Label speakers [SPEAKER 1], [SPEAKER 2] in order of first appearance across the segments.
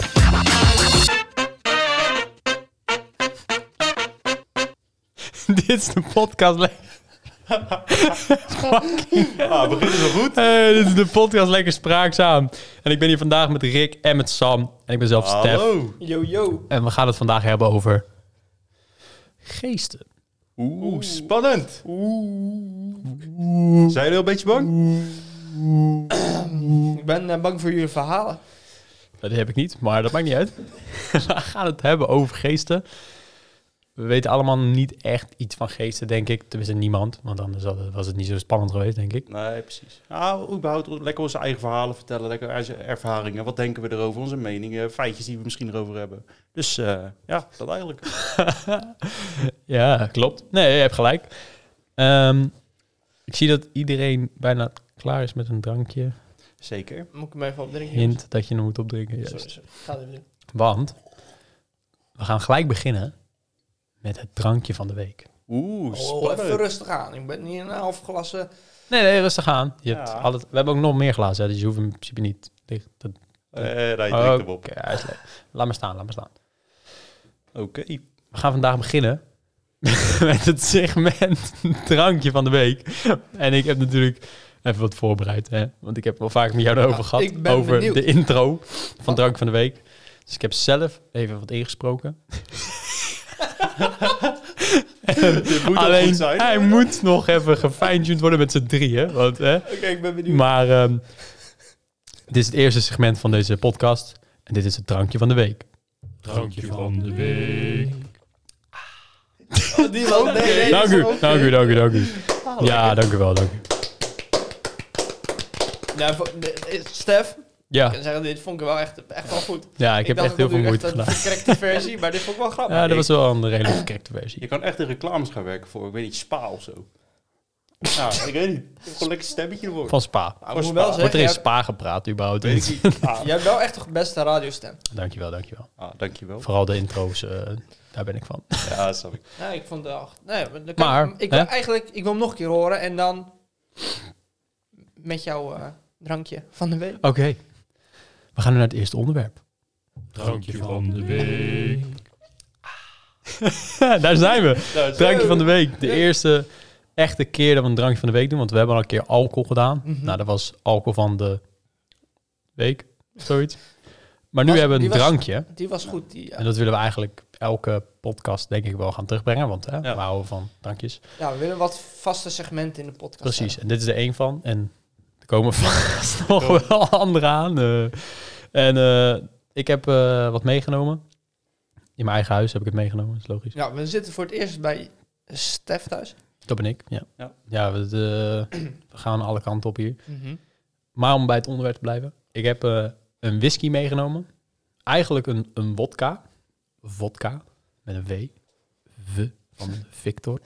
[SPEAKER 1] Dit is de podcast.
[SPEAKER 2] Ah, beginnen zo goed.
[SPEAKER 1] Hey, dit is de podcast lekker spraakzaam. En ik ben hier vandaag met Rick en met Sam. En ik ben zelf Stef.
[SPEAKER 2] Hallo.
[SPEAKER 3] Yo, yo.
[SPEAKER 1] En we gaan het vandaag hebben over geesten.
[SPEAKER 2] Oeh, spannend. Zijn jullie al een beetje bang?
[SPEAKER 3] Ik ben eh, bang voor jullie verhalen.
[SPEAKER 1] Dat Nou, heb ik niet, maar dat maakt niet uit. we gaan het hebben over geesten. We weten allemaal niet echt iets van geesten, denk ik. Tenminste, niemand. Want anders had het- was het niet zo spannend geweest, denk ik.
[SPEAKER 2] Nee, precies. Nou, überhaupt lekker onze eigen verhalen vertellen. Lekker onze ervaringen. Wat denken we erover? Onze meningen. Feitjes die we misschien erover hebben. Dus eh, ja, dat eigenlijk.
[SPEAKER 1] Ja, klopt. Nee, je hebt gelijk. Ehm, ik zie dat iedereen bijna klaar is met een drankje.
[SPEAKER 2] Zeker.
[SPEAKER 3] Moet ik hem even opdrinken?
[SPEAKER 1] Hint dat je hem moet opdrinken.
[SPEAKER 3] Sorry,
[SPEAKER 1] Juist.
[SPEAKER 3] sorry. Ga het even doen.
[SPEAKER 1] Want we gaan gelijk beginnen met het drankje van de week.
[SPEAKER 2] Oeh,
[SPEAKER 3] Oh, even
[SPEAKER 2] spannend.
[SPEAKER 3] rustig aan. Ik ben niet een half glassen.
[SPEAKER 1] Nee, nee, rustig aan. Je hebt
[SPEAKER 2] Ja.
[SPEAKER 1] altijd, we hebben ook nog meer glazen, hè, dus je hoeft hem in principe niet dicht. Dat,
[SPEAKER 2] Eh, nee, je
[SPEAKER 3] Ah,
[SPEAKER 2] drinkt hem op.
[SPEAKER 1] Oké, hij is leeg. Laat maar staan, laat maar staan.
[SPEAKER 2] Oké.
[SPEAKER 1] We gaan vandaag beginnen met het segment drankje van de week. En ik heb natuurlijk even wat voorbereid, hè? want ik heb wel vaak met jou erover
[SPEAKER 3] Ja,
[SPEAKER 1] gehad.
[SPEAKER 3] ik ben
[SPEAKER 1] over
[SPEAKER 3] benieuwd.
[SPEAKER 1] de intro van drank van de week. Dus ik heb zelf even wat ingesproken.
[SPEAKER 2] Dit moet ook
[SPEAKER 1] Alleen,
[SPEAKER 2] goed
[SPEAKER 3] Ah.
[SPEAKER 2] zijn.
[SPEAKER 1] hij moet nog even gefine-tuned worden met z'n drieën. Want, hè?
[SPEAKER 3] Oké, ik ben benieuwd.
[SPEAKER 1] Maar ehm, dit is het eerste segment van deze podcast. En dit is het drankje van de week. Drankje van de week.
[SPEAKER 3] Oh, die wel. Nee, nee,
[SPEAKER 1] Dank
[SPEAKER 3] dat
[SPEAKER 1] u,
[SPEAKER 3] is oké.
[SPEAKER 1] dank u, dank u, dank u. Ja, dank u wel, dank u.
[SPEAKER 3] Nou, voor- de- eh, Stef, ik
[SPEAKER 1] Ja,
[SPEAKER 3] kan zeggen, dit vond ik wel echt, echt wel goed.
[SPEAKER 1] ja ik heb
[SPEAKER 3] dacht,
[SPEAKER 1] echt heel veel
[SPEAKER 3] wil nu
[SPEAKER 1] moeite
[SPEAKER 3] echt een
[SPEAKER 1] gedaan.
[SPEAKER 3] verkrekte versie, maar dit vond ik wel grappig.
[SPEAKER 1] Ja, dat was wel een redelijk verkeerde
[SPEAKER 2] Je
[SPEAKER 1] versie.
[SPEAKER 2] kan echt in reclames gaan werken voor, ik weet niet, spa of zo. Nou, ik weet niet. Ik heb Gewoon lekker stemmetje ervoor.
[SPEAKER 1] Van Spa.
[SPEAKER 3] Maar ik moet
[SPEAKER 2] was
[SPEAKER 3] wel
[SPEAKER 2] spa.
[SPEAKER 1] Wordt
[SPEAKER 3] zeggen,
[SPEAKER 1] er
[SPEAKER 3] jij,
[SPEAKER 1] in Spa gepraat überhaupt?
[SPEAKER 2] Weet ik niet. Ah,
[SPEAKER 3] jij hebt wel echt de beste radiostem.
[SPEAKER 1] Dankjewel, dankjewel.
[SPEAKER 2] ah, dankjewel.
[SPEAKER 1] Vooral de intro's, eh, daar ben ik van.
[SPEAKER 2] Ja, snap ik.
[SPEAKER 3] Nee, ik vond de acht. Nee, maar, dan kan
[SPEAKER 1] Maar,
[SPEAKER 3] ik, ik wil
[SPEAKER 1] hè?
[SPEAKER 3] eigenlijk, ik wil hem nog een keer horen en dan met jouw eh, drankje van de week.
[SPEAKER 1] Oké, we gaan nu naar het eerste onderwerp.
[SPEAKER 4] Drankje van de week.
[SPEAKER 1] daar zijn we.
[SPEAKER 2] Nou,
[SPEAKER 1] Drankje van de week. De eerste echte keer dat we een drankje van de week doen. Want we hebben al een keer alcohol gedaan.
[SPEAKER 3] Mhm.
[SPEAKER 1] Nou, dat was alcohol van de week. of Zoiets. Maar nu
[SPEAKER 3] Was-
[SPEAKER 1] hebben we een
[SPEAKER 3] die was-
[SPEAKER 1] drankje.
[SPEAKER 3] Die was goed, die, ja.
[SPEAKER 1] En dat willen we eigenlijk elke podcast denk ik wel gaan terugbrengen. Want hè,
[SPEAKER 2] Ja.
[SPEAKER 1] we houden van drankjes.
[SPEAKER 3] Ja, we willen wat vaste segmenten in de podcast.
[SPEAKER 1] Precies.
[SPEAKER 3] hebben.
[SPEAKER 1] En dit is er één van. En er komen vast nog wel andere aan. eh. en eh, ik heb eh, wat meegenomen. In mijn eigen huis heb ik het meegenomen. Dat is logisch.
[SPEAKER 3] Ja, we zitten voor het eerst bij Stef thuis.
[SPEAKER 1] Dat ben ik. Ja, ja.
[SPEAKER 2] Ja.
[SPEAKER 1] we, eh, we gaan alle kanten op hier.
[SPEAKER 3] Mhm.
[SPEAKER 1] Maar om bij het onderwerp te blijven. Ik heb eh, een whisky meegenomen. Eigenlijk een, een wodka. Wodka. Met een W. V van Victor.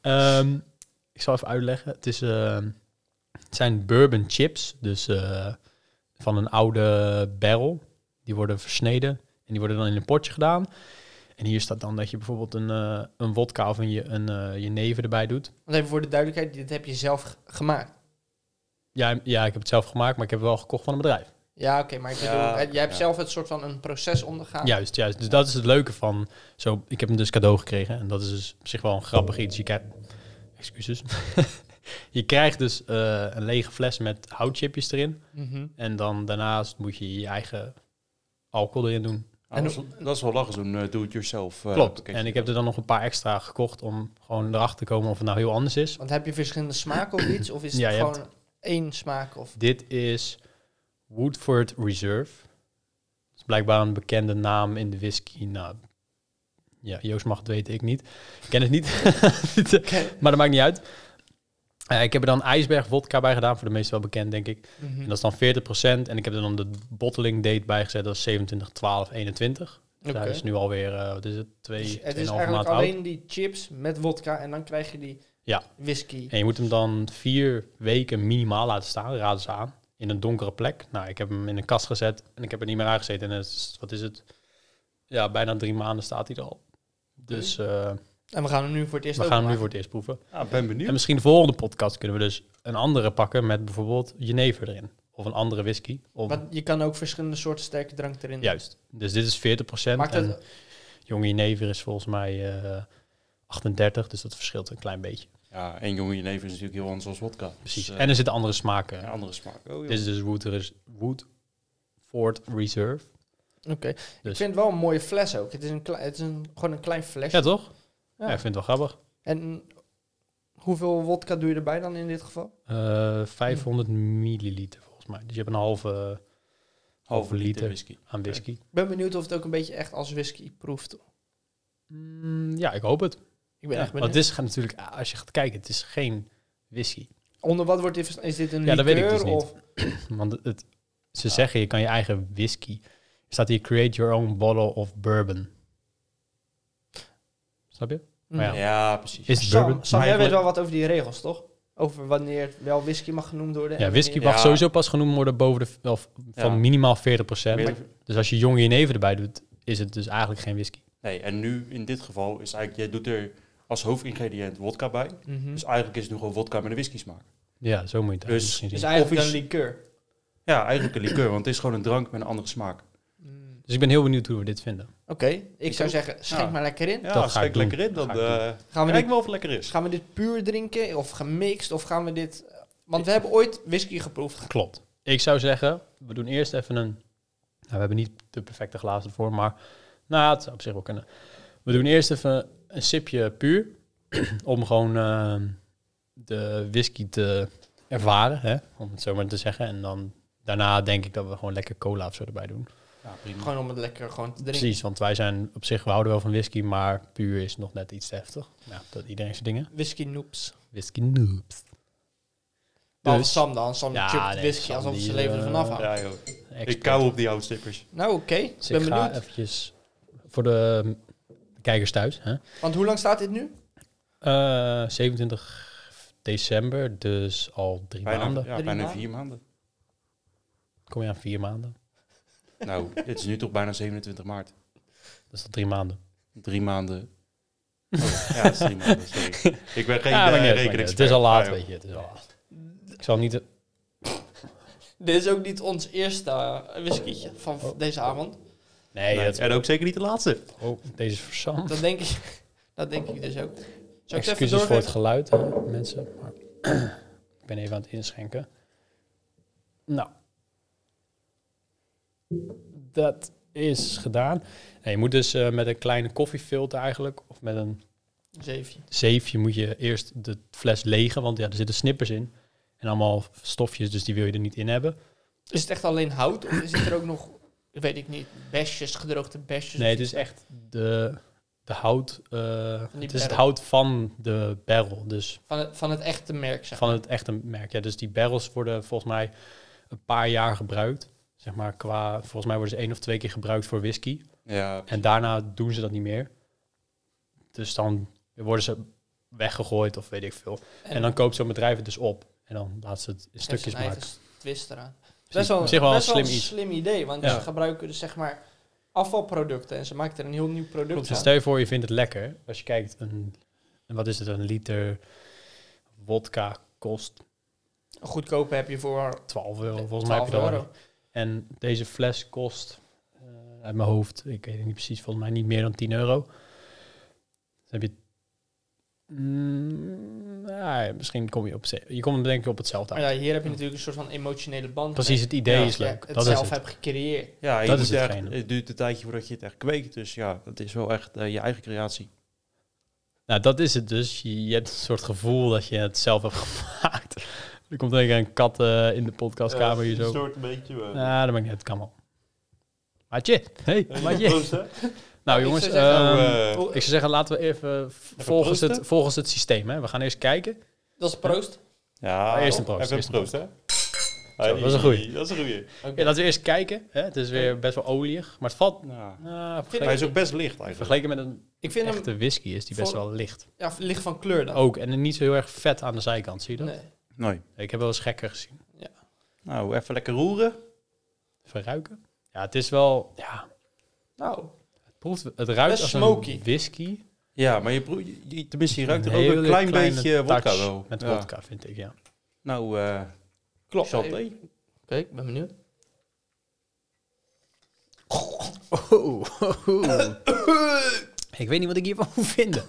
[SPEAKER 1] Ehm, ik zal even uitleggen. Het, is, ehm, het zijn bourbon chips. Dus eh, van een oude barrel. Die worden versneden. En die worden dan in een potje gedaan. En hier staat dan dat je bijvoorbeeld een, eh een wodka of een, je- een eh, jenever erbij doet.
[SPEAKER 3] Want even voor de duidelijkheid, dit heb je zelf g- gemaakt.
[SPEAKER 1] Ja, ja, ik heb het zelf gemaakt, maar ik heb het wel gekocht van een bedrijf.
[SPEAKER 3] Ja, oké, maar ik bedoel,
[SPEAKER 2] Ja,
[SPEAKER 3] eh, jij hebt
[SPEAKER 2] ja.
[SPEAKER 3] zelf het soort van een proces ondergaan.
[SPEAKER 1] Juist, juist. Dus dat is het leuke van... Zo, ik heb hem dus cadeau gekregen. En dat is dus op zich wel een grappig iets. Je krijgt... Excuses. je krijgt dus eh, een lege fles met houtchipjes erin.
[SPEAKER 3] Mhm.
[SPEAKER 1] En dan daarnaast moet je je eigen alcohol erin doen.
[SPEAKER 2] Ah, dat, is, wel- dat is wel lachen, zo'n eh, do-it-yourself. eh,
[SPEAKER 1] Klopt.
[SPEAKER 2] pakketje.
[SPEAKER 1] En ik heb er dan nog een paar extra gekocht om gewoon erachter te komen of het nou heel anders is.
[SPEAKER 3] Want heb je verschillende smaken of iets? Of is
[SPEAKER 1] Ja,
[SPEAKER 3] het
[SPEAKER 1] je
[SPEAKER 3] gewoon één smaak? Of...
[SPEAKER 1] Dit is Woodford Reserve. Dat is blijkbaar een bekende naam in de whisky. Nou, ja, Joost mag het weten, ik niet. Ik ken het niet, eh, maar dat maakt niet uit. Eh, ik heb er dan ijsberg vodka bij gedaan, voor de meesten wel bekend, denk ik.
[SPEAKER 3] Mhm.
[SPEAKER 1] En dat is dan 40%. En ik heb er dan de bottling date bij gezet, dat is 27, 12, 21. Dus
[SPEAKER 3] Oké.
[SPEAKER 1] Hij is nu alweer, eh, wat is het,
[SPEAKER 3] Dus
[SPEAKER 1] 2,
[SPEAKER 3] het is
[SPEAKER 1] 2,5 maand
[SPEAKER 3] eigenlijk
[SPEAKER 1] oud.
[SPEAKER 3] alleen die chips met wodka en dan krijg je die
[SPEAKER 1] Ja.
[SPEAKER 3] whisky.
[SPEAKER 1] En je moet hem dan vier weken minimaal laten staan, raden ze aan, in een donkere plek. Nou, ik heb hem in een kast gezet en ik heb er niet meer aangezeten. En het is, wat is het? Ja, bijna drie maanden staat hij er al. Dus eh,
[SPEAKER 3] En we gaan hem nu voor het eerst
[SPEAKER 1] we gaan hem nu
[SPEAKER 3] openmaken.
[SPEAKER 1] voor het eerst proeven.
[SPEAKER 2] Ja, ik Ah, ben
[SPEAKER 1] En
[SPEAKER 2] benieuwd.
[SPEAKER 1] misschien de volgende podcast kunnen we dus een andere pakken met bijvoorbeeld jenever erin. Of een andere whisky. Of,
[SPEAKER 3] Want je kan ook verschillende soorten sterke drank erin.
[SPEAKER 1] Juist. Dus dit is 40%.
[SPEAKER 3] Maakt
[SPEAKER 1] en
[SPEAKER 3] het,
[SPEAKER 1] jonge jenever is volgens mij eh, 38, dus dat verschilt een klein beetje.
[SPEAKER 2] Ja, één jongen in je leven is natuurlijk heel anders als wodka.
[SPEAKER 1] Precies.
[SPEAKER 2] Dus, eh,
[SPEAKER 1] en er zitten andere smaken.
[SPEAKER 2] een andere smaak. Oh, joh.
[SPEAKER 1] Dit is dus Wood, Res- Woodford Reserve.
[SPEAKER 3] Oké. Ik
[SPEAKER 1] Dus-
[SPEAKER 3] vind het wel een mooie fles ook. Het is, een klei- het is een, gewoon een klein flesje.
[SPEAKER 1] Ja, toch?
[SPEAKER 3] Ja.
[SPEAKER 1] Ja, ik vind het wel grappig.
[SPEAKER 3] En hoeveel wodka doe je erbij dan in dit geval?
[SPEAKER 1] Eh, 500 milliliter volgens mij. Dus je hebt een halve
[SPEAKER 2] Halve liter
[SPEAKER 1] liter.
[SPEAKER 2] whisky.
[SPEAKER 1] aan whisky.
[SPEAKER 3] Ik ben benieuwd of het ook een beetje echt als whisky proeft.
[SPEAKER 1] Mm, ja, ik hoop het.
[SPEAKER 3] Ik ben
[SPEAKER 1] Ja, want
[SPEAKER 3] echt benieuwd.
[SPEAKER 1] het is ge- natuurlijk, als je gaat kijken, het is geen whisky.
[SPEAKER 3] Onder wat wordt dit... vers- Is dit een
[SPEAKER 1] Ja, dat weet ik
[SPEAKER 3] liqueur
[SPEAKER 1] dus niet.
[SPEAKER 3] Of,
[SPEAKER 1] Want het- het, ze zeggen, je kan je eigen whisky... Er staat hier, create your own bottle of bourbon. Snap je? Maar
[SPEAKER 3] Mm.
[SPEAKER 1] Ja.
[SPEAKER 2] Ja, precies.
[SPEAKER 1] Is
[SPEAKER 3] Sam,
[SPEAKER 1] bourbon...
[SPEAKER 3] Sam, jij weet
[SPEAKER 2] Eigenlijk-
[SPEAKER 3] wel wat over die regels, toch? Over wanneer wel whisky mag genoemd worden.
[SPEAKER 1] Ja,
[SPEAKER 3] en
[SPEAKER 1] whisky
[SPEAKER 3] wanneer-
[SPEAKER 1] mag
[SPEAKER 2] Ja.
[SPEAKER 1] sowieso pas genoemd worden boven de, v- of van
[SPEAKER 2] Ja.
[SPEAKER 1] minimaal 40%.
[SPEAKER 2] Weer-
[SPEAKER 1] Dus als je jonge jenever erbij doet, is het dus eigenlijk geen whisky.
[SPEAKER 2] Nee, en nu in dit geval is eigenlijk, jij doet er als hoofdingrediënt wodka bij.
[SPEAKER 3] Mhm.
[SPEAKER 2] Dus eigenlijk is het nu gewoon wodka met een whisky smaak.
[SPEAKER 1] Ja, zo moet je het
[SPEAKER 2] Dus-
[SPEAKER 1] eigenlijk misschien zien.
[SPEAKER 3] Dus
[SPEAKER 1] Dus,
[SPEAKER 3] eigenlijk
[SPEAKER 2] Of
[SPEAKER 3] een
[SPEAKER 2] is-
[SPEAKER 3] liqueur.
[SPEAKER 2] Ja, eigenlijk een liqueur, want het is gewoon een drank met een andere smaak.
[SPEAKER 3] Mm.
[SPEAKER 1] Dus ik ben heel benieuwd hoe we dit vinden.
[SPEAKER 3] Oké, ik, zou
[SPEAKER 2] ook.
[SPEAKER 3] zeggen, schenk
[SPEAKER 2] Ja.
[SPEAKER 3] maar lekker in.
[SPEAKER 2] Ja,
[SPEAKER 1] Dat
[SPEAKER 2] dat
[SPEAKER 1] ga ik doen.
[SPEAKER 2] lekker in. Dan
[SPEAKER 1] Dat ga ik
[SPEAKER 2] eh
[SPEAKER 3] Gaan we,
[SPEAKER 2] kijk
[SPEAKER 3] dit,
[SPEAKER 2] wel of het lekker is.
[SPEAKER 3] gaan we dit puur drinken of gemixt? Of gaan we dit... Want we hebben ooit whisky geproefd.
[SPEAKER 1] Klopt. Ik zou zeggen, we doen eerst even een... Nou, we hebben niet de perfecte glazen ervoor, maar... Nou, het zou op zich wel kunnen. We doen eerst even een sipje puur. om gewoon ehm, de whisky te ervaren, hè? om het zo maar te zeggen. En dan daarna denk ik dat we gewoon lekker cola of zo erbij doen.
[SPEAKER 2] Ja, prima.
[SPEAKER 3] Gewoon om het lekker gewoon te drinken.
[SPEAKER 1] Precies, want wij zijn op zich, we houden wel van whisky, maar puur is nog net iets te heftig. Ja, dat iedereen zijn dingen.
[SPEAKER 3] Whisky noobs.
[SPEAKER 1] Whisky noobs.
[SPEAKER 3] Behalve
[SPEAKER 1] Dus-
[SPEAKER 3] Sam dan. Sam
[SPEAKER 1] Ja,
[SPEAKER 3] chupt
[SPEAKER 1] nee,
[SPEAKER 3] whisky
[SPEAKER 1] Sam
[SPEAKER 3] alsof
[SPEAKER 1] die,
[SPEAKER 3] zijn leven
[SPEAKER 1] eh,
[SPEAKER 3] ervan afhangt.
[SPEAKER 2] Ja, joh. Ik
[SPEAKER 1] Expert.
[SPEAKER 2] kou op die houtstippers.
[SPEAKER 3] Nou, oké. Ik
[SPEAKER 1] Dus
[SPEAKER 3] ben
[SPEAKER 1] ik ga
[SPEAKER 3] benieuwd.
[SPEAKER 1] eventjes voor de kijkers thuis. Hè?
[SPEAKER 3] Want hoe lang staat dit nu?
[SPEAKER 1] Eh, 27 december, dus al drie
[SPEAKER 2] Bijna,
[SPEAKER 1] maanden.
[SPEAKER 2] ja,
[SPEAKER 3] Drie
[SPEAKER 2] bijna
[SPEAKER 3] maanden.
[SPEAKER 2] vier maanden.
[SPEAKER 1] Kom je aan vier maanden?
[SPEAKER 2] Nou, dit is nu toch bijna 27 maart.
[SPEAKER 1] Dat is al drie maanden.
[SPEAKER 2] Drie maanden. Oh, ja, dat is drie maanden, sorry. Ik ben geen eh,
[SPEAKER 1] Ja,
[SPEAKER 2] Ah, ja,
[SPEAKER 1] maakt Ah, niet uit, maakt niet uit.
[SPEAKER 2] rekening.
[SPEAKER 1] Het is al laat, weet je. Het is al laat. Ik zal niet...
[SPEAKER 3] Dit is ook niet ons eerste eh, whiskytje van v-
[SPEAKER 1] Oh.
[SPEAKER 3] deze avond.
[SPEAKER 1] Nee, dat-
[SPEAKER 2] En ook zeker niet de laatste.
[SPEAKER 1] oh, deze is voor Sam.
[SPEAKER 3] Dat denk ik, dat denk ik dus ook. Zou ik het even
[SPEAKER 1] Excuses voor het
[SPEAKER 3] doorgeven?
[SPEAKER 1] geluid, hè, mensen. Maar ik ben even aan het inschenken. Nou. Dat is gedaan. En je moet dus eh, met een kleine koffiefilter eigenlijk, of met een
[SPEAKER 3] Zeefje.
[SPEAKER 1] zeefje, moet je eerst de fles legen, want ja, er zitten snippers in. En allemaal stofjes, dus die wil je er niet in hebben.
[SPEAKER 3] Is het echt alleen hout of is het er ook nog, weet ik niet, besjes, gedroogde besjes?
[SPEAKER 1] Nee,
[SPEAKER 3] of
[SPEAKER 1] het is
[SPEAKER 3] iets?
[SPEAKER 1] echt de, de hout. eh,
[SPEAKER 3] die
[SPEAKER 1] het is het
[SPEAKER 3] barrel.
[SPEAKER 1] hout van de barrel. Dus
[SPEAKER 3] Van het, van het echte merk, zeg
[SPEAKER 1] van het echte merk. Ja, dus die barrels worden volgens mij een paar jaar gebruikt. Zeg maar qua, volgens mij worden ze één of twee keer gebruikt voor whisky.
[SPEAKER 2] Ja,
[SPEAKER 1] En daarna doen ze dat niet meer. Dus dan worden ze weggegooid of weet ik veel. En, dan koopt zo'n bedrijf het dus op. En dan laat ze het in
[SPEAKER 3] heeft
[SPEAKER 1] stukjes
[SPEAKER 3] zijn
[SPEAKER 1] maken.
[SPEAKER 3] eigen twist eraan.
[SPEAKER 1] Precies.
[SPEAKER 3] Best wel,
[SPEAKER 1] Op zich wel een
[SPEAKER 3] best
[SPEAKER 1] slim
[SPEAKER 3] een
[SPEAKER 1] iets.
[SPEAKER 3] slim idee, want
[SPEAKER 1] Ja.
[SPEAKER 3] ze gebruiken dus zeg maar afvalproducten en ze maken er een heel nieuw product
[SPEAKER 1] Klopt, dus
[SPEAKER 3] van.
[SPEAKER 1] stel je voor, je vindt het lekker. Als je kijkt, een, een- wat is het, een liter wodka kost
[SPEAKER 3] Een goedkope heb je voor
[SPEAKER 1] 12 euro. Volgens mij heb
[SPEAKER 3] 12
[SPEAKER 1] je dat al.
[SPEAKER 3] euro.
[SPEAKER 1] En deze fles kost eh, uit mijn hoofd, ik weet het niet precies, volgens mij niet meer dan 10 euro. Dus heb je. Mm, ja, misschien kom je op. ze- Je komt denk ik op hetzelfde
[SPEAKER 3] Maar
[SPEAKER 1] uit.
[SPEAKER 3] ja, hier heb je natuurlijk een soort van emotionele band.
[SPEAKER 1] Precies,
[SPEAKER 3] mee.
[SPEAKER 1] het idee
[SPEAKER 2] Ja,
[SPEAKER 1] is
[SPEAKER 3] Dat je
[SPEAKER 1] leuk.
[SPEAKER 3] het
[SPEAKER 1] dat
[SPEAKER 3] zelf
[SPEAKER 1] is het.
[SPEAKER 3] hebt gecreëerd.
[SPEAKER 2] ja je
[SPEAKER 1] Dat
[SPEAKER 2] moet
[SPEAKER 1] is
[SPEAKER 2] echt,
[SPEAKER 1] hetgene.
[SPEAKER 2] het duurt een tijdje voordat je het echt kweekt. Dus ja, dat is wel echt eh, je eigen creatie.
[SPEAKER 1] Nou, dat is het dus. Je, je hebt een soort gevoel dat je het zelf hebt gemaakt. er komt denk ik een kat eh, in de podcastkamer hier zo.
[SPEAKER 2] een beetje... eh,
[SPEAKER 1] Nou, dat ben ik net, kan wel. Maatje, hey, maatje. Nou
[SPEAKER 3] Ik
[SPEAKER 1] jongens,
[SPEAKER 3] zou zeggen,
[SPEAKER 1] ehm,
[SPEAKER 2] eh,
[SPEAKER 1] ik zou zeggen, laten we even volgens
[SPEAKER 2] proosten?
[SPEAKER 1] het, volgens het systeem. Hè. We gaan eerst kijken.
[SPEAKER 3] Dat is proost.
[SPEAKER 2] Ja,
[SPEAKER 1] Eerst een proost,
[SPEAKER 2] Even
[SPEAKER 1] eerst
[SPEAKER 2] een
[SPEAKER 1] een
[SPEAKER 2] proost, hè?
[SPEAKER 1] Zo, dat is een goeie.
[SPEAKER 2] Dat is een goeie.
[SPEAKER 1] Ja, laten we eerst kijken. Hè? Het is weer best wel olieg, maar het valt.
[SPEAKER 2] Ja.
[SPEAKER 1] Ah,
[SPEAKER 2] Hij
[SPEAKER 1] vergeleken,
[SPEAKER 2] is ook best licht eigenlijk.
[SPEAKER 1] vergeleken met een
[SPEAKER 3] Ik vind hem
[SPEAKER 1] echte whisky is die best
[SPEAKER 3] Vol-
[SPEAKER 1] wel licht.
[SPEAKER 3] ja, licht van kleur dan.
[SPEAKER 1] Ook en niet zo heel erg vet aan de zijkant, Oh, zie je dat?
[SPEAKER 3] Nee.
[SPEAKER 2] Nee.
[SPEAKER 1] Ik heb wel eens gekker gezien.
[SPEAKER 2] Nou, even lekker roeren.
[SPEAKER 1] Even ruiken. Ja, het is wel. Ja,
[SPEAKER 3] Nou,
[SPEAKER 1] het, proeft, het ruikt
[SPEAKER 3] Best
[SPEAKER 1] als
[SPEAKER 3] smoky.
[SPEAKER 1] een whisky.
[SPEAKER 2] Ja, maar je, proe- je- je- tenminste, je ruikt er ook
[SPEAKER 1] hele
[SPEAKER 2] een klein
[SPEAKER 1] kleine
[SPEAKER 2] beetje wodka
[SPEAKER 1] touch
[SPEAKER 2] wel.
[SPEAKER 1] Met
[SPEAKER 2] Ja.
[SPEAKER 1] wodka vind ik, ja.
[SPEAKER 2] Nou, eh
[SPEAKER 3] klopt.
[SPEAKER 2] Chanté.
[SPEAKER 3] Oké, ik ben benieuwd.
[SPEAKER 1] Ik weet niet wat ik hiervan moet vinden.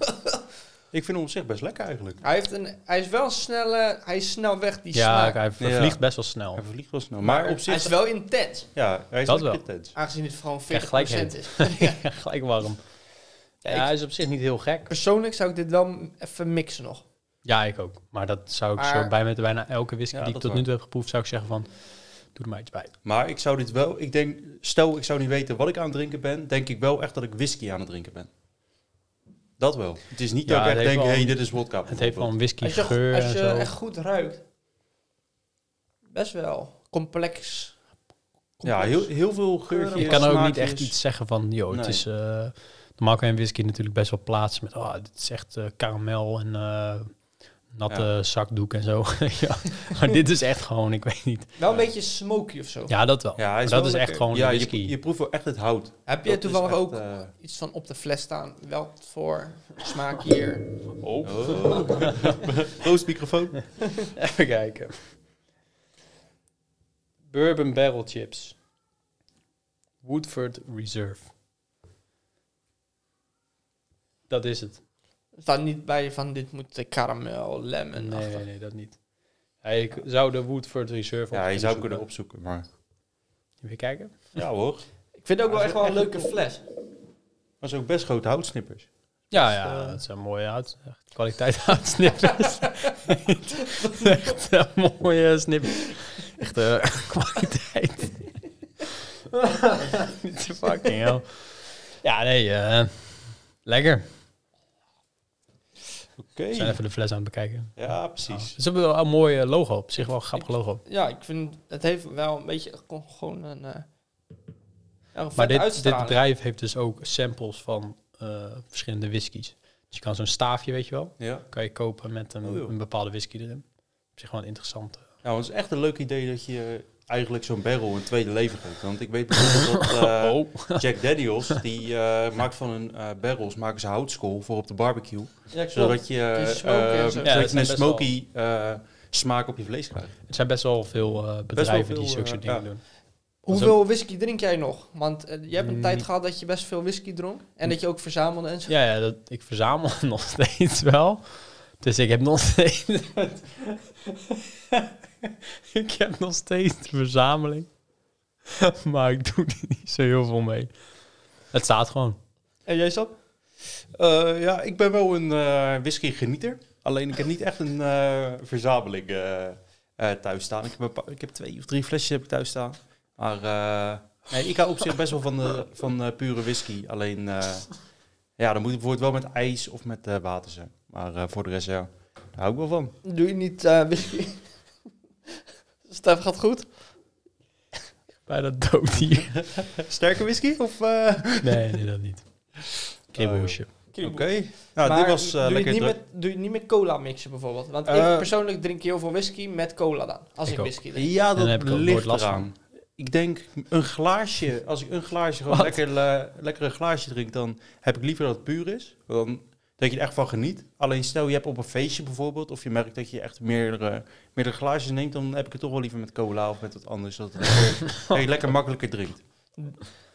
[SPEAKER 2] Ik vind hem op zich best lekker eigenlijk.
[SPEAKER 3] Hij, heeft een, hij is wel een snelle... Hij is snel weg, die
[SPEAKER 1] ja,
[SPEAKER 3] snaar.
[SPEAKER 1] hij
[SPEAKER 2] Ja.
[SPEAKER 1] vliegt best wel snel.
[SPEAKER 2] Hij vliegt wel snel.
[SPEAKER 3] Maar
[SPEAKER 2] Maar op
[SPEAKER 3] hij is
[SPEAKER 2] zich,
[SPEAKER 3] wel intens.
[SPEAKER 2] ja, hij is
[SPEAKER 1] Dat
[SPEAKER 2] ook
[SPEAKER 1] wel.
[SPEAKER 2] intens.
[SPEAKER 3] Aangezien het gewoon 40%
[SPEAKER 1] Krijg gelijk
[SPEAKER 3] is. Ja.
[SPEAKER 1] Gelijk warm. Ja, hij is op zich niet heel gek.
[SPEAKER 3] Persoonlijk zou ik dit wel even mixen nog.
[SPEAKER 1] Ja, ik ook. Maar dat zou ik
[SPEAKER 3] Maar-
[SPEAKER 1] zo bij met bijna elke whisky
[SPEAKER 2] Ja,
[SPEAKER 1] die ik
[SPEAKER 2] dat
[SPEAKER 1] tot
[SPEAKER 2] waar.
[SPEAKER 1] nu toe heb geproefd, zou ik zeggen van, doe er maar iets bij.
[SPEAKER 2] Maar ik zou dit wel, ik denk, stel ik zou niet weten wat ik aan het drinken ben, denk ik wel echt dat ik whisky aan het drinken ben. Dat wel. Het is niet
[SPEAKER 1] Ja,
[SPEAKER 2] dat ik
[SPEAKER 1] het
[SPEAKER 2] echt
[SPEAKER 1] heeft
[SPEAKER 2] denk, hé,
[SPEAKER 1] wel
[SPEAKER 2] hey,
[SPEAKER 1] een-
[SPEAKER 2] dit is wodka.
[SPEAKER 1] Het heeft wel een whisky
[SPEAKER 3] Als je,
[SPEAKER 1] geur
[SPEAKER 3] als
[SPEAKER 1] en
[SPEAKER 3] je
[SPEAKER 1] zo.
[SPEAKER 3] echt goed ruikt. Best wel complex.
[SPEAKER 2] Ja, heel, heel veel geurtjes.
[SPEAKER 1] Ik kan ook niet
[SPEAKER 2] smaakjes.
[SPEAKER 1] echt iets zeggen van, joh, het
[SPEAKER 2] Nee.
[SPEAKER 1] is... eh, normaal kan je een whisky natuurlijk best wel plaatsen met, oh, dit is echt eh, karamel en eh, natte zakdoek en zo. ja. Maar dit is echt gewoon, ik weet niet.
[SPEAKER 3] Wel een beetje smoky of zo.
[SPEAKER 1] Ja, dat wel.
[SPEAKER 2] Ja, hij
[SPEAKER 1] Maar
[SPEAKER 2] is
[SPEAKER 1] dat
[SPEAKER 2] wel
[SPEAKER 1] is echt
[SPEAKER 2] lekker.
[SPEAKER 1] gewoon
[SPEAKER 2] ja,
[SPEAKER 1] whisky.
[SPEAKER 2] Je, je proeft wel echt het hout.
[SPEAKER 3] Heb je
[SPEAKER 2] Dat
[SPEAKER 3] toevallig
[SPEAKER 2] is echt,
[SPEAKER 3] ook
[SPEAKER 2] eh,
[SPEAKER 3] iets van op de fles staan? Wel voor smaak hier.
[SPEAKER 2] oh. Roostmicrofoon.
[SPEAKER 1] Even kijken. Bourbon Barrel Chips. Woodford Reserve. Dat is het.
[SPEAKER 3] Er staat niet bij van dit moet eh, karamel, lemon.
[SPEAKER 1] Nee,
[SPEAKER 3] achter.
[SPEAKER 1] nee, nee, dat niet. Ja, ik zou de Woodford Reserve
[SPEAKER 2] Ja, je
[SPEAKER 1] op
[SPEAKER 2] zou
[SPEAKER 1] zoeken.
[SPEAKER 2] kunnen opzoeken, maar...
[SPEAKER 1] Even kijken.
[SPEAKER 2] Ja hoor.
[SPEAKER 3] Ik vind Ah, het ook
[SPEAKER 2] Ja,
[SPEAKER 3] wel echt
[SPEAKER 2] zo
[SPEAKER 3] wel een
[SPEAKER 2] echt
[SPEAKER 3] leuke fles.
[SPEAKER 2] Dat is ook best grote houtsnippers.
[SPEAKER 1] Ja,
[SPEAKER 3] Dus,
[SPEAKER 1] ja,
[SPEAKER 3] eh,
[SPEAKER 1] dat zijn mooie hout. echt Kwaliteit houtsnippers. echt een mooie snippers. Echt eh, kwaliteit. fucking hell. Ja, nee, eh, lekker.
[SPEAKER 2] Oké.
[SPEAKER 1] We zijn even de fles aan het bekijken.
[SPEAKER 2] Ja,
[SPEAKER 1] Oh,
[SPEAKER 2] precies.
[SPEAKER 1] Ze hebben wel een mooi eh, logo op zich, wel een grappig logo.
[SPEAKER 3] Ja, ik vind het heeft wel een beetje gewoon- gewoon een. eh, ja, een
[SPEAKER 1] Maar
[SPEAKER 3] vette
[SPEAKER 1] dit, dit
[SPEAKER 3] uitstraling.
[SPEAKER 1] bedrijf heeft dus ook samples van eh, verschillende whiskies. Dus je kan zo'n staafje, weet je wel,
[SPEAKER 2] Ja.
[SPEAKER 1] kan je kopen met een,
[SPEAKER 2] Oh, joh.
[SPEAKER 1] een bepaalde whisky erin. Op zich gewoon interessant.
[SPEAKER 2] Nou, het is echt een leuk idee dat je eigenlijk zo'n barrel een tweede leven geeft. Want ik weet bijvoorbeeld dat eh,
[SPEAKER 1] oh,
[SPEAKER 2] Jack Daniels, die eh, maakt van hun eh, barrels, maken ze houtskool voor op de barbecue.
[SPEAKER 3] Ja, klopt.
[SPEAKER 2] Zodat je,
[SPEAKER 3] Die smoky
[SPEAKER 2] eh,
[SPEAKER 3] en zo.
[SPEAKER 1] Ja, dat
[SPEAKER 2] zodat je
[SPEAKER 1] zijn
[SPEAKER 2] een
[SPEAKER 1] best wel-
[SPEAKER 2] smoky eh, smaak op je vlees krijgt.
[SPEAKER 1] er zijn best wel veel eh, bedrijven
[SPEAKER 2] veel,
[SPEAKER 1] die zulke
[SPEAKER 2] eh,
[SPEAKER 1] soort dingen
[SPEAKER 2] ja.
[SPEAKER 1] doen.
[SPEAKER 3] Hoeveel whisky drink jij nog? Want eh, je hebt een
[SPEAKER 1] Mm.
[SPEAKER 3] tijd gehad dat je best veel whisky dronk. En dat je ook verzamelde en zo.
[SPEAKER 1] Ja, ja dat, ik verzamel nog steeds wel. Dus ik heb nog steeds... ik heb nog steeds de verzameling. maar ik doe er niet zo heel veel mee. Het staat gewoon.
[SPEAKER 3] En jij zat?
[SPEAKER 2] Eh, ja, ik ben wel een eh whisky genieter. Alleen ik heb niet echt een eh, verzameling eh, eh, thuis staan. Ik heb, een paar- ik heb twee of drie flesjes heb ik thuis staan. Maar eh, nee, ik hou op zich best wel van, de, van eh, pure whisky. Alleen eh, ja, dan moet het bijvoorbeeld wel met ijs of met eh, water zijn. Maar eh, voor de rest, ja, daar hou ik wel van.
[SPEAKER 3] Doe je niet eh, whisky? Stef gaat goed.
[SPEAKER 1] Bijna dood hier.
[SPEAKER 2] Sterke whisky? Of,
[SPEAKER 1] nee, nee, dat niet. Kribbelhoesje.
[SPEAKER 2] Oké. Nou, dit was eh,
[SPEAKER 3] doe, je
[SPEAKER 2] lekker
[SPEAKER 3] het niet
[SPEAKER 2] druk.
[SPEAKER 3] met, doe je het niet met cola mixen bijvoorbeeld? Want ik
[SPEAKER 2] Eh.
[SPEAKER 3] persoonlijk drink heel veel whisky met cola dan. Als
[SPEAKER 1] Ik
[SPEAKER 3] ik,
[SPEAKER 1] ook.
[SPEAKER 3] whisky drink.
[SPEAKER 2] Ja,
[SPEAKER 1] dan heb
[SPEAKER 2] dat
[SPEAKER 1] ik ook nooit
[SPEAKER 2] ligt
[SPEAKER 1] last
[SPEAKER 2] eraan. Ik denk een glaasje, als ik een glaasje gewoon
[SPEAKER 1] Wat?
[SPEAKER 2] lekker, le- lekker een glaasje drink, dan heb ik liever dat het puur is. Dan dat je er echt van geniet. Alleen stel je hebt op een feestje bijvoorbeeld, of je merkt dat je echt meerdere, meerdere glaasjes neemt, dan heb ik het toch wel liever met cola of met wat anders. Dat, het lekker- dat je lekker makkelijker drinkt.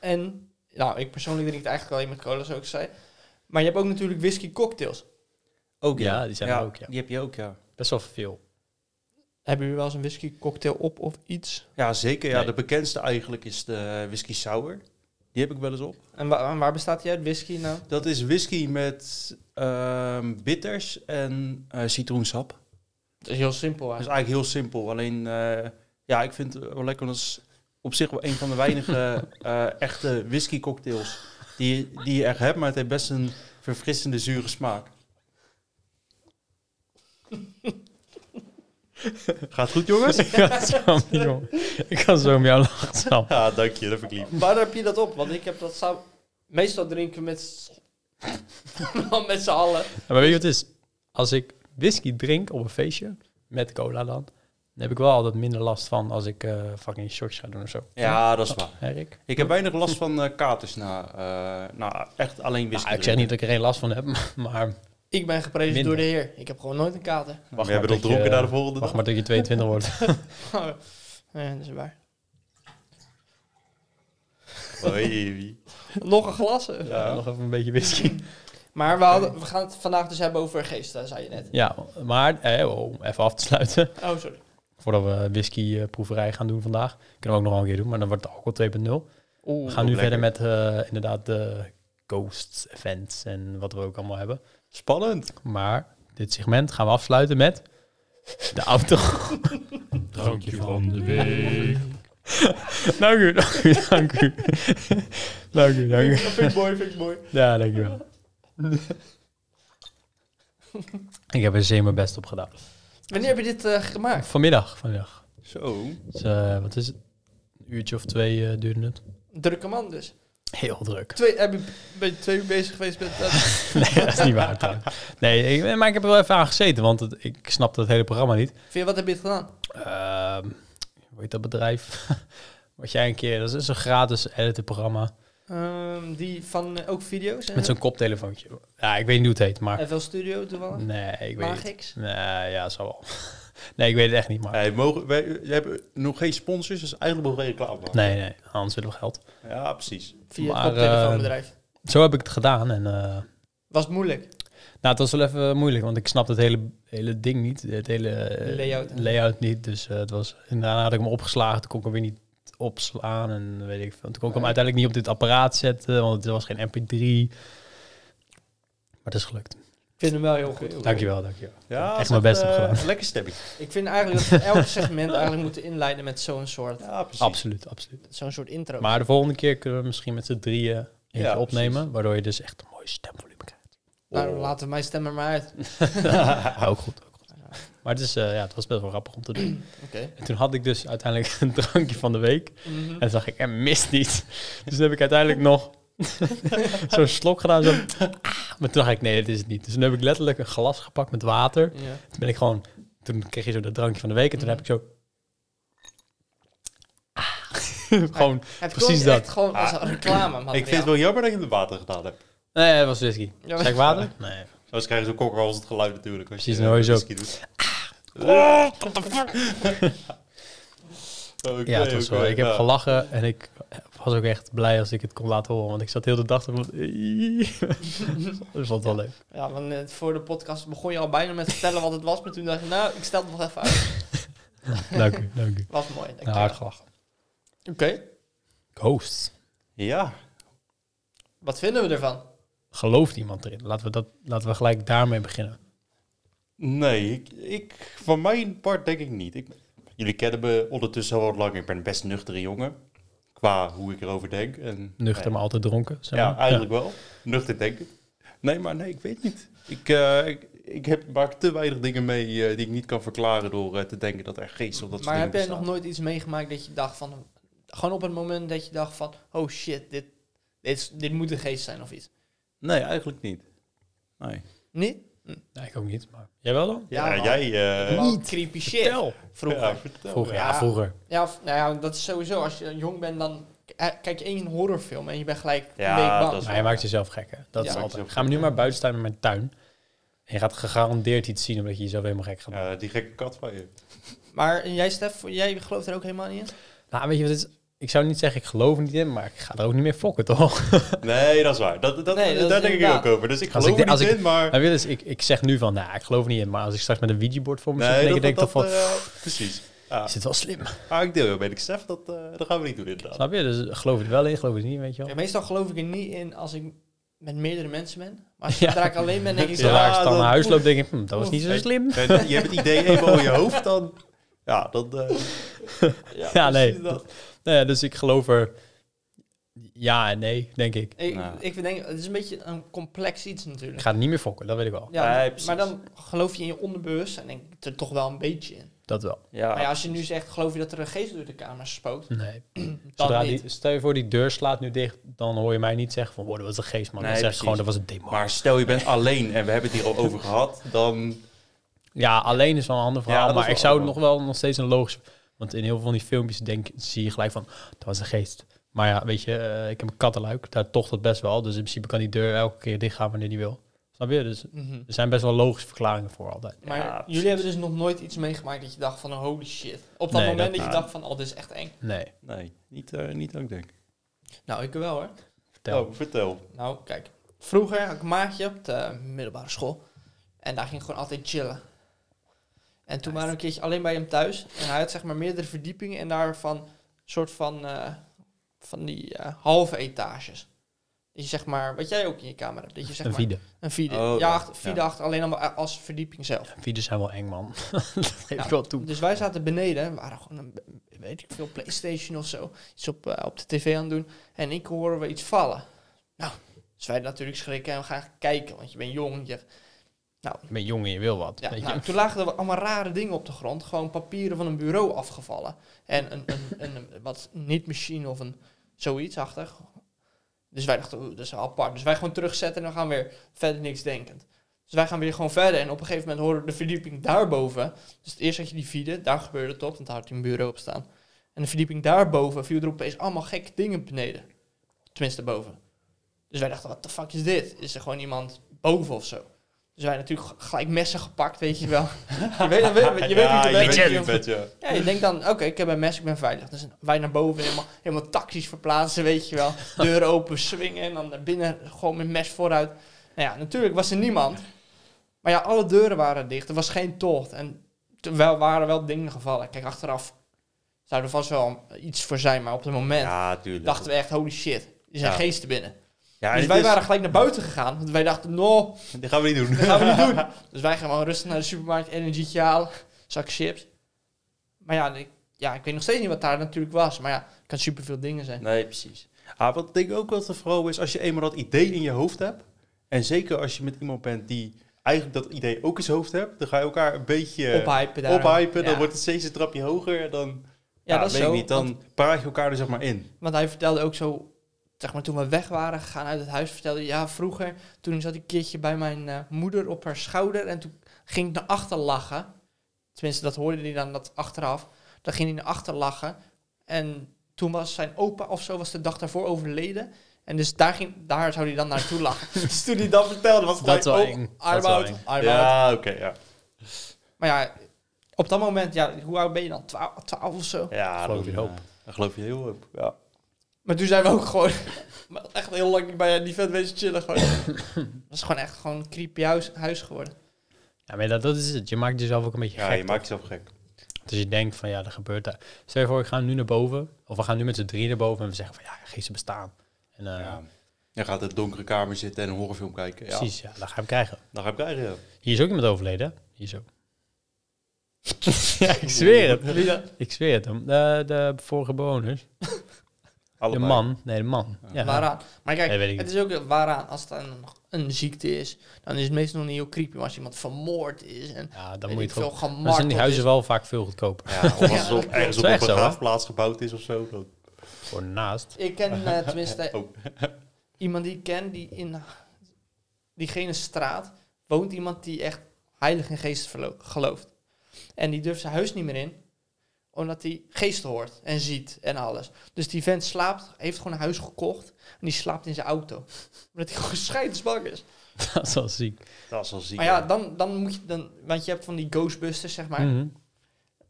[SPEAKER 3] En, nou, ik persoonlijk drink het eigenlijk alleen met cola, zoals ik zei. Maar je hebt ook natuurlijk whisky cocktails.
[SPEAKER 2] Ook
[SPEAKER 1] ja. Ja, die zijn er ook, ja.
[SPEAKER 2] Die heb je ook, ja.
[SPEAKER 1] Best wel veel.
[SPEAKER 3] Hebben jullie wel eens een whisky cocktail op of iets?
[SPEAKER 2] Ja, zeker. Ja,
[SPEAKER 1] Nee.
[SPEAKER 2] de bekendste eigenlijk is de whisky sour. Die heb ik wel eens op.
[SPEAKER 3] En wa- en waar bestaat die uit? Whisky nou?
[SPEAKER 2] Dat is whisky met ehm, bitters en eh, citroensap.
[SPEAKER 3] Dat is heel simpel
[SPEAKER 2] Dat is
[SPEAKER 3] eigenlijk.
[SPEAKER 2] eigenlijk heel simpel. Alleen, eh, ja, ik vind het wel lekker. want Dat is op zich wel een van de weinige eh, echte whisky cocktails die, je- die je echt hebt. Maar het heeft best een verfrissende, zure smaak. Gaat goed, jongens?
[SPEAKER 1] ik, kan zo, joh. ik kan zo om jou lachen. Sam.
[SPEAKER 2] Ja, dank je. Dat vind ik lief.
[SPEAKER 3] Waar heb je dat op? Want ik heb dat samen... Meestal drinken we met... z'n- met z'n allen.
[SPEAKER 1] Maar weet je wat het is? Als ik whisky drink op een feestje, met cola dan, dan heb ik wel altijd minder last van als ik eh, fucking shots ga doen of zo.
[SPEAKER 2] Ja, dat is waar.
[SPEAKER 1] Hè, Rick?
[SPEAKER 2] Ik heb weinig last van eh, katers na, eh, na echt alleen whisky.
[SPEAKER 1] Nou, ik zeg niet dat ik er geen last van heb, maar
[SPEAKER 3] Ik ben geprezen
[SPEAKER 1] Minder.
[SPEAKER 3] door de heer. Ik heb gewoon nooit een kater.
[SPEAKER 1] Wacht
[SPEAKER 2] We hebben
[SPEAKER 1] maar
[SPEAKER 2] dat
[SPEAKER 1] tot
[SPEAKER 2] dronken
[SPEAKER 1] je-
[SPEAKER 2] naar de volgende
[SPEAKER 1] wacht
[SPEAKER 2] dag.
[SPEAKER 1] maar tot je 22 wordt.
[SPEAKER 3] ja, dat is waar.
[SPEAKER 2] Oei.
[SPEAKER 3] Nog een glas. eh.
[SPEAKER 1] Ja, nog even een beetje whisky.
[SPEAKER 3] Maar we, hadden, we gaan het vandaag dus hebben over geesten, zei je net.
[SPEAKER 1] Ja, maar eh, om even af te sluiten.
[SPEAKER 3] Oh, sorry.
[SPEAKER 1] Voordat we whiskyproeverij gaan doen vandaag. Kunnen we ook nog wel een keer doen, maar dan wordt het alcohol 2.0. We gaan nu
[SPEAKER 2] lekker.
[SPEAKER 1] verder met eh, inderdaad de ghost events en wat we ook allemaal hebben.
[SPEAKER 2] Spannend.
[SPEAKER 1] Maar dit segment gaan we afsluiten met de auto.
[SPEAKER 4] Drankje van de week.
[SPEAKER 1] dank u, dank u, dank u. dank u, dank u.
[SPEAKER 3] Dat vind ik mooi, vind ik mooi.
[SPEAKER 1] Ja, dank u wel. Ik heb er zeer mijn best op gedaan.
[SPEAKER 3] Wanneer heb je dit eh, gemaakt?
[SPEAKER 1] Vanmiddag, vanmiddag.
[SPEAKER 2] Zo.
[SPEAKER 1] Dus, eh, wat is het? Een uurtje of twee eh, duurde het.
[SPEAKER 3] Drukke man dus.
[SPEAKER 1] Heel druk.
[SPEAKER 3] Twee, heb je, ben je twee uur bezig geweest met... eh, dat?
[SPEAKER 1] Nee, dat is niet waar. trouwens. Nee, ik, maar ik heb er wel even aan gezeten, want het- ik snapte het hele programma niet.
[SPEAKER 3] Vind je, wat heb je het gedaan?
[SPEAKER 1] Ehm, hoe heet dat bedrijf? Wat jij een keer, dat is een gratis editenprogramma
[SPEAKER 3] Ehm, die van eh, ook video's? en
[SPEAKER 1] met zo'n koptelefoontje. Ja, ik weet niet hoe het heet, maar
[SPEAKER 3] FL Studio toevallig?
[SPEAKER 1] nee, ik weet het.
[SPEAKER 3] Magix?
[SPEAKER 1] Nee, ja, zo wel. Nee, ik weet het echt niet, maar
[SPEAKER 2] Hey, mogen, wij, jij hebt nog geen sponsors, dus eigenlijk mogen we reclame maken.
[SPEAKER 1] nee, nee, anders willen we geld.
[SPEAKER 2] Ja, precies.
[SPEAKER 3] Via
[SPEAKER 1] Maar, eh,
[SPEAKER 3] het koptelefoonbedrijf.
[SPEAKER 1] Zo heb ik het gedaan en eh,
[SPEAKER 3] Was het moeilijk?
[SPEAKER 1] nou, het was wel even moeilijk, want ik snapte het hele, hele ding niet, het hele eh,
[SPEAKER 3] Layout.
[SPEAKER 1] layout niet, dus eh, het was. En daarna had ik hem opgeslagen, toen kon ik hem weer niet opslaan en weet ik veel. Toen kon ik hem uiteindelijk niet op dit apparaat zetten, want het was geen MP3. Maar het is gelukt.
[SPEAKER 3] Ik vind hem wel heel goed.
[SPEAKER 1] Dankjewel, dankjewel.
[SPEAKER 2] Ja,
[SPEAKER 1] Echt
[SPEAKER 2] zet,
[SPEAKER 1] mijn best
[SPEAKER 2] eh,
[SPEAKER 1] heb gedaan.
[SPEAKER 2] Lekker stemming.
[SPEAKER 3] Ik vind eigenlijk dat we elk segment eigenlijk moeten inleiden met zo'n soort,
[SPEAKER 2] Ja, precies.
[SPEAKER 1] Absoluut, absoluut.
[SPEAKER 3] zo'n soort intro.
[SPEAKER 1] Maar de volgende keer kunnen we misschien met z'n drieën eentje
[SPEAKER 2] Ja,
[SPEAKER 1] opnemen, waardoor je dus echt een mooi stemvolume krijgt.
[SPEAKER 3] Nou, laten we mijn stem er maar uit. Oké.
[SPEAKER 1] ook goed, ook goed. Maar het, is, eh, ja, het was best wel grappig om te doen. En toen had ik dus uiteindelijk een drankje van de week. En
[SPEAKER 3] Mhm.
[SPEAKER 1] toen dacht ik, en mist niet. Dus toen heb ik uiteindelijk nog zo'n slok gedaan. Zo. ah, Maar toen dacht ik, nee, dit is het niet. Dus toen heb ik letterlijk een glas gepakt met water.
[SPEAKER 3] Ja.
[SPEAKER 1] Toen ben ik gewoon... Toen kreeg je zo dat drankje van de week. En toen heb ik zo... ah, gewoon...
[SPEAKER 3] Het
[SPEAKER 1] Precies
[SPEAKER 3] klonk
[SPEAKER 1] dat.
[SPEAKER 3] echt gewoon als een reclame
[SPEAKER 2] Ik vind het wel jammer dat je het water gedaan hebt.
[SPEAKER 1] Nee, het was whisky.
[SPEAKER 3] Ja,
[SPEAKER 1] Zeg ik water? Nee.
[SPEAKER 2] Anders krijgen ze kokker als het geluid natuurlijk. Als
[SPEAKER 1] Precies,
[SPEAKER 2] je,
[SPEAKER 1] dan hoor je
[SPEAKER 2] eh,
[SPEAKER 1] zo. Ah,
[SPEAKER 2] whisky doet. Oké,
[SPEAKER 1] Ja, het was
[SPEAKER 2] oké,
[SPEAKER 1] wel. Ik heb
[SPEAKER 2] ja.
[SPEAKER 1] gelachen en ik was ook echt blij als ik het kon laten horen. Want ik zat heel de dag te van... Dat vond het wel leuk.
[SPEAKER 3] Ja, want net voor de podcast begon je al bijna met vertellen wat het was. Maar toen dacht ik, nou, ik stel het nog even uit.
[SPEAKER 1] Dank u, dank u.
[SPEAKER 3] Was mooi.
[SPEAKER 1] Ja, hard gelachen.
[SPEAKER 3] Oké.
[SPEAKER 1] Ghosts.
[SPEAKER 2] Ja,
[SPEAKER 3] Wat vinden we ervan?
[SPEAKER 1] gelooft iemand erin? Laten we, dat, laten we gelijk daarmee beginnen.
[SPEAKER 2] nee, ik, ik, van mijn part denk ik niet. Ik, jullie kennen me ondertussen al wat lang. Ik ben een best nuchtere jongen. Qua hoe ik erover denk. En,
[SPEAKER 1] Nuchter, maar altijd dronken. Zeg
[SPEAKER 2] Ja,
[SPEAKER 1] maar.
[SPEAKER 2] eigenlijk wel. Nuchter denken. Nee, maar nee, ik weet niet. Ik, eh, ik, ik heb, maak te weinig dingen mee eh, die ik niet kan verklaren door eh, te denken dat er geest of dat soort
[SPEAKER 3] maar heb
[SPEAKER 2] dingen
[SPEAKER 3] jij nog nooit iets meegemaakt dat je dacht van... Gewoon op het moment dat je dacht van... Oh shit, dit, dit, is- dit moet een geest zijn of iets.
[SPEAKER 2] bestaan. Nee, eigenlijk niet. Nee.
[SPEAKER 3] Nee?
[SPEAKER 1] Ja. Nee, ik ook niet. Maar... Jij wel dan?
[SPEAKER 2] Ja,
[SPEAKER 3] Ja, man.
[SPEAKER 2] jij... eh,
[SPEAKER 3] Wel Creepy shit.
[SPEAKER 1] Vertel.
[SPEAKER 3] Vroeger.
[SPEAKER 2] Ja, vertel.
[SPEAKER 1] Vroeger, ja,
[SPEAKER 3] Ja.
[SPEAKER 1] vroeger.
[SPEAKER 3] Ja, of- nou ja, dat is sowieso. Als je jong bent, dan k- eh, kijk je één horrorfilm en je bent gelijk
[SPEAKER 2] Ja,
[SPEAKER 3] een week bang.
[SPEAKER 2] dat is-
[SPEAKER 1] Maar je maakt jezelf gek, hè? Dat
[SPEAKER 3] Ja.
[SPEAKER 1] is
[SPEAKER 2] Maakt
[SPEAKER 1] altijd.
[SPEAKER 2] jezelf
[SPEAKER 1] Ga me nu maar buiten staan in mijn tuin. En je gaat gegarandeerd iets zien omdat je jezelf helemaal gek gaat maken.
[SPEAKER 2] Ja, die gekke kat van je.
[SPEAKER 3] Maar jij, Stef, jij gelooft er ook helemaal niet in?
[SPEAKER 1] Nou, weet je wat het is? Ik zou niet zeggen, ik geloof er niet in, maar ik ga er ook niet meer fokken, toch?
[SPEAKER 2] Nee, dat is waar. Dat, dat,
[SPEAKER 3] Nee, dat
[SPEAKER 2] daar
[SPEAKER 3] is
[SPEAKER 2] denk
[SPEAKER 3] inderdaad.
[SPEAKER 2] ik ook over. Dus ik
[SPEAKER 1] Als
[SPEAKER 2] geloof
[SPEAKER 1] ik de-
[SPEAKER 2] er niet
[SPEAKER 1] als ik-
[SPEAKER 2] in, maar...
[SPEAKER 1] Maar Willis, ik, ik zeg nu van, nou, ik geloof er niet in. Maar als ik straks met een Ouija-board voor me zit,
[SPEAKER 2] nee,
[SPEAKER 1] denk ik- denk ik toch van,
[SPEAKER 2] eh, Precies. Ja.
[SPEAKER 1] is dit wel slim?
[SPEAKER 2] Ah, ik deel je, ben ik Stef. Dat, eh, dat gaan we niet doen inderdaad.
[SPEAKER 1] Snap je? Dus geloof je er wel in, geloof je er niet, weet je wel?
[SPEAKER 3] Ja, meestal geloof ik er niet in als ik met meerdere mensen ben. Maar als
[SPEAKER 1] Ja.
[SPEAKER 3] ik daar ik alleen ben, denk ik zo...
[SPEAKER 2] Ja,
[SPEAKER 1] Zodra ik dan
[SPEAKER 2] dat-
[SPEAKER 1] naar huis loop, denk ik, hm, dat was
[SPEAKER 3] Oef.
[SPEAKER 1] niet zo
[SPEAKER 2] Hey,
[SPEAKER 1] slim.
[SPEAKER 2] eh, je hebt het idee even al in je hoofd, dan... Ja, dan... eh,
[SPEAKER 1] Ja,
[SPEAKER 2] precies
[SPEAKER 1] nee.
[SPEAKER 2] dat.
[SPEAKER 1] Nou ja, dus ik geloof er ja en nee, denk ik.
[SPEAKER 3] Ik,
[SPEAKER 2] Nou.
[SPEAKER 3] ik denk, het is een beetje een complex iets natuurlijk.
[SPEAKER 1] Ik ga het niet meer fokken, dat weet ik wel.
[SPEAKER 3] Ja,
[SPEAKER 2] Nee, precies.
[SPEAKER 3] maar dan geloof je in je onderbewust en denk ik er toch wel een beetje in.
[SPEAKER 1] Dat wel.
[SPEAKER 2] Ja,
[SPEAKER 3] maar ja, als je nu zegt, geloof je dat er een geest door de kamer spookt?
[SPEAKER 1] Nee.
[SPEAKER 3] Dan
[SPEAKER 1] Zodra
[SPEAKER 3] niet.
[SPEAKER 1] die, stel je voor, die deur slaat nu dicht, dan hoor je mij niet zeggen van, wow, dat was een geest, man.
[SPEAKER 2] Nee,
[SPEAKER 1] dan zeg ik
[SPEAKER 2] precies.
[SPEAKER 1] gewoon, dat was een demon.
[SPEAKER 2] Maar stel je bent alleen en we hebben het hier al over gehad, dan...
[SPEAKER 1] ja, alleen is wel een ander verhaal,
[SPEAKER 2] dat is
[SPEAKER 1] maar
[SPEAKER 2] wel
[SPEAKER 1] ik zou het
[SPEAKER 2] allemaal.
[SPEAKER 1] nog wel nog steeds een logisch... Want in heel veel van die filmpjes denk, zie je gelijk van, dat was een geest. Maar ja, weet je, eh, ik heb een kattenluik, daar tocht dat best wel. Dus in principe kan die deur elke keer dichtgaan wanneer die wil. Snap je? Dus
[SPEAKER 3] Mhm.
[SPEAKER 1] er zijn best wel logische verklaringen voor altijd.
[SPEAKER 3] Maar
[SPEAKER 2] Ja, precies.
[SPEAKER 3] jullie hebben dus nog nooit iets meegemaakt dat je dacht van holy shit. Op dat
[SPEAKER 1] Nee,
[SPEAKER 3] moment dat,
[SPEAKER 1] dat-
[SPEAKER 3] je dacht van, oh dit is echt eng.
[SPEAKER 1] Nee,
[SPEAKER 2] Nee, niet, eh, niet ook denk ik.
[SPEAKER 3] Nou, ik wel hoor.
[SPEAKER 1] vertel.
[SPEAKER 2] Oh, vertel.
[SPEAKER 3] Nou, kijk. Vroeger had ik een maatje op de middelbare school. En daar ging ik gewoon altijd chillen. En toen waren we een keertje alleen bij hem thuis. En hij had zeg maar meerdere verdiepingen en daarvan soort van, eh, van die eh, halve etages. Dat je zeg maar, wat jij ook in je kamer hebt. Dat je zeg
[SPEAKER 1] Een
[SPEAKER 3] maar,
[SPEAKER 1] vide.
[SPEAKER 3] een vide.
[SPEAKER 2] Oh,
[SPEAKER 3] ja,
[SPEAKER 2] ja.
[SPEAKER 3] achter, vide
[SPEAKER 2] Ja.
[SPEAKER 3] achter, alleen allemaal als verdieping zelf.
[SPEAKER 1] Vides zijn wel eng, man. dat geef ik
[SPEAKER 3] Ja.
[SPEAKER 1] wel toe.
[SPEAKER 3] Dus wij zaten beneden en waren gewoon een, weet ik veel, Playstation of zo. Iets op, eh, op de tv aan het doen. En ik hoorde we iets vallen. Nou, dus wij natuurlijk schrikken en we gaan kijken, want je bent jong. Je,
[SPEAKER 1] Je bent jong en je wil wat.
[SPEAKER 3] ja,
[SPEAKER 1] weet je.
[SPEAKER 3] nou, toen lagen er allemaal rare dingen op de grond. Gewoon papieren van een bureau afgevallen. En een, een, een, een- wat niet-machine of een zoiets achter. Dus wij dachten, oeh, dat is wel apart. Dus wij gewoon terugzetten en dan gaan we weer verder niks denkend. Dus wij gaan weer gewoon verder. En op een gegeven moment horen we de verdieping daarboven. Dus eerst had je die vierde, daar gebeurde het op, want daar had hij een bureau op staan. En de verdieping daarboven viel er opeens allemaal gekke dingen beneden. Tenminste, boven. Dus wij dachten, wat de fuck is dit? Is er gewoon iemand boven of zo? Dus wij natuurlijk g- gelijk messen gepakt, weet je wel. je weet, je weet, je weet
[SPEAKER 2] Ja,
[SPEAKER 3] niet
[SPEAKER 2] je weet
[SPEAKER 3] je
[SPEAKER 2] wie je bent, ja.
[SPEAKER 3] ja, je denkt dan, oké, ik heb een mes, ik ben veilig. Dus wij naar boven helemaal, helemaal tactisch verplaatsen, weet je wel. Deuren open, swingen en dan naar binnen gewoon met mes vooruit. Nou ja, natuurlijk was er niemand. Maar ja, alle deuren waren dicht. Er was geen tocht. En terwijl waren wel dingen gevallen. Kijk, achteraf zou er vast wel iets voor zijn. Maar op het moment
[SPEAKER 2] Ja, tuurlijk.
[SPEAKER 3] dachten we echt, holy shit, er zijn
[SPEAKER 2] Ja.
[SPEAKER 3] geesten binnen.
[SPEAKER 2] ja,
[SPEAKER 3] dus
[SPEAKER 2] dit
[SPEAKER 3] wij
[SPEAKER 2] is-
[SPEAKER 3] waren gelijk naar buiten gegaan. Want wij dachten, no,
[SPEAKER 2] Dit gaan we niet doen.
[SPEAKER 3] dat gaan we niet doen. Dus wij gaan gewoon rustig naar de supermarkt, energietje halen, zak chips. Maar ja, ik, ja, ik weet nog steeds niet wat daar natuurlijk was. Maar ja, het kan superveel dingen zijn.
[SPEAKER 2] Nee, precies. Ah, wat ik denk ook wat er vooral is, als je eenmaal dat idee in je hoofd hebt, en zeker als je met iemand bent die eigenlijk dat idee ook in zijn hoofd hebt, dan ga je elkaar een beetje
[SPEAKER 3] Ophypen daar.
[SPEAKER 2] Nou, eh, ophypen, dan
[SPEAKER 3] Ja.
[SPEAKER 2] wordt het steeds een trapje hoger, en dan,
[SPEAKER 3] ja, dat is
[SPEAKER 2] weet ik
[SPEAKER 3] zo.
[SPEAKER 2] niet, dan
[SPEAKER 3] Want,
[SPEAKER 2] praat je elkaar er zeg maar in.
[SPEAKER 3] want hij vertelde ook zo, zeg maar toen we weg waren gegaan uit het huis, vertelde hij, ja vroeger, toen zat ik een keertje bij mijn eh, moeder op haar schouder en toen ging ik naar achter lachen. Tenminste, dat hoorde hij dan dat achteraf. Dan ging hij naar achter lachen. En toen was zijn opa of zo, was de dag daarvoor overleden. En dus daar, ging, daar zou hij dan naartoe lachen. dus toen hij dat vertelde, was het
[SPEAKER 1] Dat is wel
[SPEAKER 3] gelijk,
[SPEAKER 1] eng. Dat
[SPEAKER 3] I'm
[SPEAKER 1] is wel
[SPEAKER 3] out,
[SPEAKER 1] eng.
[SPEAKER 3] I'm out.
[SPEAKER 2] ja, oké, ja.
[SPEAKER 3] Maar ja, op dat moment, ja, hoe oud ben je dan? 12 twaalf of zo?
[SPEAKER 2] Ja,
[SPEAKER 1] Geloof
[SPEAKER 2] dan,
[SPEAKER 1] je hoop.
[SPEAKER 2] eh, Dan geloof je heel hoop, ja.
[SPEAKER 3] Maar toen zijn we ook gewoon maar echt heel lang niet bij die vent wezen chillen. Gewoon. dat is gewoon echt gewoon een creepy huis, huis geworden.
[SPEAKER 1] Ja, maar dat, dat is het. Je maakt jezelf ook een beetje
[SPEAKER 2] Ja,
[SPEAKER 1] gek.
[SPEAKER 2] je maakt jezelf gek.
[SPEAKER 1] Dus je denkt van, ja, dat gebeurt daar. Stel je voor, we gaan nu naar boven. Of we gaan nu met z'n drie naar boven en we zeggen van, ja, geesten bestaan. En eh,
[SPEAKER 2] Ja. Dan gaat in een donkere kamer zitten en een horrorfilm kijken. Ja,
[SPEAKER 1] precies, ja, dat ga ik krijgen.
[SPEAKER 2] Dan ga ik krijgen. ja.
[SPEAKER 1] Hier is ook iemand overleden, hè? Hier zo. ja, ik zweer het.
[SPEAKER 3] Wie dan?
[SPEAKER 1] Ik zweer het. hem. De, de vorige bewoners.
[SPEAKER 2] Allebei.
[SPEAKER 1] De man. Nee, de man. Ja.
[SPEAKER 3] Waaraan. Maar kijk,
[SPEAKER 1] Nee, weet ik
[SPEAKER 3] het is ook eh, waaraan. Als het een, een ziekte is, dan is het meestal nog niet heel creepy. Maar als iemand vermoord is en
[SPEAKER 1] Ja, dan
[SPEAKER 3] weet
[SPEAKER 1] moet je
[SPEAKER 3] ik
[SPEAKER 1] het
[SPEAKER 3] veel
[SPEAKER 1] ook...
[SPEAKER 3] gemarteld
[SPEAKER 1] Dan zijn die huizen
[SPEAKER 3] is.
[SPEAKER 1] wel vaak veel goedkoper.
[SPEAKER 2] Ja, of als
[SPEAKER 3] Ja,
[SPEAKER 2] het op, ergens op
[SPEAKER 1] is
[SPEAKER 2] een
[SPEAKER 1] echt zo, hè?
[SPEAKER 2] begraafplaats gebouwd is of zo. Dan...
[SPEAKER 1] Voor naast.
[SPEAKER 3] Ik ken eh, tenminste
[SPEAKER 2] Oh.
[SPEAKER 3] iemand die ik ken, die in diegene straat woont iemand die echt heilig in geest verlo- gelooft. En die durft zijn huis niet meer in, omdat hij geesten hoort en ziet en alles. Dus die vent slaapt, heeft gewoon een huis gekocht en die slaapt in zijn auto. Omdat hij gewoon scheidsbak is.
[SPEAKER 1] Dat is wel ziek.
[SPEAKER 2] Dat is wel ziek.
[SPEAKER 3] Maar ja,
[SPEAKER 2] hè.
[SPEAKER 3] dan, dan moet je dan, want je hebt van die ghostbusters, zeg maar.
[SPEAKER 1] Mhm.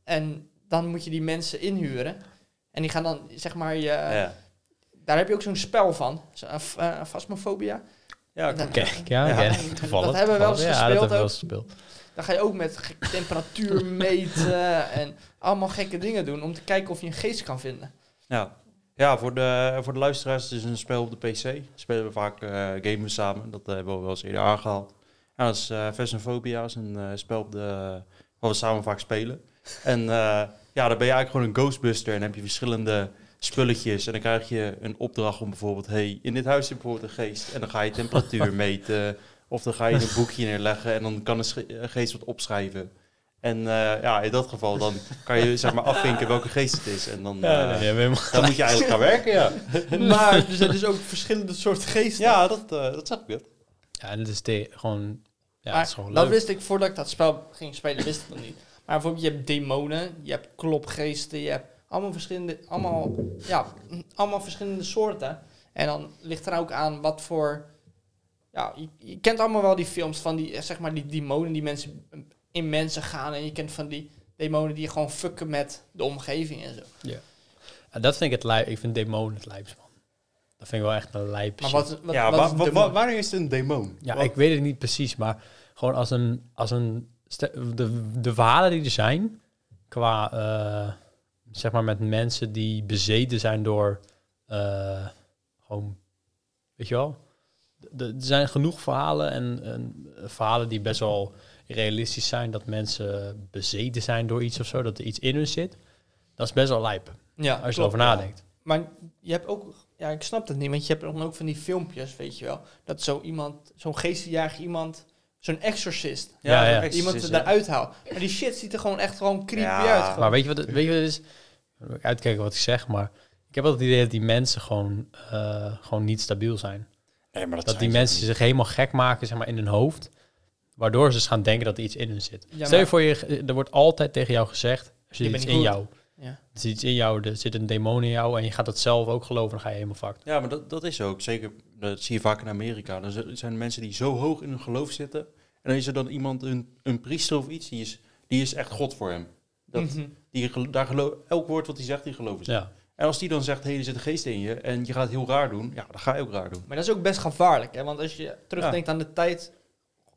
[SPEAKER 3] En dan moet je die mensen inhuren. En die gaan dan, zeg maar, je,
[SPEAKER 2] ja.
[SPEAKER 3] daar heb je ook zo'n spel van. Zo, eh, f- eh, Phasmophobia.
[SPEAKER 2] Ja, klopt.
[SPEAKER 3] Dan-
[SPEAKER 1] Kijk, ja,
[SPEAKER 2] Ja.
[SPEAKER 1] ja. toevallig.
[SPEAKER 3] Dat hebben we wel
[SPEAKER 1] toevallig.
[SPEAKER 3] eens
[SPEAKER 1] ja,
[SPEAKER 3] gespeeld
[SPEAKER 1] dat hebben we wel
[SPEAKER 3] ook.
[SPEAKER 1] eens gespeeld.
[SPEAKER 3] Dan ga je ook met ge- temperatuur meten en allemaal gekke dingen doen om te kijken of je een geest kan vinden.
[SPEAKER 2] Ja, ja voor, de, voor de luisteraars, het is een spel op de PC. Spelen we vaak eh gamen we samen, dat eh, hebben we wel eens eerder aangehaald. Ja, dat is eh Phasmophobia, is een eh, spel op de, wat we samen vaak spelen. En eh, ja, dan ben je eigenlijk gewoon een Ghostbuster en dan heb je verschillende spulletjes. En dan krijg je een opdracht om bijvoorbeeld, hey, in dit huis zit bijvoorbeeld een geest. En dan ga je temperatuur meten of dan ga je een boekje neerleggen en dan kan een sche- een geest wat opschrijven. En eh, ja, in dat geval dan kan je zeg maar afvinken welke geest het is. En dan,
[SPEAKER 1] Ja,
[SPEAKER 2] eh,
[SPEAKER 1] nee, ja, we hebben-
[SPEAKER 2] dan moet je eigenlijk gaan werken, ja.
[SPEAKER 3] Maar er zijn dus ook verschillende soort geesten.
[SPEAKER 2] Ja, dat, eh, dat zag ik net.
[SPEAKER 1] ja, en dat is de- gewoon... Ja,
[SPEAKER 3] Maar
[SPEAKER 1] dat is gewoon
[SPEAKER 3] dat
[SPEAKER 1] leuk.
[SPEAKER 3] wist ik voordat ik dat spel ging spelen, wist ik dat niet. Maar bijvoorbeeld, je hebt demonen, je hebt klopgeesten, je hebt allemaal verschillende, allemaal, ja, mm, allemaal verschillende soorten. En dan ligt er ook aan wat voor. Ja, je, je kent allemaal wel die films van die, eh, zeg maar, die demonen die mensen in mensen gaan. En je kent van die demonen die gewoon fucken met de omgeving en zo.
[SPEAKER 1] Ja, dat vind ik het lijp. Ik vind demonen het lijpst, man. Dat vind ik wel echt een lijp.
[SPEAKER 3] Maar
[SPEAKER 1] shit.
[SPEAKER 3] wat, wat,
[SPEAKER 2] ja,
[SPEAKER 3] wat
[SPEAKER 2] wa-
[SPEAKER 3] is
[SPEAKER 2] wa-
[SPEAKER 3] de
[SPEAKER 2] wa-
[SPEAKER 3] mo-
[SPEAKER 2] wanneer is het een demon?
[SPEAKER 1] Ja,
[SPEAKER 2] Wat-
[SPEAKER 1] ik weet het niet precies, maar gewoon als een... Als een ste- de, de verhalen die er zijn, qua... eh, zeg maar met mensen die bezeten zijn door... eh, gewoon... Weet je wel? De- Er zijn genoeg verhalen en, en verhalen die best wel realistisch zijn... dat mensen bezeten zijn door iets of zo, dat er iets in hun zit. Dat is best wel lijp,
[SPEAKER 3] ja,
[SPEAKER 1] als je
[SPEAKER 3] klopt,
[SPEAKER 1] erover
[SPEAKER 3] ja.
[SPEAKER 1] nadenkt.
[SPEAKER 3] Maar je hebt ook, ja, ik snap dat niet, want je hebt dan ook van die filmpjes, weet je wel, dat zo iemand, zo'n geestjaag iemand, zo'n exorcist,
[SPEAKER 1] Ja, ja.
[SPEAKER 2] zo'n
[SPEAKER 3] iemand
[SPEAKER 2] exorcist, ja.
[SPEAKER 3] eruit haalt. Maar die shit ziet er gewoon echt gewoon creepy
[SPEAKER 2] Ja.
[SPEAKER 3] uit. Gewoon.
[SPEAKER 1] Maar weet je wat het, weet je wat het is? Dan moet ik uitkijken wat ik zeg, maar ik heb altijd het idee dat die mensen gewoon, eh, gewoon niet stabiel zijn.
[SPEAKER 2] Nee, maar dat,
[SPEAKER 1] Dat, die
[SPEAKER 2] zijn ze
[SPEAKER 1] mensen
[SPEAKER 2] ook
[SPEAKER 1] zich helemaal gek maken zeg maar, in hun hoofd, waardoor ze dus gaan denken dat er iets in hun zit.
[SPEAKER 3] Ja,
[SPEAKER 1] Stel je
[SPEAKER 3] maar-
[SPEAKER 1] voor, je, eh, er wordt altijd tegen jou gezegd, er zit
[SPEAKER 3] Je
[SPEAKER 1] iets
[SPEAKER 3] bent
[SPEAKER 1] in
[SPEAKER 3] niet goed.
[SPEAKER 1] jou.
[SPEAKER 3] Ja.
[SPEAKER 1] Er zit iets in jou, er zit een demon in jou en je gaat dat zelf ook geloven, dan ga je helemaal fucked.
[SPEAKER 2] niet. Ja, maar dat, dat is ook. Zeker, dat zie je vaak in Amerika. Dan z- zijn er mensen die zo hoog in hun geloof zitten. En dan is er dan iemand, een, een priester of iets, die is, die is echt God voor hem. Dat,
[SPEAKER 3] Mhm.
[SPEAKER 2] die, gelo- daar geloof, elk woord wat hij zegt, die geloven ze.
[SPEAKER 1] Ja.
[SPEAKER 2] En als die dan zegt, hé, hey, er zit een geest in je en je gaat heel raar doen, ja, dan ga je ook raar doen.
[SPEAKER 3] Maar dat is ook best gevaarlijk, hè? want als je terugdenkt aan de tijd,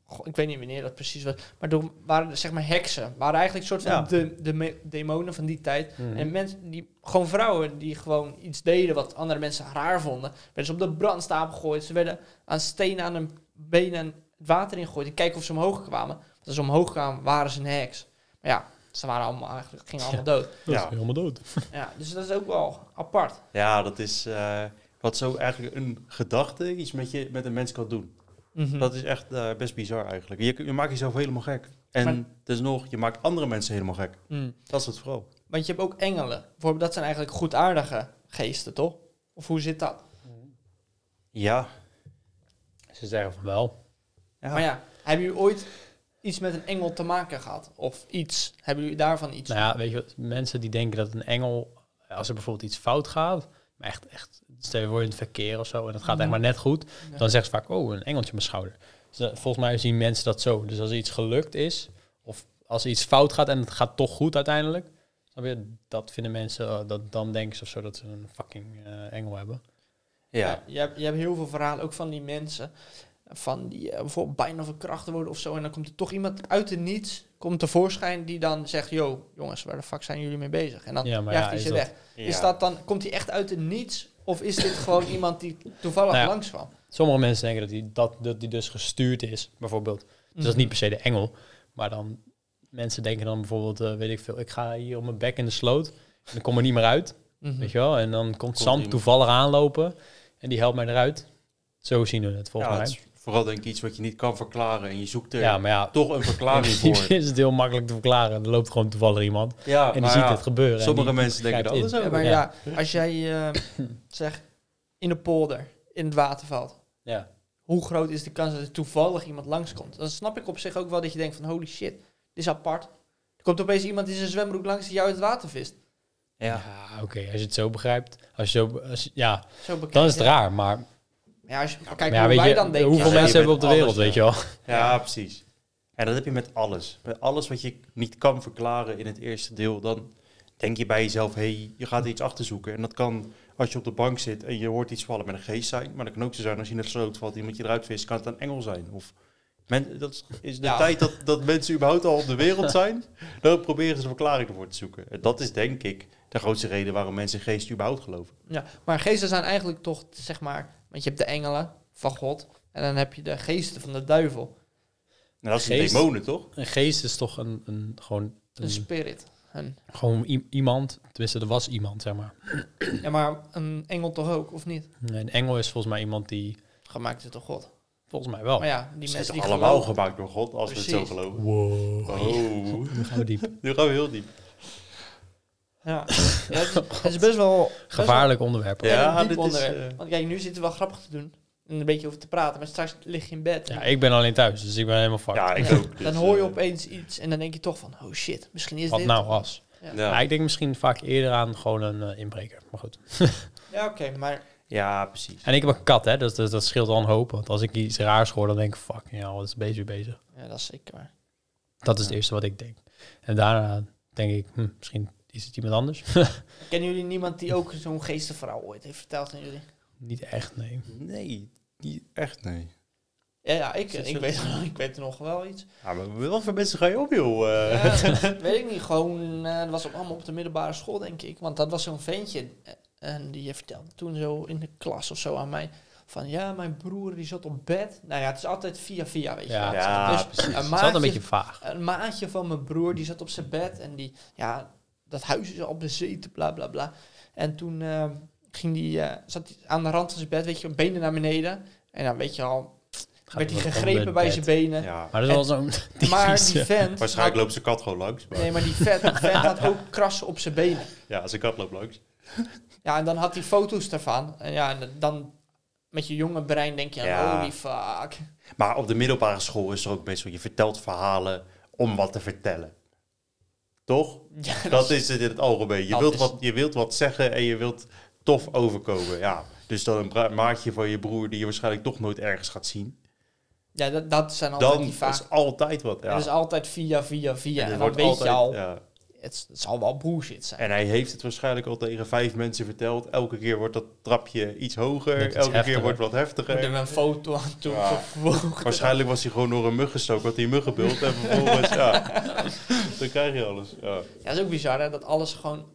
[SPEAKER 3] goh, ik weet niet wanneer dat precies was, maar door, waren er, zeg maar heksen, waren eigenlijk een soort van
[SPEAKER 2] Ja.
[SPEAKER 3] de, de me- demonen van die tijd.
[SPEAKER 1] Mhm.
[SPEAKER 3] En mensen, die, gewoon vrouwen die gewoon iets deden wat andere mensen raar vonden, werden ze op de brandstapel gegooid, ze werden aan stenen aan hun benen het water ingegooid en kijken of ze omhoog kwamen. Want als ze omhoog kwamen, waren ze een heks. Maar ja, ze waren allemaal eigenlijk, gingen allemaal dood.
[SPEAKER 1] Dat
[SPEAKER 2] Ja.
[SPEAKER 1] is helemaal dood.
[SPEAKER 3] Ja, dus dat is ook wel apart.
[SPEAKER 2] Ja, dat is eh, wat zo eigenlijk een gedachte iets met, je, met een mens kan doen.
[SPEAKER 3] Mhm.
[SPEAKER 2] Dat is echt eh, best bizar eigenlijk. Je, je maakt jezelf helemaal gek.
[SPEAKER 3] Maar-
[SPEAKER 2] En desnog, je maakt andere mensen helemaal gek.
[SPEAKER 3] Mhm.
[SPEAKER 2] Dat is het vooral.
[SPEAKER 3] Want je hebt ook engelen. Bijvoorbeeld, dat zijn eigenlijk goedaardige geesten, toch? Of hoe zit dat?
[SPEAKER 2] Ja.
[SPEAKER 1] Ze zeggen van wel.
[SPEAKER 2] Ja.
[SPEAKER 3] Maar ja, hebben jullie ooit iets met een engel te maken gehad? Of iets? Hebben jullie daarvan iets?
[SPEAKER 1] Nou ja, weet je wat, mensen die denken dat een engel, als er bijvoorbeeld iets fout gaat, maar echt, echt stel je voor in het verkeer of zo en het gaat echt maar net goed,
[SPEAKER 3] Ja.
[SPEAKER 1] Dan zeggen ze vaak, oh, een engeltje op mijn schouder. Dus, eh, volgens mij zien mensen dat zo. Dus als er iets gelukt is, of als er iets fout gaat en het gaat toch goed uiteindelijk, dan weer, dat vinden mensen, eh, dat dan denken ze of zo dat ze een fucking eh, engel hebben.
[SPEAKER 2] Ja.
[SPEAKER 3] Eh, Je, hebt, je hebt heel veel verhalen, ook van die mensen. Van die eh, bijvoorbeeld bijna verkracht worden of zo. En dan komt er toch iemand uit de niets, komt tevoorschijn, die dan zegt... Yo, jongens, waar de fuck zijn jullie mee bezig? En dan
[SPEAKER 1] Ja,
[SPEAKER 3] jaagt
[SPEAKER 1] maar ja,
[SPEAKER 3] hij
[SPEAKER 1] is
[SPEAKER 3] ze
[SPEAKER 1] dat-
[SPEAKER 3] weg. Is
[SPEAKER 2] Ja.
[SPEAKER 3] dat dan, komt hij echt uit de niets? Of is dit gewoon iemand die toevallig
[SPEAKER 1] Nou ja.
[SPEAKER 3] langs kwam?
[SPEAKER 1] Sommige mensen denken dat die, dat, dat die dus gestuurd is, bijvoorbeeld. Dus dat
[SPEAKER 3] Mhm.
[SPEAKER 1] is niet per se de engel, maar dan mensen denken dan bijvoorbeeld, eh, weet ik veel, ik ga hier op mijn bek in de sloot en ik kom er niet meer uit.
[SPEAKER 3] Mhm.
[SPEAKER 1] Weet je wel? En dan komt, Sam
[SPEAKER 2] iemand.
[SPEAKER 1] toevallig aanlopen en die helpt mij eruit. Zo zien we het volgens
[SPEAKER 2] Ja,
[SPEAKER 1] mij.
[SPEAKER 2] het is vooral denk ik iets wat je niet kan verklaren. En je zoekt er
[SPEAKER 1] Ja, maar ja,
[SPEAKER 2] toch een verklaring
[SPEAKER 1] In principe
[SPEAKER 2] voor.
[SPEAKER 1] is het heel makkelijk te verklaren. Er loopt gewoon toevallig iemand
[SPEAKER 2] Ja,
[SPEAKER 1] en die
[SPEAKER 2] maar
[SPEAKER 1] ziet
[SPEAKER 2] ja,
[SPEAKER 1] het gebeuren. en
[SPEAKER 2] Sommige
[SPEAKER 1] die
[SPEAKER 2] mensen denken dat
[SPEAKER 1] grijpt
[SPEAKER 2] alles
[SPEAKER 1] in.
[SPEAKER 2] ook.
[SPEAKER 3] Ja, maar
[SPEAKER 1] Ja.
[SPEAKER 3] ja, als jij eh, zeg in de polder, in het water valt,
[SPEAKER 1] Ja.
[SPEAKER 3] hoe groot is de kans dat er toevallig iemand langskomt? Dan snap ik op zich ook wel dat je denkt van holy shit, dit is apart. Er komt opeens iemand in zijn zwembroek langs die jou uit het water vist.
[SPEAKER 1] Ja,
[SPEAKER 2] Ja.
[SPEAKER 1] oké, als je het zo begrijpt. Als je zo, als je- ja,
[SPEAKER 3] Zo bekend.
[SPEAKER 1] dan is het
[SPEAKER 3] ja.
[SPEAKER 1] raar. Maar,
[SPEAKER 3] Ja, als je kijkt
[SPEAKER 1] maar
[SPEAKER 3] hoe
[SPEAKER 1] ja, weet
[SPEAKER 3] wij
[SPEAKER 1] je,
[SPEAKER 3] dan denken.
[SPEAKER 1] hoeveel
[SPEAKER 2] ja, je
[SPEAKER 1] mensen hebben we op de
[SPEAKER 2] bent
[SPEAKER 1] wereld,
[SPEAKER 2] alles,
[SPEAKER 1] weet je wel?
[SPEAKER 2] Ja, precies. En dat heb je met alles. Met alles wat je niet kan verklaren in het eerste deel, dan denk je bij jezelf, hé, hey, je gaat iets achterzoeken. En dat kan als je op de bank zit en je hoort iets vallen met een geest zijn. Maar dat kan ook zo zijn als je in het sloot valt, iemand je eruit vist, kan het een engel zijn. Of men, dat is- is de
[SPEAKER 3] Ja.
[SPEAKER 2] tijd dat, dat mensen überhaupt al op de wereld zijn, dan proberen ze een verklaring ervoor te zoeken. En dat is denk ik de grootste reden waarom mensen geest überhaupt geloven.
[SPEAKER 3] Ja, maar geesten zijn eigenlijk toch, zeg maar, want je hebt de engelen van God en dan heb je de geesten van de duivel,
[SPEAKER 2] En dat is
[SPEAKER 1] Geest?
[SPEAKER 2] de demonen, toch?
[SPEAKER 1] Een geest is toch een, een, gewoon,
[SPEAKER 3] een
[SPEAKER 1] een,
[SPEAKER 3] spirit. Een,
[SPEAKER 1] gewoon i- iemand. Tenminste, er was iemand, zeg maar.
[SPEAKER 3] ja, maar een engel toch ook, of niet?
[SPEAKER 1] Een engel is volgens mij iemand die...
[SPEAKER 3] Gemaakt is door
[SPEAKER 1] Oh.
[SPEAKER 3] God.
[SPEAKER 1] Volgens mij wel.
[SPEAKER 3] Maar ja, die
[SPEAKER 2] Ze
[SPEAKER 3] mensen
[SPEAKER 2] zijn
[SPEAKER 3] die
[SPEAKER 2] toch allemaal
[SPEAKER 3] geloven-
[SPEAKER 2] gemaakt door God, als we het
[SPEAKER 3] Precies.
[SPEAKER 2] zo geloven.
[SPEAKER 1] Wow.
[SPEAKER 2] Oh,
[SPEAKER 1] Nu gaan we diep.
[SPEAKER 2] nu gaan we heel diep.
[SPEAKER 3] Ja, ja het, is, het is best wel
[SPEAKER 1] Gevaarlijk onderwerp.
[SPEAKER 2] Ja.
[SPEAKER 1] Ja.
[SPEAKER 3] ja, een
[SPEAKER 2] dit
[SPEAKER 3] diep
[SPEAKER 2] is,
[SPEAKER 3] onderwerp.
[SPEAKER 2] eh,
[SPEAKER 3] Want kijk, nu zitten we wel grappig te doen en een beetje over te praten, maar straks lig je in bed. en-
[SPEAKER 1] ik ben alleen thuis, dus ik ben helemaal fucked.
[SPEAKER 2] Ja, ik
[SPEAKER 3] Ja,
[SPEAKER 2] ook.
[SPEAKER 3] dan
[SPEAKER 2] dus,
[SPEAKER 3] hoor je
[SPEAKER 2] eh,
[SPEAKER 3] opeens iets en dan denk je toch van, oh shit, misschien is
[SPEAKER 1] Wat
[SPEAKER 3] dit...
[SPEAKER 1] nou als?
[SPEAKER 2] Ja,
[SPEAKER 1] Ja, ik denk misschien vaak eerder aan gewoon een eh, inbreker. Maar goed.
[SPEAKER 3] Ja, oké, maar
[SPEAKER 2] ja precies.
[SPEAKER 1] En ik heb een kat, hè, dus, dus dat scheelt al een hoop. Want als ik iets raars hoor, dan denk ik, fuck, ja, wat is bezig bezig.
[SPEAKER 3] ja, dat is zeker waar.
[SPEAKER 1] Dat is het
[SPEAKER 2] Ja.
[SPEAKER 1] eerste wat ik denk. En daarna denk ik, hm, misschien is het iemand anders.
[SPEAKER 3] Kennen jullie niemand die ook zo'n geestenverhaal ooit heeft verteld aan jullie?
[SPEAKER 1] Niet echt, nee.
[SPEAKER 2] Nee, niet echt, nee.
[SPEAKER 3] Ja, ja ik,
[SPEAKER 2] Zit
[SPEAKER 3] ik,
[SPEAKER 2] zo-
[SPEAKER 3] weet, ik weet er nog wel iets.
[SPEAKER 2] Ja, maar wat voor mensen ga je op, joh? Eh,
[SPEAKER 3] Ja, weet ik niet, gewoon, eh, dat was ook allemaal op de middelbare school, denk ik. Want dat was zo'n ventje, eh, en die vertelde toen zo in de klas of zo aan mij, van ja, mijn broer die zat op bed. Nou ja, het is altijd via via, weet je
[SPEAKER 1] Ja,
[SPEAKER 3] wel.
[SPEAKER 2] ja,
[SPEAKER 3] dus
[SPEAKER 1] precies. Het
[SPEAKER 3] een
[SPEAKER 1] is altijd een
[SPEAKER 3] maatje-
[SPEAKER 1] beetje vaag.
[SPEAKER 3] Een maatje van mijn broer, die zat op zijn bed en die, ja, dat huis is al bezeten, bla bla bla. En toen eh, ging die, eh, zat hij aan de rand van zijn bed, weet je, benen naar beneden. En dan weet je al,
[SPEAKER 1] Gaat
[SPEAKER 3] werd hij
[SPEAKER 1] onder
[SPEAKER 3] gegrepen
[SPEAKER 1] het
[SPEAKER 3] bij
[SPEAKER 1] bed.
[SPEAKER 3] zijn benen.
[SPEAKER 2] ja.
[SPEAKER 1] Maar dat is wel zo'n...
[SPEAKER 3] Maar
[SPEAKER 1] typisch,
[SPEAKER 3] die
[SPEAKER 1] eh,
[SPEAKER 3] vent...
[SPEAKER 2] Waarschijnlijk loopt zijn kat gewoon langs. Maar
[SPEAKER 3] Nee, maar die vet, vet had ook krassen op zijn benen.
[SPEAKER 2] Ja, zijn kat loopt langs.
[SPEAKER 3] Ja, en dan had hij foto's daarvan. En ja, en dan met je jonge brein denk je aan,
[SPEAKER 2] Ja.
[SPEAKER 3] holy fuck.
[SPEAKER 2] Maar op de middelbare school is er ook best wel... Je vertelt verhalen om wat te vertellen. Toch?
[SPEAKER 3] Ja, dat,
[SPEAKER 2] Dat
[SPEAKER 3] is...
[SPEAKER 2] is het in het algemeen. Je
[SPEAKER 3] dat
[SPEAKER 2] wilt,
[SPEAKER 3] is-
[SPEAKER 2] wat, je wilt wat zeggen en je wilt tof overkomen. Ja. Dus dan een bra- maatje van je broer die je waarschijnlijk toch nooit ergens gaat zien.
[SPEAKER 3] ja dat, dat zijn altijd
[SPEAKER 2] Dan
[SPEAKER 3] die vaak.
[SPEAKER 2] is altijd wat. Ja.
[SPEAKER 3] Het is altijd via, via, via. En,
[SPEAKER 2] het
[SPEAKER 3] dan
[SPEAKER 2] wordt
[SPEAKER 3] weet je
[SPEAKER 2] altijd-
[SPEAKER 3] al,
[SPEAKER 2] ja.
[SPEAKER 3] het, s- het zal wel bullshit zijn.
[SPEAKER 2] En hij heeft het waarschijnlijk al tegen vijf mensen verteld. Elke keer wordt dat trapje iets hoger.
[SPEAKER 1] Net iets
[SPEAKER 2] Elke
[SPEAKER 1] heftiger.
[SPEAKER 2] keer wordt het wat heftiger.
[SPEAKER 3] Er hebben een foto aan toe
[SPEAKER 2] Ja. Waarschijnlijk was hij gewoon door een mug gestoken, had hij een muggenbult en vervolgens, ja, dan krijg je alles. Ja.
[SPEAKER 3] Ja, dat is ook bizar hè, dat alles gewoon...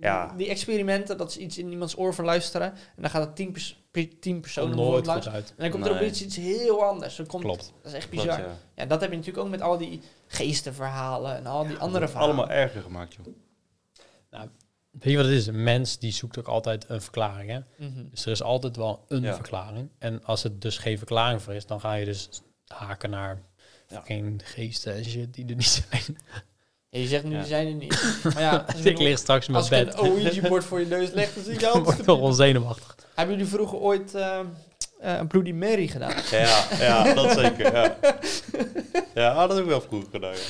[SPEAKER 2] Ja.
[SPEAKER 3] Die experimenten, dat is iets in iemands oor van luisteren. En dan gaat het tien, pers- pe- tien
[SPEAKER 1] komt
[SPEAKER 3] personen
[SPEAKER 1] nooit
[SPEAKER 3] langs.
[SPEAKER 1] goed uit.
[SPEAKER 3] En dan komt er
[SPEAKER 2] Nee.
[SPEAKER 3] opeens iets heel anders. Dan komt,
[SPEAKER 1] Klopt.
[SPEAKER 3] Dat is echt
[SPEAKER 2] Klopt,
[SPEAKER 3] bizar.
[SPEAKER 2] ja.
[SPEAKER 3] Ja, dat heb je natuurlijk ook met al die geestenverhalen en al die andere verhalen.
[SPEAKER 2] Allemaal erger gemaakt, joh.
[SPEAKER 1] Weet je wat het is? Een mens die zoekt ook altijd een verklaring, hè?
[SPEAKER 3] Mhm.
[SPEAKER 1] Dus er is altijd wel een
[SPEAKER 2] Ja.
[SPEAKER 1] verklaring. En als het dus geen verklaring voor is, dan ga je dus haken naar
[SPEAKER 2] Ja.
[SPEAKER 1] geen geesten en shit die er niet zijn.
[SPEAKER 3] Ja, je zegt nu,
[SPEAKER 2] Ja.
[SPEAKER 3] die zijn er niet. Maar ja, als
[SPEAKER 1] ik
[SPEAKER 3] ik,
[SPEAKER 1] lig straks in
[SPEAKER 3] als
[SPEAKER 1] mijn
[SPEAKER 3] ik
[SPEAKER 1] bed.
[SPEAKER 3] een Ouija-bord voor je neus leg, dan zie je
[SPEAKER 1] Ik
[SPEAKER 3] altijd...
[SPEAKER 1] word wel onzenuwachtig.
[SPEAKER 3] Hebben jullie vroeger ooit eh, eh, een Bloody Mary gedaan?
[SPEAKER 1] Ah,
[SPEAKER 2] Ja, ja, dat zeker, ja. Ja, dat heb ik wel vroeger gedaan, ja.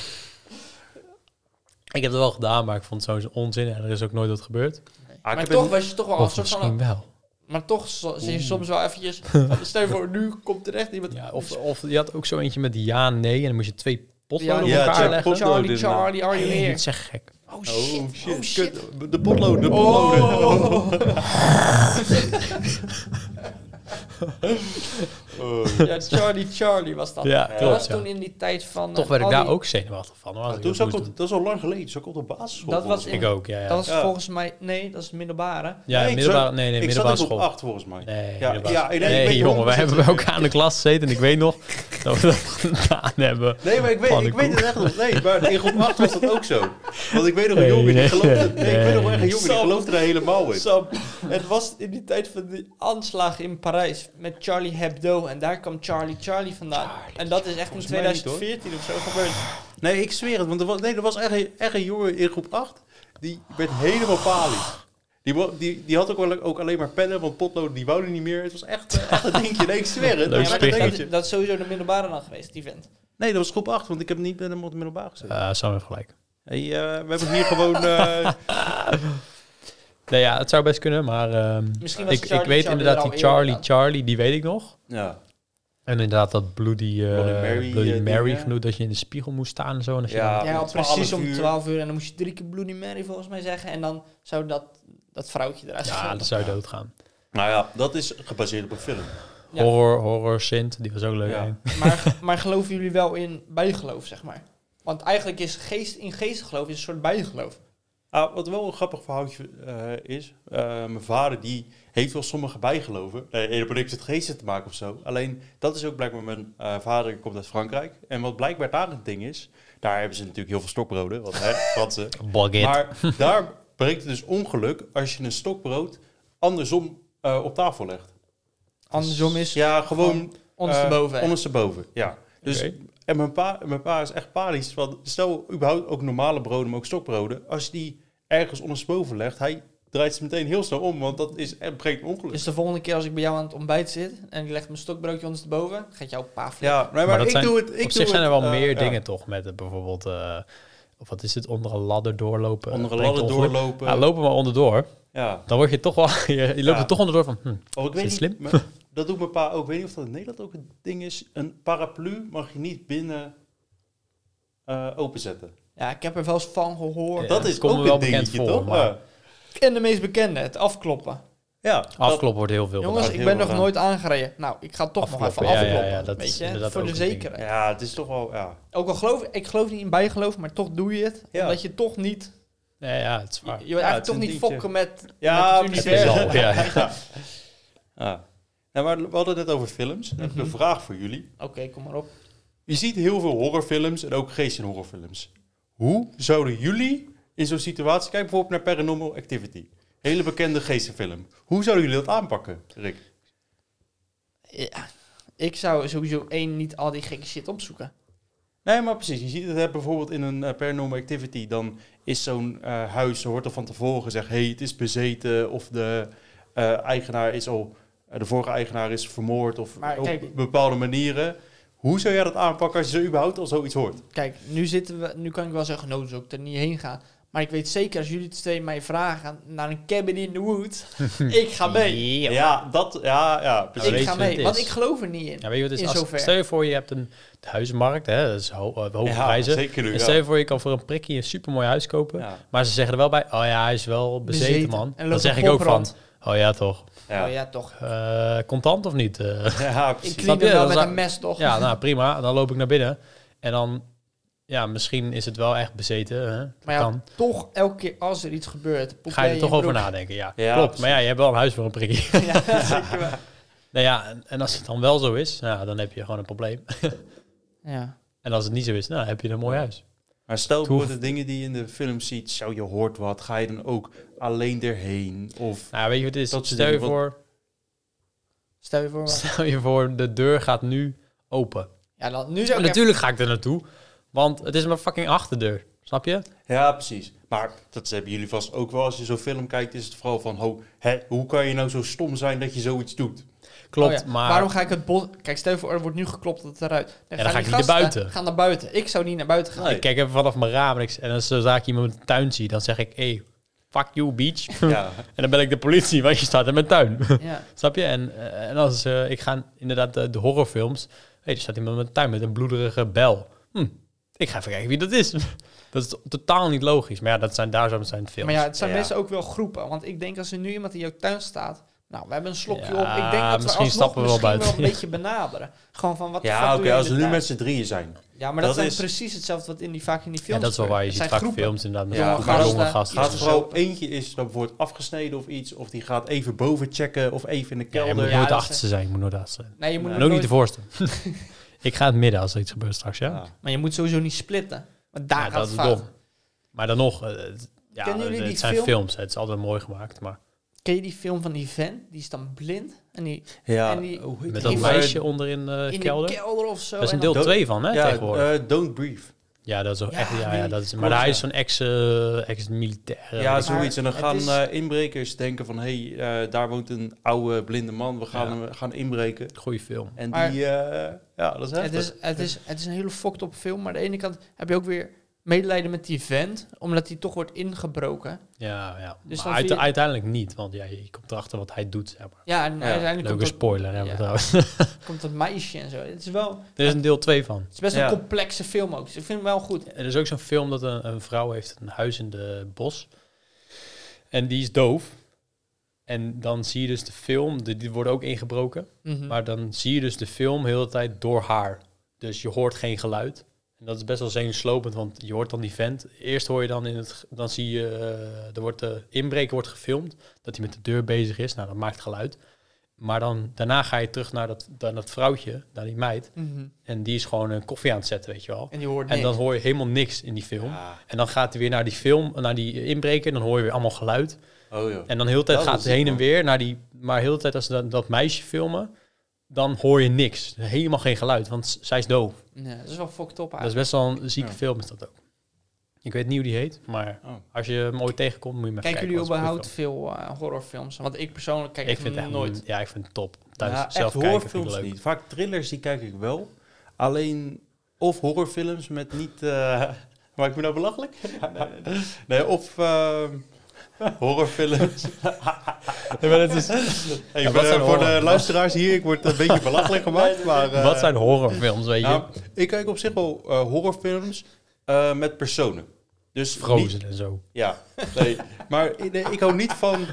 [SPEAKER 1] Ik heb het wel gedaan, maar ik vond het sowieso onzin. En er is ook nooit wat gebeurd.
[SPEAKER 3] maar
[SPEAKER 2] Ah, heb
[SPEAKER 3] toch
[SPEAKER 2] het-
[SPEAKER 3] was je toch wel een
[SPEAKER 1] Of
[SPEAKER 3] soort van...
[SPEAKER 1] misschien wel.
[SPEAKER 3] maar toch zo- zie je soms wel eventjes... van, Stel je voor, nu komt er echt iemand...
[SPEAKER 1] Ja, of, of je had ook zo eentje met ja, nee. En dan moest je twee potloden op
[SPEAKER 2] Ja,
[SPEAKER 1] elkaar
[SPEAKER 2] check.
[SPEAKER 1] leggen.
[SPEAKER 2] pot-
[SPEAKER 3] Charlie,
[SPEAKER 2] potloden.
[SPEAKER 3] Charlie, are you
[SPEAKER 1] Nee,
[SPEAKER 3] here?
[SPEAKER 1] niet zeg gek.
[SPEAKER 3] Oh shit,
[SPEAKER 2] Oh
[SPEAKER 3] oh
[SPEAKER 2] shit,
[SPEAKER 3] shit.
[SPEAKER 2] kut. de potlood, de potlood.
[SPEAKER 3] Oh.
[SPEAKER 1] Oh.
[SPEAKER 2] Oh.
[SPEAKER 3] Ja, Charlie, Charlie was dat.
[SPEAKER 1] Ja,
[SPEAKER 3] dat
[SPEAKER 1] klopt,
[SPEAKER 3] was
[SPEAKER 1] ja.
[SPEAKER 3] toen in die tijd van... eh,
[SPEAKER 1] Toch werd ik
[SPEAKER 3] al
[SPEAKER 1] daar
[SPEAKER 3] die-
[SPEAKER 1] ook zenuwachtig van. hoor, als ik
[SPEAKER 2] Ah, Toen
[SPEAKER 1] dat
[SPEAKER 2] zat ik
[SPEAKER 1] moest
[SPEAKER 2] op, dat is al lang geleden, zat ik op de basisschool.
[SPEAKER 3] Dat was
[SPEAKER 2] volgens
[SPEAKER 1] doen.
[SPEAKER 2] mij.
[SPEAKER 1] Ik ook, ja. ja.
[SPEAKER 3] Dat was
[SPEAKER 2] Ja.
[SPEAKER 3] volgens mij... Nee, dat is middelbare.
[SPEAKER 1] Ja,
[SPEAKER 2] Nee, ik
[SPEAKER 1] middelbare,
[SPEAKER 2] zat-
[SPEAKER 1] nee, nee,
[SPEAKER 2] ik zat
[SPEAKER 1] middelbare
[SPEAKER 2] ook
[SPEAKER 1] school.
[SPEAKER 2] op acht, volgens mij.
[SPEAKER 1] Nee,
[SPEAKER 2] Ja,
[SPEAKER 1] middelbare
[SPEAKER 2] ja,
[SPEAKER 1] school.
[SPEAKER 2] nee, ik
[SPEAKER 1] nee,
[SPEAKER 2] weet
[SPEAKER 1] jongen,
[SPEAKER 2] nog
[SPEAKER 1] we
[SPEAKER 2] dat
[SPEAKER 1] hebben
[SPEAKER 2] het-
[SPEAKER 1] bij elkaar in de klas gezeten en ik weet nog dat we dat gedaan hebben.
[SPEAKER 2] Nee, maar ik weet, ik
[SPEAKER 1] Pannenkoek.
[SPEAKER 2] weet het echt nog. Nee, maar in groep 8 was dat ook zo. Want ik weet nog een
[SPEAKER 1] Nee,
[SPEAKER 2] jongen die
[SPEAKER 1] nee,
[SPEAKER 2] geloofde. Nee, ik weet nog wel echt een
[SPEAKER 1] nee.
[SPEAKER 2] jongen die geloofde er helemaal in.
[SPEAKER 3] Sam, het was in die tijd van die aanslagen in Parijs met Charlie Hebdo. En daar kwam Charlie Charlie vandaan. en dat is echt in
[SPEAKER 2] mij niet,
[SPEAKER 3] 2014 of zo gebeurd.
[SPEAKER 2] Nee, ik zweer het. Want er was, nee, er was echt, een- echt een jongen in groep 8. Die werd helemaal palisch. Die, wa- die, die had ook, wel, ook alleen maar pennen, want potloden die wouden niet meer. Het was echt, eh, echt een dingetje. Nee, ik zweer het.
[SPEAKER 1] Leuk
[SPEAKER 2] Ja, maar
[SPEAKER 1] spiegel.
[SPEAKER 2] dat
[SPEAKER 3] dat,
[SPEAKER 2] dingetje.
[SPEAKER 3] dat is sowieso de middelbare dan geweest, die vent.
[SPEAKER 2] Nee, dat was groep 8, want ik heb niet met hem op het middelbaar gezeten.
[SPEAKER 1] Eh Sam heeft gelijk.
[SPEAKER 2] Hey, eh, we hebben hier gewoon... eh,
[SPEAKER 1] Nee, ja, het zou best kunnen, maar ehm,
[SPEAKER 3] Misschien was
[SPEAKER 1] ik, ik
[SPEAKER 3] Charlie
[SPEAKER 1] weet
[SPEAKER 3] Charlie er
[SPEAKER 1] inderdaad
[SPEAKER 3] al
[SPEAKER 1] die
[SPEAKER 3] eerder
[SPEAKER 1] Charlie
[SPEAKER 3] aan.
[SPEAKER 1] Charlie, die weet ik nog.
[SPEAKER 2] ja,
[SPEAKER 1] En inderdaad dat Bloody, eh,
[SPEAKER 2] Bloody
[SPEAKER 1] Bloody
[SPEAKER 2] Mary,
[SPEAKER 1] Mary,
[SPEAKER 2] eh, dingen.
[SPEAKER 1] genoeg, dat je in de spiegel moest staan en zo. En als je
[SPEAKER 2] Ja.
[SPEAKER 1] dan-
[SPEAKER 3] Ja,
[SPEAKER 2] om
[SPEAKER 3] precies
[SPEAKER 2] 12
[SPEAKER 3] om
[SPEAKER 2] uur.
[SPEAKER 3] 12 uur. En dan moest je drie keer Bloody Mary volgens mij zeggen. En dan zou dat, dat vrouwtje eruit
[SPEAKER 1] ja,
[SPEAKER 3] gaan.
[SPEAKER 1] dan zou je doodgaan.
[SPEAKER 2] nou ja, dat is gebaseerd op een film.
[SPEAKER 3] Ja.
[SPEAKER 1] Horror, horror, Sint, die was ook leuk.
[SPEAKER 2] Ja.
[SPEAKER 1] hè?
[SPEAKER 3] Maar, maar geloven jullie wel in bijgeloof, zeg maar? Want eigenlijk is geest in geestgeloof is een soort bijgeloof.
[SPEAKER 2] Ah, wat wel een grappig verhaaltje eh, is. eh, mijn vader die heeft wel sommige bijgeloven. Nee, helemaal niks met geesten te maken of zo. Alleen dat is ook blijkbaar mijn eh, vader komt uit Frankrijk. En wat blijkbaar daar een ding is. Daar hebben ze natuurlijk heel veel stokbroden. Want hè, Fransen.
[SPEAKER 1] Bugget.
[SPEAKER 2] Maar daar breekt het dus ongeluk als je een stokbrood andersom eh, op tafel legt.
[SPEAKER 3] Andersom is
[SPEAKER 2] Ja, gewoon
[SPEAKER 3] ondersteboven.
[SPEAKER 2] eh, ondersteboven, ja. Dus,
[SPEAKER 1] Oké.
[SPEAKER 2] En mijn pa, mijn pa is echt panisch. Want stel, überhaupt ook normale broden, maar ook stokbroden. Als je die ergens ondersteboven legt, hij draait ze meteen heel snel om. Want dat is, het brengt ongeluk.
[SPEAKER 3] Dus de volgende keer als ik bij jou aan het ontbijt zit en ik leg mijn stokbroodje ondersteboven, gaat jouw pa flippen.
[SPEAKER 2] ja, nee, maar,
[SPEAKER 1] Maar dat
[SPEAKER 2] ik
[SPEAKER 1] zijn-
[SPEAKER 2] doe het. Ik
[SPEAKER 1] op
[SPEAKER 2] doe
[SPEAKER 1] zich zijn er wel
[SPEAKER 2] het, eh,
[SPEAKER 1] meer
[SPEAKER 2] ja.
[SPEAKER 1] dingen toch met eh, bijvoorbeeld... eh, of wat is het, onder een ladder doorlopen. eh,
[SPEAKER 2] Onder een
[SPEAKER 1] Brengt
[SPEAKER 2] ladder
[SPEAKER 1] ongeluk.
[SPEAKER 2] doorlopen.
[SPEAKER 1] Ja, Nou, lopen maar onderdoor.
[SPEAKER 2] Ja.
[SPEAKER 1] Dan word je toch wel... Je, je loopt
[SPEAKER 2] Ja.
[SPEAKER 1] er toch onderdoor van... hm,
[SPEAKER 2] Oh, ik weet
[SPEAKER 1] Is
[SPEAKER 2] niet,
[SPEAKER 1] het
[SPEAKER 2] maar dat doet mijn pa ook. Ik weet niet of dat in Nederland ook een ding is. Een paraplu mag je niet binnen eh, openzetten.
[SPEAKER 3] Ja, ik heb er wel eens van gehoord.
[SPEAKER 1] Ja,
[SPEAKER 2] dat
[SPEAKER 1] dat
[SPEAKER 2] is
[SPEAKER 1] komt
[SPEAKER 2] ook
[SPEAKER 1] me wel
[SPEAKER 2] een
[SPEAKER 1] bekend
[SPEAKER 2] dingetje,
[SPEAKER 1] voor,
[SPEAKER 2] toch?
[SPEAKER 1] maar-
[SPEAKER 2] Ja.
[SPEAKER 3] En de meest bekende, het afkloppen.
[SPEAKER 2] Ja, dat-
[SPEAKER 1] Afklop wordt heel veel
[SPEAKER 3] Jongens,
[SPEAKER 2] dat
[SPEAKER 3] ik
[SPEAKER 2] heel
[SPEAKER 3] ben nog
[SPEAKER 2] gedaan.
[SPEAKER 3] nooit aangereden. Nou, ik ga toch nog
[SPEAKER 1] Afkloppen,
[SPEAKER 3] even
[SPEAKER 1] ja, ja,
[SPEAKER 3] afkloppen.
[SPEAKER 1] ja, dat
[SPEAKER 3] weet
[SPEAKER 1] is
[SPEAKER 3] je,
[SPEAKER 1] inderdaad
[SPEAKER 3] voor
[SPEAKER 1] ook
[SPEAKER 3] de
[SPEAKER 1] een ding.
[SPEAKER 3] zekerheid.
[SPEAKER 2] ja, het is toch wel... Ja.
[SPEAKER 3] Ook al geloof ik, ik geloof niet in bijgeloof, maar toch doe je het.
[SPEAKER 2] Ja.
[SPEAKER 3] Omdat je toch niet,
[SPEAKER 1] Ja, ja, het is
[SPEAKER 3] je, je
[SPEAKER 1] waar.
[SPEAKER 3] wil
[SPEAKER 2] Ja,
[SPEAKER 3] eigenlijk
[SPEAKER 2] het is
[SPEAKER 3] toch
[SPEAKER 2] een
[SPEAKER 3] niet
[SPEAKER 2] dingetje.
[SPEAKER 3] fokken met,
[SPEAKER 2] Ja,
[SPEAKER 3] met het
[SPEAKER 1] Het is
[SPEAKER 3] universum.
[SPEAKER 1] al, ja.
[SPEAKER 2] Ja. Ja. Nou, maar we hadden het net over films.
[SPEAKER 1] Mhm.
[SPEAKER 2] Dan heb ik een vraag voor jullie.
[SPEAKER 3] Oké, kom maar op.
[SPEAKER 2] Je ziet heel veel horrorfilms en ook geest in horrorfilms. Hoe zouden jullie in zo'n situatie... Kijk bijvoorbeeld naar Paranormal Activity. Hele bekende geestenfilm. Hoe zouden jullie dat aanpakken, Rick?
[SPEAKER 3] Ja. Ik zou sowieso één niet al die gekke shit opzoeken.
[SPEAKER 2] Nee, maar precies. Je ziet het hè, bijvoorbeeld in een eh, Paranormal Activity. Dan is zo'n eh, huis, er wordt al van tevoren gezegd... hey, het is bezeten. Of de eh, eigenaar is al... eh, de vorige eigenaar is vermoord. Of
[SPEAKER 3] Maar
[SPEAKER 2] op
[SPEAKER 3] kijk-
[SPEAKER 2] bepaalde manieren. Hoe zou jij dat aanpakken als je zo überhaupt al zoiets hoort?
[SPEAKER 3] Kijk, nu zitten we, nu kan ik wel zeggen, nou, zou ik er niet heen gaan. Maar ik weet zeker, als jullie twee mij vragen naar een cabin in the woods, ik ga mee.
[SPEAKER 2] Ja,
[SPEAKER 1] Ja.
[SPEAKER 2] dat, ja, ja, precies.
[SPEAKER 1] Nou, weet
[SPEAKER 3] ik
[SPEAKER 1] je
[SPEAKER 3] ga
[SPEAKER 1] wat het
[SPEAKER 3] mee,
[SPEAKER 1] is?
[SPEAKER 3] want ik geloof er niet in.
[SPEAKER 1] Ja, weet je wat het
[SPEAKER 3] In
[SPEAKER 1] is? Als-
[SPEAKER 3] zover.
[SPEAKER 1] stel je voor, je hebt een de huizenmarkt, hè, dat is ho eh, hoge
[SPEAKER 2] Ja,
[SPEAKER 1] prijzen.
[SPEAKER 2] zeker nu,
[SPEAKER 1] en
[SPEAKER 2] ja.
[SPEAKER 1] stel je voor, je kan voor een prikkie een supermooi huis kopen.
[SPEAKER 2] Ja,
[SPEAKER 1] Maar ze zeggen er wel bij, oh ja, hij is wel bezeten,
[SPEAKER 3] Bezeten. En
[SPEAKER 1] man.
[SPEAKER 3] loopt
[SPEAKER 1] Dan
[SPEAKER 3] een
[SPEAKER 1] zeg ik ook van,
[SPEAKER 3] poprand.
[SPEAKER 1] oh ja, toch.
[SPEAKER 2] ja.
[SPEAKER 3] Oh ja, toch.
[SPEAKER 1] Eh, contant of niet? Eh,
[SPEAKER 2] Ja,
[SPEAKER 3] Ik
[SPEAKER 2] precies.
[SPEAKER 1] Snap
[SPEAKER 3] kniep
[SPEAKER 1] je?
[SPEAKER 3] hem wel
[SPEAKER 1] Dat
[SPEAKER 3] met
[SPEAKER 1] is-
[SPEAKER 3] een mes, toch?
[SPEAKER 1] ja, nou prima. Dan loop ik naar binnen. En dan, ja, misschien is het wel echt bezeten. Hè? Dat
[SPEAKER 3] maar ja,
[SPEAKER 1] kan.
[SPEAKER 3] toch elke keer als er iets gebeurt...
[SPEAKER 1] Ga
[SPEAKER 3] Popeye
[SPEAKER 1] je
[SPEAKER 3] in
[SPEAKER 1] er toch over
[SPEAKER 3] broek.
[SPEAKER 1] nadenken, ja.
[SPEAKER 2] Ja,
[SPEAKER 1] Klopt.
[SPEAKER 2] precies.
[SPEAKER 1] Maar ja, je hebt wel een huis voor een prikkie.
[SPEAKER 3] ja, zeker wel.
[SPEAKER 1] nou ja, en, en als het dan wel zo is, nou, dan heb je gewoon een probleem.
[SPEAKER 3] Ja.
[SPEAKER 1] En als het niet zo is, nou, heb je een mooi huis.
[SPEAKER 2] Maar stel
[SPEAKER 1] Toen-
[SPEAKER 2] voor de dingen die je in de film ziet, zo je hoort wat, ga je dan ook alleen erheen? Of
[SPEAKER 1] Nou, weet je wat het is?
[SPEAKER 2] Dat soort
[SPEAKER 1] stel, je
[SPEAKER 2] dingen,
[SPEAKER 1] voor,
[SPEAKER 3] Stel je voor...
[SPEAKER 1] stel je voor, de deur gaat nu open.
[SPEAKER 3] Ja, dan, nu zou ik even-
[SPEAKER 1] Natuurlijk ga ik er naartoe, want het is mijn fucking achterdeur. Snap je?
[SPEAKER 2] ja, precies. Maar dat hebben jullie vast ook wel. Als je zo'n film kijkt, is het vooral van, ho, hè, hoe kan je nou zo stom zijn dat je zoiets doet?
[SPEAKER 1] Klopt,
[SPEAKER 3] Oh ja,
[SPEAKER 1] maar...
[SPEAKER 3] Waarom ga ik het bos... Kijk, stel je voor, er wordt nu geklopt dat het eruit. Dan,
[SPEAKER 1] dan
[SPEAKER 3] gaan
[SPEAKER 1] ga
[SPEAKER 3] die
[SPEAKER 1] ik niet naar
[SPEAKER 3] gasten
[SPEAKER 1] buiten.
[SPEAKER 3] Gaan naar buiten. Ik zou niet naar buiten gaan.
[SPEAKER 2] Nee.
[SPEAKER 1] Ik kijk even vanaf mijn raam en, ik, en als zodra ik iemand in de tuin zie, dan zeg ik, hey, fuck you, beach.
[SPEAKER 2] Ja,
[SPEAKER 1] en dan ben ik de politie, want je staat in mijn tuin.
[SPEAKER 3] Ja.
[SPEAKER 1] Snap je? En, eh, en als eh, ik ga inderdaad de, de horrorfilms, hey, er staat iemand in mijn tuin met een bloederige bel. Hm, ik ga even kijken wie dat is. dat is totaal niet logisch, maar ja, dat zijn, daar zijn films.
[SPEAKER 3] Maar ja, het zijn
[SPEAKER 2] Ja.
[SPEAKER 3] mensen ook wel groepen. Want ik denk als er nu iemand in jouw tuin staat... Nou, we hebben een slokje
[SPEAKER 1] Ja,
[SPEAKER 3] op. Ik denk dat we
[SPEAKER 1] misschien
[SPEAKER 3] alsnog
[SPEAKER 1] stappen we wel
[SPEAKER 3] misschien wel,
[SPEAKER 1] buiten.
[SPEAKER 3] een beetje benaderen. Gewoon van, wat de fuck
[SPEAKER 2] ja
[SPEAKER 3] doe
[SPEAKER 2] oké,
[SPEAKER 3] je in
[SPEAKER 2] als
[SPEAKER 3] de
[SPEAKER 2] we nu
[SPEAKER 3] tuin?
[SPEAKER 2] met z'n drieën zijn.
[SPEAKER 3] Ja, maar dat,
[SPEAKER 2] dat
[SPEAKER 3] zijn
[SPEAKER 2] is-
[SPEAKER 3] precies hetzelfde wat in die, vaak in die
[SPEAKER 1] Ja,
[SPEAKER 3] films
[SPEAKER 1] dat is wel
[SPEAKER 3] gebeurt.
[SPEAKER 1] waar. Je ziet
[SPEAKER 3] Het
[SPEAKER 1] vaak
[SPEAKER 3] zijn groepen.
[SPEAKER 1] films inderdaad met
[SPEAKER 2] Ja,
[SPEAKER 1] jonge
[SPEAKER 2] gasten.
[SPEAKER 1] jonge gasten.
[SPEAKER 2] Gaat
[SPEAKER 3] eh, Gaat
[SPEAKER 2] er
[SPEAKER 3] er
[SPEAKER 2] vooral
[SPEAKER 3] zo-
[SPEAKER 2] eentje is dan wordt afgesneden of iets, of die gaat even boven checken of even in de
[SPEAKER 1] Ja, je
[SPEAKER 2] kelder.
[SPEAKER 1] moet
[SPEAKER 3] Ja,
[SPEAKER 1] nooit de
[SPEAKER 3] dat is-
[SPEAKER 1] achtste zijn, je moet nooit de achtste zijn.
[SPEAKER 3] Nee, je moet
[SPEAKER 1] En
[SPEAKER 3] het
[SPEAKER 1] ook niet
[SPEAKER 3] nooit-
[SPEAKER 1] de voorste. ik ga in het midden als er iets gebeurt straks, ja?
[SPEAKER 2] Ja.
[SPEAKER 3] Maar je moet sowieso niet splitten. Want daar
[SPEAKER 1] Ja,
[SPEAKER 3] gaat
[SPEAKER 1] dat
[SPEAKER 3] het
[SPEAKER 1] is
[SPEAKER 3] fout.
[SPEAKER 1] dom. Maar dan nog, eh, het- ja,
[SPEAKER 3] Kennen jullie
[SPEAKER 1] het
[SPEAKER 3] die
[SPEAKER 1] zijn
[SPEAKER 3] film?
[SPEAKER 1] films. hè, Het is altijd mooi gemaakt, maar
[SPEAKER 3] Ken je die film van die vent? Die is dan blind. En die
[SPEAKER 2] Ja,
[SPEAKER 3] En die-
[SPEAKER 2] hoe heet
[SPEAKER 1] met
[SPEAKER 2] die?
[SPEAKER 1] dat
[SPEAKER 3] maar-
[SPEAKER 1] meisje onderin de
[SPEAKER 3] in
[SPEAKER 1] Eh, kelder.
[SPEAKER 3] de kelder of zo.
[SPEAKER 1] dat is een
[SPEAKER 3] en
[SPEAKER 1] deel
[SPEAKER 3] dan-
[SPEAKER 2] dan-
[SPEAKER 1] 2 van, hè,
[SPEAKER 2] Ja,
[SPEAKER 1] tegenwoordig.
[SPEAKER 2] eh, Don't Breathe.
[SPEAKER 1] ja, dat is wel
[SPEAKER 3] Ja,
[SPEAKER 1] echt, ja, ja,
[SPEAKER 3] die-
[SPEAKER 1] dat is, maar
[SPEAKER 2] klopt,
[SPEAKER 1] hij
[SPEAKER 2] ja.
[SPEAKER 1] is zo'n ex, eh, ex-militair. eh,
[SPEAKER 2] Ja,
[SPEAKER 1] weet ik
[SPEAKER 3] Maar
[SPEAKER 2] zoiets. En dan
[SPEAKER 3] het
[SPEAKER 2] gaan
[SPEAKER 3] is-
[SPEAKER 2] eh, inbrekers denken van... hé, hey, eh, daar woont een oude blinde man. We gaan
[SPEAKER 1] Ja.
[SPEAKER 2] hem gaan inbreken.
[SPEAKER 1] veel. Goeie film.
[SPEAKER 2] En
[SPEAKER 3] Maar-
[SPEAKER 2] die... eh, ja, dat is
[SPEAKER 3] het, is,
[SPEAKER 2] heftig.
[SPEAKER 3] het, is, het is een hele fucked op film. Maar aan de ene kant heb je ook weer medelijden met die vent. Omdat hij toch wordt ingebroken.
[SPEAKER 1] Ja, ja.
[SPEAKER 3] Dus
[SPEAKER 1] maar
[SPEAKER 3] dan
[SPEAKER 1] uit-
[SPEAKER 3] vind je-
[SPEAKER 1] uiteindelijk niet, want ja, je komt erachter wat hij doet, zeg maar.
[SPEAKER 3] Ja, en uiteindelijk
[SPEAKER 1] Leuke
[SPEAKER 3] komt, dat,
[SPEAKER 1] spoiler hebben we
[SPEAKER 3] ja.
[SPEAKER 1] trouwens.
[SPEAKER 3] komt dat meisje en zo. Het is wel...
[SPEAKER 1] er is een deel 2 van.
[SPEAKER 3] Het is best
[SPEAKER 2] Ja.
[SPEAKER 3] een complexe film ook. Dus ik vind hem wel goed.
[SPEAKER 1] Er is ook zo'n film dat een, een vrouw heeft een huis in de bos. En die is doof. En dan zie je dus de film, die, die worden ook ingebroken.
[SPEAKER 3] Mhm.
[SPEAKER 1] Maar dan zie je dus de film heel de tijd door haar. Dus je hoort geen geluid. En dat is best wel zenuwslopend, want je hoort dan die vent. Eerst hoor je dan in het... ge- Dan zie je... eh, er wordt, de inbreker wordt gefilmd. Dat hij met de deur bezig is. Nou, dat maakt geluid. Maar dan, daarna ga je terug naar dat, naar dat vrouwtje, naar die meid.
[SPEAKER 3] Mhm.
[SPEAKER 1] En die is gewoon een koffie aan het zetten, weet je wel.
[SPEAKER 3] En die hoort
[SPEAKER 1] En
[SPEAKER 3] niks.
[SPEAKER 1] dan hoor je helemaal niks in die film.
[SPEAKER 2] Ja.
[SPEAKER 1] En dan gaat hij weer naar die film, naar die inbreker. En dan hoor je weer allemaal geluid.
[SPEAKER 2] Oh joh.
[SPEAKER 1] En dan heel de tijd
[SPEAKER 2] Dat
[SPEAKER 1] gaat
[SPEAKER 2] is
[SPEAKER 1] het heen
[SPEAKER 2] ziek,
[SPEAKER 1] en
[SPEAKER 2] man.
[SPEAKER 1] weer naar die. Maar heel de tijd als ze dat, dat meisje filmen, dan hoor je niks. Helemaal geen geluid, want z- zij is doof.
[SPEAKER 3] Ja, dat is wel fucked op
[SPEAKER 1] Dat is
[SPEAKER 3] eigenlijk.
[SPEAKER 1] best wel een zieke
[SPEAKER 2] Ja.
[SPEAKER 1] film, is dat ook. Ik weet niet hoe die heet, maar
[SPEAKER 2] Oh.
[SPEAKER 1] als je hem ooit tegenkomt, moet je hem even
[SPEAKER 3] Kijken
[SPEAKER 1] kijken.
[SPEAKER 3] jullie
[SPEAKER 1] want het is een
[SPEAKER 3] überhaupt
[SPEAKER 1] goede
[SPEAKER 3] veel eh, horrorfilms? Want ik persoonlijk kijk
[SPEAKER 1] film. Ik vind het
[SPEAKER 3] het
[SPEAKER 1] echt
[SPEAKER 3] nooit.
[SPEAKER 1] Ja, ik vind het top. Thuis
[SPEAKER 2] Ja,
[SPEAKER 1] zelf
[SPEAKER 2] echt
[SPEAKER 1] kijken vind ik
[SPEAKER 2] horrorfilms
[SPEAKER 1] leuk.
[SPEAKER 2] niet. Vaak thrillers, die kijk ik wel. Alleen... Of horrorfilms met niet... eh maak ik me nou belachelijk? Nee, of... ehm, horrorfilms. Eh, Hey,
[SPEAKER 1] Ja,
[SPEAKER 2] voor
[SPEAKER 1] wat
[SPEAKER 2] de-
[SPEAKER 1] zijn
[SPEAKER 2] eh, voor de
[SPEAKER 1] horror?
[SPEAKER 2] luisteraars hier, ik word een beetje belachelijk gemaakt. Maar, eh,
[SPEAKER 1] Wat zijn horrorfilms, weet je?
[SPEAKER 2] Nou, ik kijk op zich wel eh, horrorfilms eh, met personen. Dus niet-
[SPEAKER 1] Frozen en zo.
[SPEAKER 2] ja, nee. maar eh, nee, ik hou niet van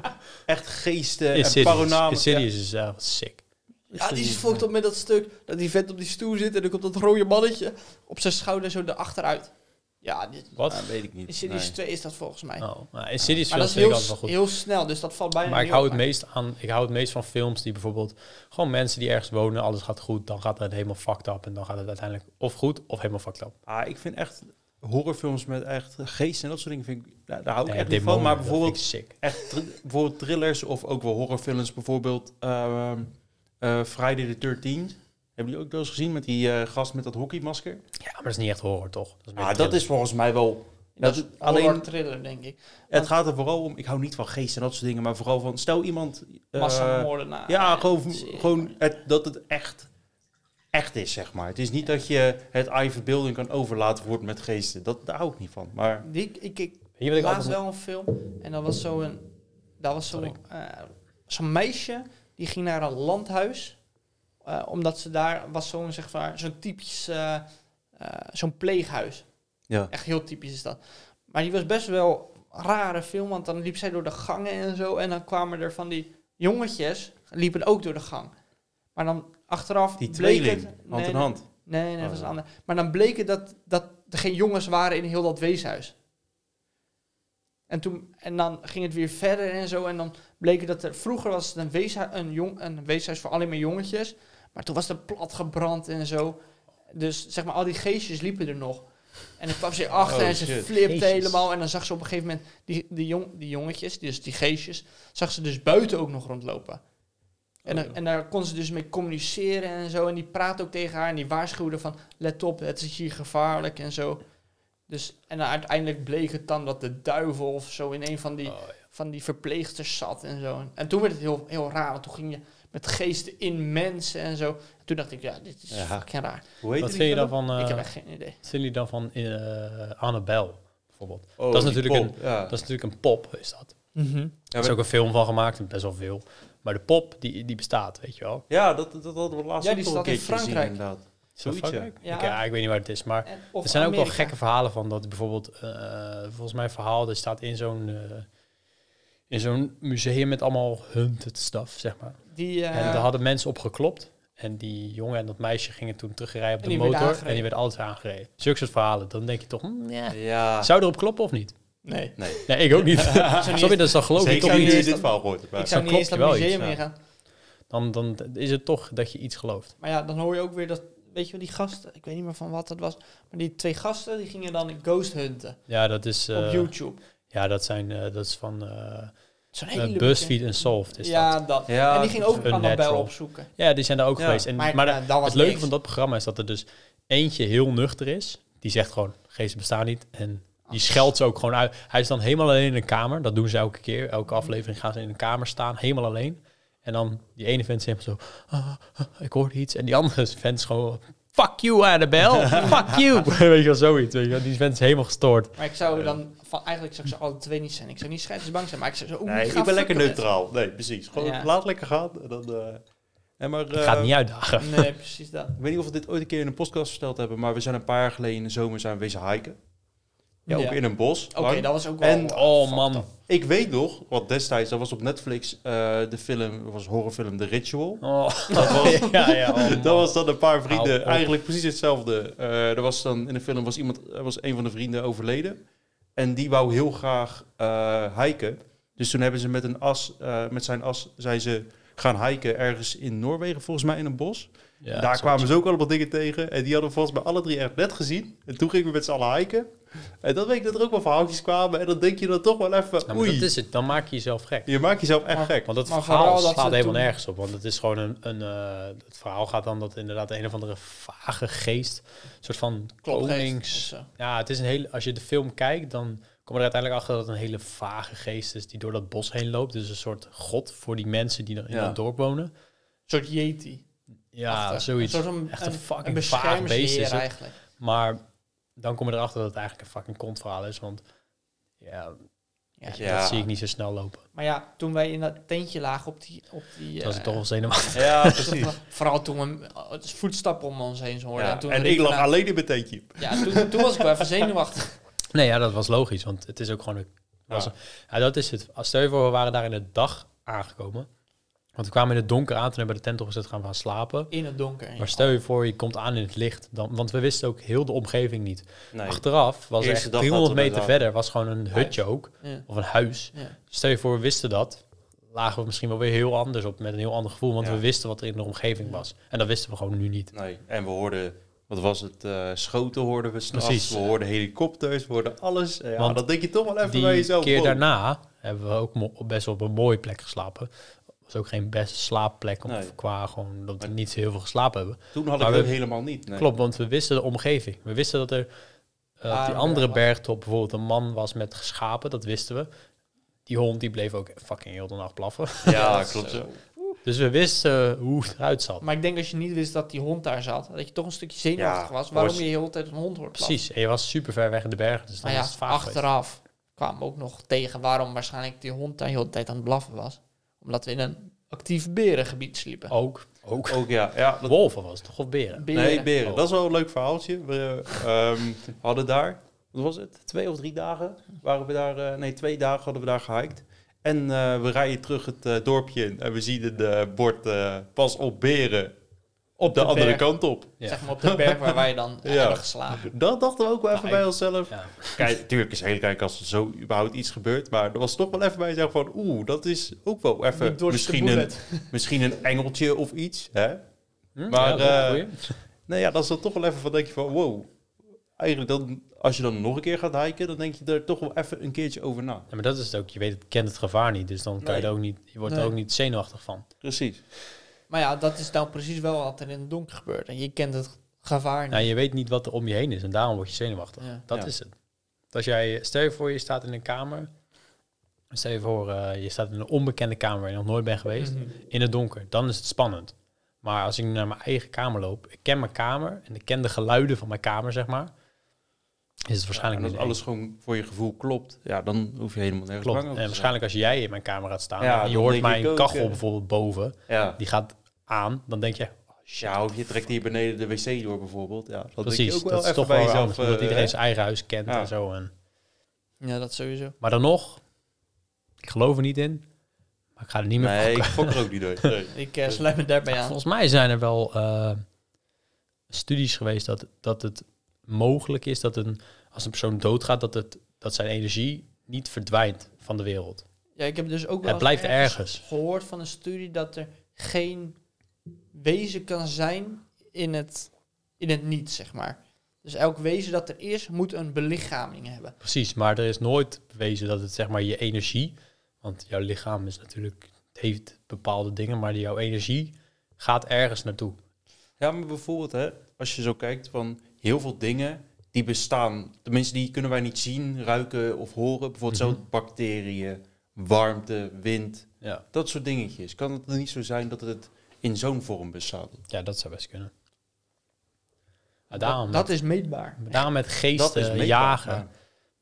[SPEAKER 2] echt geesten en
[SPEAKER 1] Insidious.
[SPEAKER 2] paronamen.
[SPEAKER 1] Insidious is echt sick.
[SPEAKER 3] Ja, die is volgt op met dat stuk dat die vent op die stoel zit en dan komt dat rode mannetje op zijn schouder zo erachteruit. Ja, dit,
[SPEAKER 1] Wat?
[SPEAKER 2] Ja, weet ik niet.
[SPEAKER 3] in Cities
[SPEAKER 2] Ah, nee.
[SPEAKER 3] 2 is dat volgens mij.
[SPEAKER 1] Oh, nou, Insidious
[SPEAKER 3] maar
[SPEAKER 1] films
[SPEAKER 3] dat
[SPEAKER 1] vind
[SPEAKER 3] is
[SPEAKER 1] ik
[SPEAKER 3] heel,
[SPEAKER 1] altijd
[SPEAKER 3] s-
[SPEAKER 1] wel goed.
[SPEAKER 3] heel snel, dus dat valt bijna
[SPEAKER 1] Maar ik
[SPEAKER 3] niet
[SPEAKER 1] hou,
[SPEAKER 3] op,
[SPEAKER 1] het meest aan, ik hou het meest van films die bijvoorbeeld gewoon mensen die ergens wonen, alles gaat goed, dan gaat het helemaal fucked up en dan gaat het uiteindelijk of goed of helemaal fucked up.
[SPEAKER 2] Ah, ik vind echt horrorfilms met echt geesten en dat soort dingen, vind ik, daar, daar hou ik
[SPEAKER 1] Nee,
[SPEAKER 2] echt niet van.
[SPEAKER 1] demonen,
[SPEAKER 2] Maar
[SPEAKER 1] dat
[SPEAKER 2] bijvoorbeeld,
[SPEAKER 1] vind ik sick.
[SPEAKER 2] echt, thr- bijvoorbeeld thrillers of ook wel horrorfilms, bijvoorbeeld ehm, eh, Friday the 13th. Hebben jullie ook wel eens gezien met die eh, gast met dat hockeymasker?
[SPEAKER 1] Ja, maar dat is niet echt horror, toch? Dat is meer
[SPEAKER 2] Ah, dat
[SPEAKER 1] thriller.
[SPEAKER 2] is volgens mij wel...
[SPEAKER 3] Dat is
[SPEAKER 2] dat- alleen-
[SPEAKER 3] alleen een thriller, denk ik.
[SPEAKER 2] Het gaat er vooral om, ik hou niet van geesten en dat soort dingen, maar vooral van, stel iemand... eh,
[SPEAKER 1] nou,
[SPEAKER 3] Massamoordenaar.
[SPEAKER 1] eh,
[SPEAKER 2] Ja, gewoon,
[SPEAKER 3] Ah, Dat is-
[SPEAKER 2] gewoon het, dat het echt, echt is, zeg maar. Het is niet dat je het aan je verbeelding kan overlaten worden met geesten. Dat, daar hou ik niet van. Maar
[SPEAKER 3] Die, ik, ik
[SPEAKER 1] Weet je wat ik
[SPEAKER 3] laatst
[SPEAKER 1] altijd...
[SPEAKER 3] wel een film en dat was zo'n dat was zo'n eh, zo'n meisje die ging naar een landhuis eh, omdat ze daar was zo'n zeg maar zo'n typisch eh, eh, zo'n pleeghuis
[SPEAKER 2] ja,
[SPEAKER 3] echt heel typisch is dat maar die was best wel een rare film want dan liep zij door de gangen en zo en dan kwamen er van die jongetjes liepen ook door de gang maar dan achteraf
[SPEAKER 2] die
[SPEAKER 3] bleek
[SPEAKER 2] tweeling,
[SPEAKER 3] het-
[SPEAKER 2] hand
[SPEAKER 3] nee,
[SPEAKER 2] in hand.
[SPEAKER 3] nee nee dat
[SPEAKER 2] Oh.
[SPEAKER 3] was een ander maar dan bleek het dat dat er geen jongens waren in heel dat weeshuis en, toen, en dan ging het weer verder en zo. En dan bleek het dat er vroeger was het een, weeshuis, een, jong, een weeshuis voor alleen maar jongetjes. Maar toen was het plat gebrand en zo. Dus zeg maar, al die geestjes liepen er nog. En dan kwam ze achter
[SPEAKER 2] Oh,
[SPEAKER 3] en ze
[SPEAKER 2] shit.
[SPEAKER 3] flipte
[SPEAKER 1] Geestjes.
[SPEAKER 3] helemaal. En dan zag ze op een gegeven moment die, die, jong, die jongetjes, dus die geestjes, zag ze dus buiten ook nog rondlopen. En, dan-
[SPEAKER 1] Oh.
[SPEAKER 3] en daar kon ze dus mee communiceren en zo. En die praatte ook tegen haar en die waarschuwde van... let op, het is hier gevaarlijk en zo. Dus, en dan uiteindelijk bleek het dan dat de duivel of zo in een van die,
[SPEAKER 1] Oh, ja.
[SPEAKER 3] van die verpleegsters zat en zo. En toen werd het heel, heel raar, want toen ging je met geesten in mensen en zo. En toen dacht ik, ja, dit is
[SPEAKER 2] Ja.
[SPEAKER 3] fucking raar.
[SPEAKER 2] Hoe heet
[SPEAKER 1] Wat
[SPEAKER 2] die
[SPEAKER 1] vind je
[SPEAKER 2] film?
[SPEAKER 1] dan van,
[SPEAKER 3] ik
[SPEAKER 1] eh,
[SPEAKER 3] heb echt geen idee.
[SPEAKER 1] wat vind je dan van eh, Annabelle, bijvoorbeeld?
[SPEAKER 2] Oh,
[SPEAKER 1] dat is
[SPEAKER 2] die
[SPEAKER 1] natuurlijk
[SPEAKER 2] pop, ja.
[SPEAKER 1] Dat is natuurlijk een pop, is dat.
[SPEAKER 2] Ja,
[SPEAKER 1] Er is
[SPEAKER 2] maar-
[SPEAKER 1] ook een film van gemaakt, best wel veel. Maar de pop, die, die bestaat, weet je wel.
[SPEAKER 2] Ja, dat, dat hadden we
[SPEAKER 3] Ja,
[SPEAKER 2] laatst ook
[SPEAKER 3] die
[SPEAKER 2] nog een
[SPEAKER 3] staat in
[SPEAKER 2] keertje gezien,
[SPEAKER 3] Frankrijk.
[SPEAKER 2] inderdaad.
[SPEAKER 1] Is dat
[SPEAKER 2] Zoiets, ja.
[SPEAKER 1] Frankrijk?
[SPEAKER 3] Ja.
[SPEAKER 1] Ik, ja, ik weet niet waar het is, maar...
[SPEAKER 3] En, of
[SPEAKER 1] Er zijn ook wel
[SPEAKER 3] Amerika.
[SPEAKER 1] gekke verhalen van dat bijvoorbeeld, eh, volgens mij een verhaal, dat staat in zo'n eh, in zo'n museum met allemaal hunted stuff, zeg maar.
[SPEAKER 3] Die, eh,
[SPEAKER 1] En daar hadden mensen op geklopt. En die jongen en dat meisje gingen toen terugrijden op
[SPEAKER 3] En
[SPEAKER 1] de
[SPEAKER 3] die werden
[SPEAKER 1] motor en
[SPEAKER 3] aangereden.
[SPEAKER 1] die werd altijd aangereden. Zulke soort verhalen, dan denk je toch, hm, ja.
[SPEAKER 2] Ja.
[SPEAKER 1] zou erop kloppen of niet?
[SPEAKER 3] nee.
[SPEAKER 2] Nee.
[SPEAKER 1] Nee, ik ook niet.
[SPEAKER 3] niet
[SPEAKER 1] Snap je, dat is dan geloof ik
[SPEAKER 2] Zeker
[SPEAKER 1] toch
[SPEAKER 3] zou
[SPEAKER 2] niet
[SPEAKER 1] niet.
[SPEAKER 2] in
[SPEAKER 3] niet-
[SPEAKER 2] dit verhaal gehoord. maar-
[SPEAKER 3] Ik zou niet
[SPEAKER 1] klopt
[SPEAKER 3] eens naar
[SPEAKER 1] je
[SPEAKER 3] het
[SPEAKER 1] wel
[SPEAKER 3] museum
[SPEAKER 2] iets, ja.
[SPEAKER 3] ingaan.
[SPEAKER 1] Dan, dan is het toch dat je iets gelooft.
[SPEAKER 3] Maar ja, dan hoor je ook weer dat... Weet je wel, die gasten... Ik weet niet meer van wat dat was. Maar die twee gasten, die gingen dan ghost hunten.
[SPEAKER 1] Ja, dat is, eh,
[SPEAKER 3] op YouTube.
[SPEAKER 1] ja, dat, zijn, eh, dat is van eh
[SPEAKER 3] Zo'n
[SPEAKER 1] eh,
[SPEAKER 3] hele...
[SPEAKER 1] BuzzFeed en Solved. Is dat.
[SPEAKER 3] Ja, dat.
[SPEAKER 2] Ja,
[SPEAKER 3] en die ging ook
[SPEAKER 1] Unnatural.
[SPEAKER 3] Annabel opzoeken.
[SPEAKER 1] Ja, die zijn daar ook
[SPEAKER 2] Ja.
[SPEAKER 1] geweest. En, maar
[SPEAKER 3] Maar,
[SPEAKER 1] de-
[SPEAKER 3] ja, dat was
[SPEAKER 1] het leuke
[SPEAKER 3] niks.
[SPEAKER 1] van dat programma is dat er dus eentje heel nuchter is. Die zegt gewoon, geesten bestaan niet. En die scheldt ze ook gewoon uit. Hij is dan helemaal alleen in een kamer. Dat doen ze elke keer. Elke aflevering gaan ze in een kamer staan, helemaal alleen. En dan die ene vent zegt zo, "Ah, ah, ik hoor iets. En die andere vent is gewoon, fuck you Annabelle, fuck you. weet je wel, zoiets. Weet je wel. Die vent is helemaal gestoord.
[SPEAKER 3] Maar ik zou dan... Van, eigenlijk zou ik ze alle twee niet zijn. Ik zou niet scheidsbang zijn, maar ik zou zo... ook niet
[SPEAKER 2] Nee,
[SPEAKER 3] gaan
[SPEAKER 2] ik ben lekker
[SPEAKER 3] fucken met
[SPEAKER 2] neutraal. Nee, precies. Gewoon
[SPEAKER 3] Ja.
[SPEAKER 2] laat lekker gaan. En dan, eh, en maar,
[SPEAKER 1] Ik
[SPEAKER 2] eh,
[SPEAKER 1] ga het niet uitdagen.
[SPEAKER 3] ze. Nee, precies dat.
[SPEAKER 2] Ik weet niet of we dit ooit een keer in een podcast verteld hebben, maar we zijn een paar jaar geleden in de zomer zijn we wezen hiken. Ja, ook
[SPEAKER 3] Ja.
[SPEAKER 2] in een bos.
[SPEAKER 3] Oké,
[SPEAKER 2] lang.
[SPEAKER 3] dat was ook wel... eh,
[SPEAKER 2] En-
[SPEAKER 1] Oh man.
[SPEAKER 2] Ik weet nog, want destijds, dat was op Netflix, eh, de film, was horrorfilm The Ritual.
[SPEAKER 1] Oh.
[SPEAKER 2] Dat was,
[SPEAKER 1] ja, ja, oh, man.
[SPEAKER 2] dat was dan een paar
[SPEAKER 1] Hou
[SPEAKER 2] vrienden,
[SPEAKER 1] op.
[SPEAKER 2] eigenlijk precies hetzelfde. Eh, er was dan, in de film was iemand, er was een van de vrienden overleden. En die wou heel graag eh hiken. Dus toen hebben ze met een as, eh, met zijn as, zijn ze gaan hiken ergens in Noorwegen, volgens mij in een bos.
[SPEAKER 1] Ja,
[SPEAKER 2] Daar
[SPEAKER 1] zo-
[SPEAKER 2] kwamen ze dus ook allemaal dingen tegen. En die hadden we volgens mij alle drie echt net gezien. En toen gingen we met z'n allen hiken. En dan weet ik dat er ook wel verhaaltjes kwamen. En dan denk je dan toch wel even,
[SPEAKER 1] Ja, Nou, maar
[SPEAKER 2] oei,
[SPEAKER 1] dat is het. Dan maak je jezelf gek.
[SPEAKER 2] je maakt jezelf echt
[SPEAKER 3] Maar-
[SPEAKER 2] gek.
[SPEAKER 1] Want dat
[SPEAKER 3] Maar
[SPEAKER 1] verhaal
[SPEAKER 3] vooral dat
[SPEAKER 1] slaat
[SPEAKER 3] ze
[SPEAKER 1] helemaal
[SPEAKER 3] toen-
[SPEAKER 1] nergens op. Want het is gewoon een. een eh, het verhaal gaat dan dat inderdaad een of andere vage geest. Een soort van
[SPEAKER 3] Klonings.
[SPEAKER 1] konings. Ja, het is een hele. Als je de film kijkt, dan kom je er uiteindelijk achter dat het een hele vage geest is die door dat bos heen loopt. Dus een soort god voor die mensen die er in
[SPEAKER 2] Ja.
[SPEAKER 1] dat dorp wonen.
[SPEAKER 3] Een soort yeti.
[SPEAKER 1] Ja,
[SPEAKER 3] Achtig.
[SPEAKER 1] zoiets.
[SPEAKER 3] Een soort een,
[SPEAKER 1] Echt een fucking vaag
[SPEAKER 3] beschermsheer
[SPEAKER 1] beest is het.
[SPEAKER 3] eigenlijk.
[SPEAKER 1] Maar dan kom je erachter dat het eigenlijk een fucking kontverhaal is. Want ja,
[SPEAKER 3] Ja,
[SPEAKER 1] weet je,
[SPEAKER 2] Ja.
[SPEAKER 1] dat zie ik niet zo snel lopen.
[SPEAKER 3] Maar ja, toen wij in dat tentje lagen op die... Op die
[SPEAKER 1] Dat is
[SPEAKER 3] eh,
[SPEAKER 1] toch wel zenuwachtig.
[SPEAKER 2] Ja,
[SPEAKER 3] Vooral toen we eh, het voetstappen om ons heen hoorden.
[SPEAKER 2] Ja,
[SPEAKER 3] en toen
[SPEAKER 2] en
[SPEAKER 3] riep
[SPEAKER 2] ik lag
[SPEAKER 3] nou-
[SPEAKER 2] alleen in mijn tentje.
[SPEAKER 3] Ja, toen, toen was ik wel even zenuwachtig.
[SPEAKER 1] Nee, ja, dat was logisch, want het is ook gewoon... Een, was- ja, dat is het. Als Stel je voor, we waren daar in de dag aangekomen. Want we kwamen in het donker aan, toen hebben we de tent opgezet, gaan we gaan slapen.
[SPEAKER 3] In het donker.
[SPEAKER 1] Maar stel je voor, je komt aan in het licht. Dan, want we wisten ook heel de omgeving niet.
[SPEAKER 2] Nee.
[SPEAKER 1] Achteraf was er
[SPEAKER 2] Eerste
[SPEAKER 1] echt
[SPEAKER 2] dag hadden
[SPEAKER 1] 300
[SPEAKER 2] we
[SPEAKER 1] meter
[SPEAKER 2] dat.
[SPEAKER 1] verder, was gewoon een hutje ook.
[SPEAKER 3] Ja.
[SPEAKER 1] Of een huis.
[SPEAKER 3] Ja.
[SPEAKER 1] Stel je voor, we wisten dat. Lagen we misschien wel weer heel anders op, met een heel ander gevoel. Want
[SPEAKER 2] Ja.
[SPEAKER 1] we wisten wat er in de omgeving was. En dat wisten we gewoon nu niet.
[SPEAKER 2] Nee. En we hoorden, wat was het, eh, schoten hoorden we s'nachts.
[SPEAKER 1] Precies.
[SPEAKER 2] We hoorden helikopters, we hoorden alles. Ja,
[SPEAKER 1] Want
[SPEAKER 2] dat denk je toch wel even bij
[SPEAKER 1] Die
[SPEAKER 2] jezelf.
[SPEAKER 1] keer
[SPEAKER 2] wow.
[SPEAKER 1] daarna hebben we ook mo- best wel op een mooie plek geslapen. was ook geen beste slaapplek. Om,
[SPEAKER 2] Nee.
[SPEAKER 1] Qua gewoon dat we niet zo heel veel geslapen hebben.
[SPEAKER 2] Toen had ik
[SPEAKER 1] Maar
[SPEAKER 2] dat
[SPEAKER 1] we-
[SPEAKER 2] helemaal niet. Nee.
[SPEAKER 1] Klopt, want we wisten de omgeving. We wisten dat er eh, op
[SPEAKER 3] Ah,
[SPEAKER 1] die
[SPEAKER 3] een
[SPEAKER 1] andere
[SPEAKER 3] berg.
[SPEAKER 1] bergtop bijvoorbeeld een man was met schapen. Dat wisten we. Die hond die bleef ook fucking heel de nacht blaffen.
[SPEAKER 2] Ja, klopt zo.
[SPEAKER 1] Dus we wisten hoe het eruit zat.
[SPEAKER 3] Maar ik denk als je niet wist dat die hond daar zat, dat je toch een stukje zenuwachtig
[SPEAKER 2] Ja,
[SPEAKER 3] was. Waarom
[SPEAKER 2] was-
[SPEAKER 3] je de hele tijd een hond hoort blaffen.
[SPEAKER 1] Precies. En je was super ver weg in de bergen. Dus dan
[SPEAKER 3] Maar ja,
[SPEAKER 1] was het vaag geweest.
[SPEAKER 3] achteraf kwamen we ook nog tegen waarom waarschijnlijk die hond daar heel de hele tijd aan het blaffen was. Omdat we in een actief berengebied sliepen.
[SPEAKER 1] Ook. Ook.
[SPEAKER 2] Ook ja, ja dat-
[SPEAKER 1] Wolven was het toch? Of beren?
[SPEAKER 3] Beren.
[SPEAKER 2] Oh, Nee, beren.
[SPEAKER 1] Oh.
[SPEAKER 2] Dat is wel een leuk verhaaltje. We ehm, hadden daar, wat was het? Twee of drie dagen waren we daar. eh, nee, twee dagen hadden we daar gehiked. En eh, we rijden terug het eh, dorpje in en we zien het eh, bord eh, pas op beren. Op de,
[SPEAKER 3] de
[SPEAKER 2] andere
[SPEAKER 3] berg.
[SPEAKER 2] kant op.
[SPEAKER 1] Ja.
[SPEAKER 3] Zeg maar op de berg waar wij dan
[SPEAKER 2] Ja.
[SPEAKER 3] hebben geslapen.
[SPEAKER 2] Dat dachten we ook wel even
[SPEAKER 1] Nou,
[SPEAKER 2] bij
[SPEAKER 1] ik-
[SPEAKER 2] onszelf.
[SPEAKER 1] Ja.
[SPEAKER 2] Kijk, natuurlijk is het heel kijk als er zo überhaupt iets gebeurt. Maar er was toch wel even bij jezelf van... Oeh, dat is ook wel even
[SPEAKER 3] Niet door
[SPEAKER 2] misschien
[SPEAKER 3] de
[SPEAKER 2] een, misschien een engeltje of iets. Hè?
[SPEAKER 1] Hm? Ja,
[SPEAKER 2] Maar,
[SPEAKER 1] dat is een
[SPEAKER 2] eh,
[SPEAKER 1] goeie.
[SPEAKER 2] Nou ja, dat is dan toch wel even van denk je van wow. Eigenlijk dan, als je dan nog een keer gaat hiken, dan denk je er toch wel even een keertje over na.
[SPEAKER 1] Ja, maar dat is het ook. Je weet, het kent het gevaar niet. Dus dan kan je,
[SPEAKER 2] Nee.
[SPEAKER 1] er ook niet, je wordt er
[SPEAKER 3] Nee.
[SPEAKER 1] ook niet zenuwachtig van.
[SPEAKER 2] Precies.
[SPEAKER 3] Maar ja, dat is nou precies wel wat er in het donker gebeurt. En je kent het gevaar
[SPEAKER 1] Nou,
[SPEAKER 3] niet.
[SPEAKER 1] je weet niet wat er om je heen is. En daarom word je zenuwachtig.
[SPEAKER 3] Ja.
[SPEAKER 1] Dat
[SPEAKER 2] Ja.
[SPEAKER 1] is het. Dus Als jij, stel je voor, je staat in een kamer. Stel je voor, eh, je staat in een onbekende kamer waar je nog nooit bent geweest.
[SPEAKER 2] Mhm.
[SPEAKER 1] In het donker. Dan is het spannend. Maar als ik nu naar mijn eigen kamer loop. Ik ken mijn kamer. En ik ken de geluiden van mijn kamer, zeg maar. Is het
[SPEAKER 2] En
[SPEAKER 1] waarschijnlijk
[SPEAKER 2] als
[SPEAKER 1] niet
[SPEAKER 2] alles gewoon voor je gevoel klopt, ja, dan hoef je helemaal nergens
[SPEAKER 1] Klopt.
[SPEAKER 2] bang
[SPEAKER 1] En
[SPEAKER 2] over te
[SPEAKER 1] waarschijnlijk als jij in mijn kamer gaat staan.
[SPEAKER 2] Ja,
[SPEAKER 1] en je
[SPEAKER 2] dan
[SPEAKER 1] hoort
[SPEAKER 2] denk ik
[SPEAKER 1] mijn
[SPEAKER 2] ook,
[SPEAKER 1] kachel
[SPEAKER 2] eh.
[SPEAKER 1] bijvoorbeeld boven.
[SPEAKER 2] zijn. Ja.
[SPEAKER 1] Die gaat aan. Dan denk je,
[SPEAKER 2] ja, of je trekt hier beneden de wc door bijvoorbeeld. Ja, dat denk je
[SPEAKER 1] precies.
[SPEAKER 2] ook wel
[SPEAKER 1] Dat is
[SPEAKER 2] even
[SPEAKER 1] toch
[SPEAKER 2] bij
[SPEAKER 1] wel
[SPEAKER 2] jezelf.
[SPEAKER 1] anders. Omdat
[SPEAKER 2] eh,
[SPEAKER 1] iedereen
[SPEAKER 2] hè?
[SPEAKER 1] zijn eigen huis kent
[SPEAKER 2] Ja.
[SPEAKER 1] en zo. En,
[SPEAKER 3] Ja, dat sowieso.
[SPEAKER 1] maar dan nog. Ik geloof er niet in. Maar ik ga er niet meer
[SPEAKER 2] Nee,
[SPEAKER 1] fokken.
[SPEAKER 2] ik fok er ook niet door. Nee.
[SPEAKER 3] Ik eh, sluit me daarbij aan.
[SPEAKER 1] Volgens mij zijn er wel eh, studies geweest dat, dat het mogelijk is dat een, als een persoon doodgaat, dat, het, dat zijn energie niet verdwijnt van de wereld.
[SPEAKER 3] Ja, ik heb dus ook
[SPEAKER 1] het
[SPEAKER 3] wel eens
[SPEAKER 1] blijft ergens.
[SPEAKER 3] gehoord van een studie dat er geen wezen kan zijn in het, in het niet, zeg maar. Dus elk wezen dat er is, moet een belichaming hebben.
[SPEAKER 1] Precies, maar er is nooit bewezen dat het zeg maar je energie, want jouw lichaam is natuurlijk, het heeft bepaalde dingen, maar jouw energie gaat ergens naartoe.
[SPEAKER 2] Ja, maar bijvoorbeeld, hè, als je zo kijkt van heel veel dingen die bestaan, tenminste die kunnen wij niet zien, ruiken of horen. Bijvoorbeeld
[SPEAKER 1] Mhm.
[SPEAKER 2] zo bacteriën, warmte, wind,
[SPEAKER 1] Ja.
[SPEAKER 2] dat soort dingetjes. Kan het dan niet zo zijn dat het in zo'n vorm bestaat?
[SPEAKER 1] ja, dat zou best kunnen. Ja,
[SPEAKER 3] Dat,
[SPEAKER 1] daarom,
[SPEAKER 3] dat is meetbaar.
[SPEAKER 1] daarom met
[SPEAKER 2] dat
[SPEAKER 1] geesten
[SPEAKER 2] meetbaar,
[SPEAKER 1] jagen.
[SPEAKER 2] maar-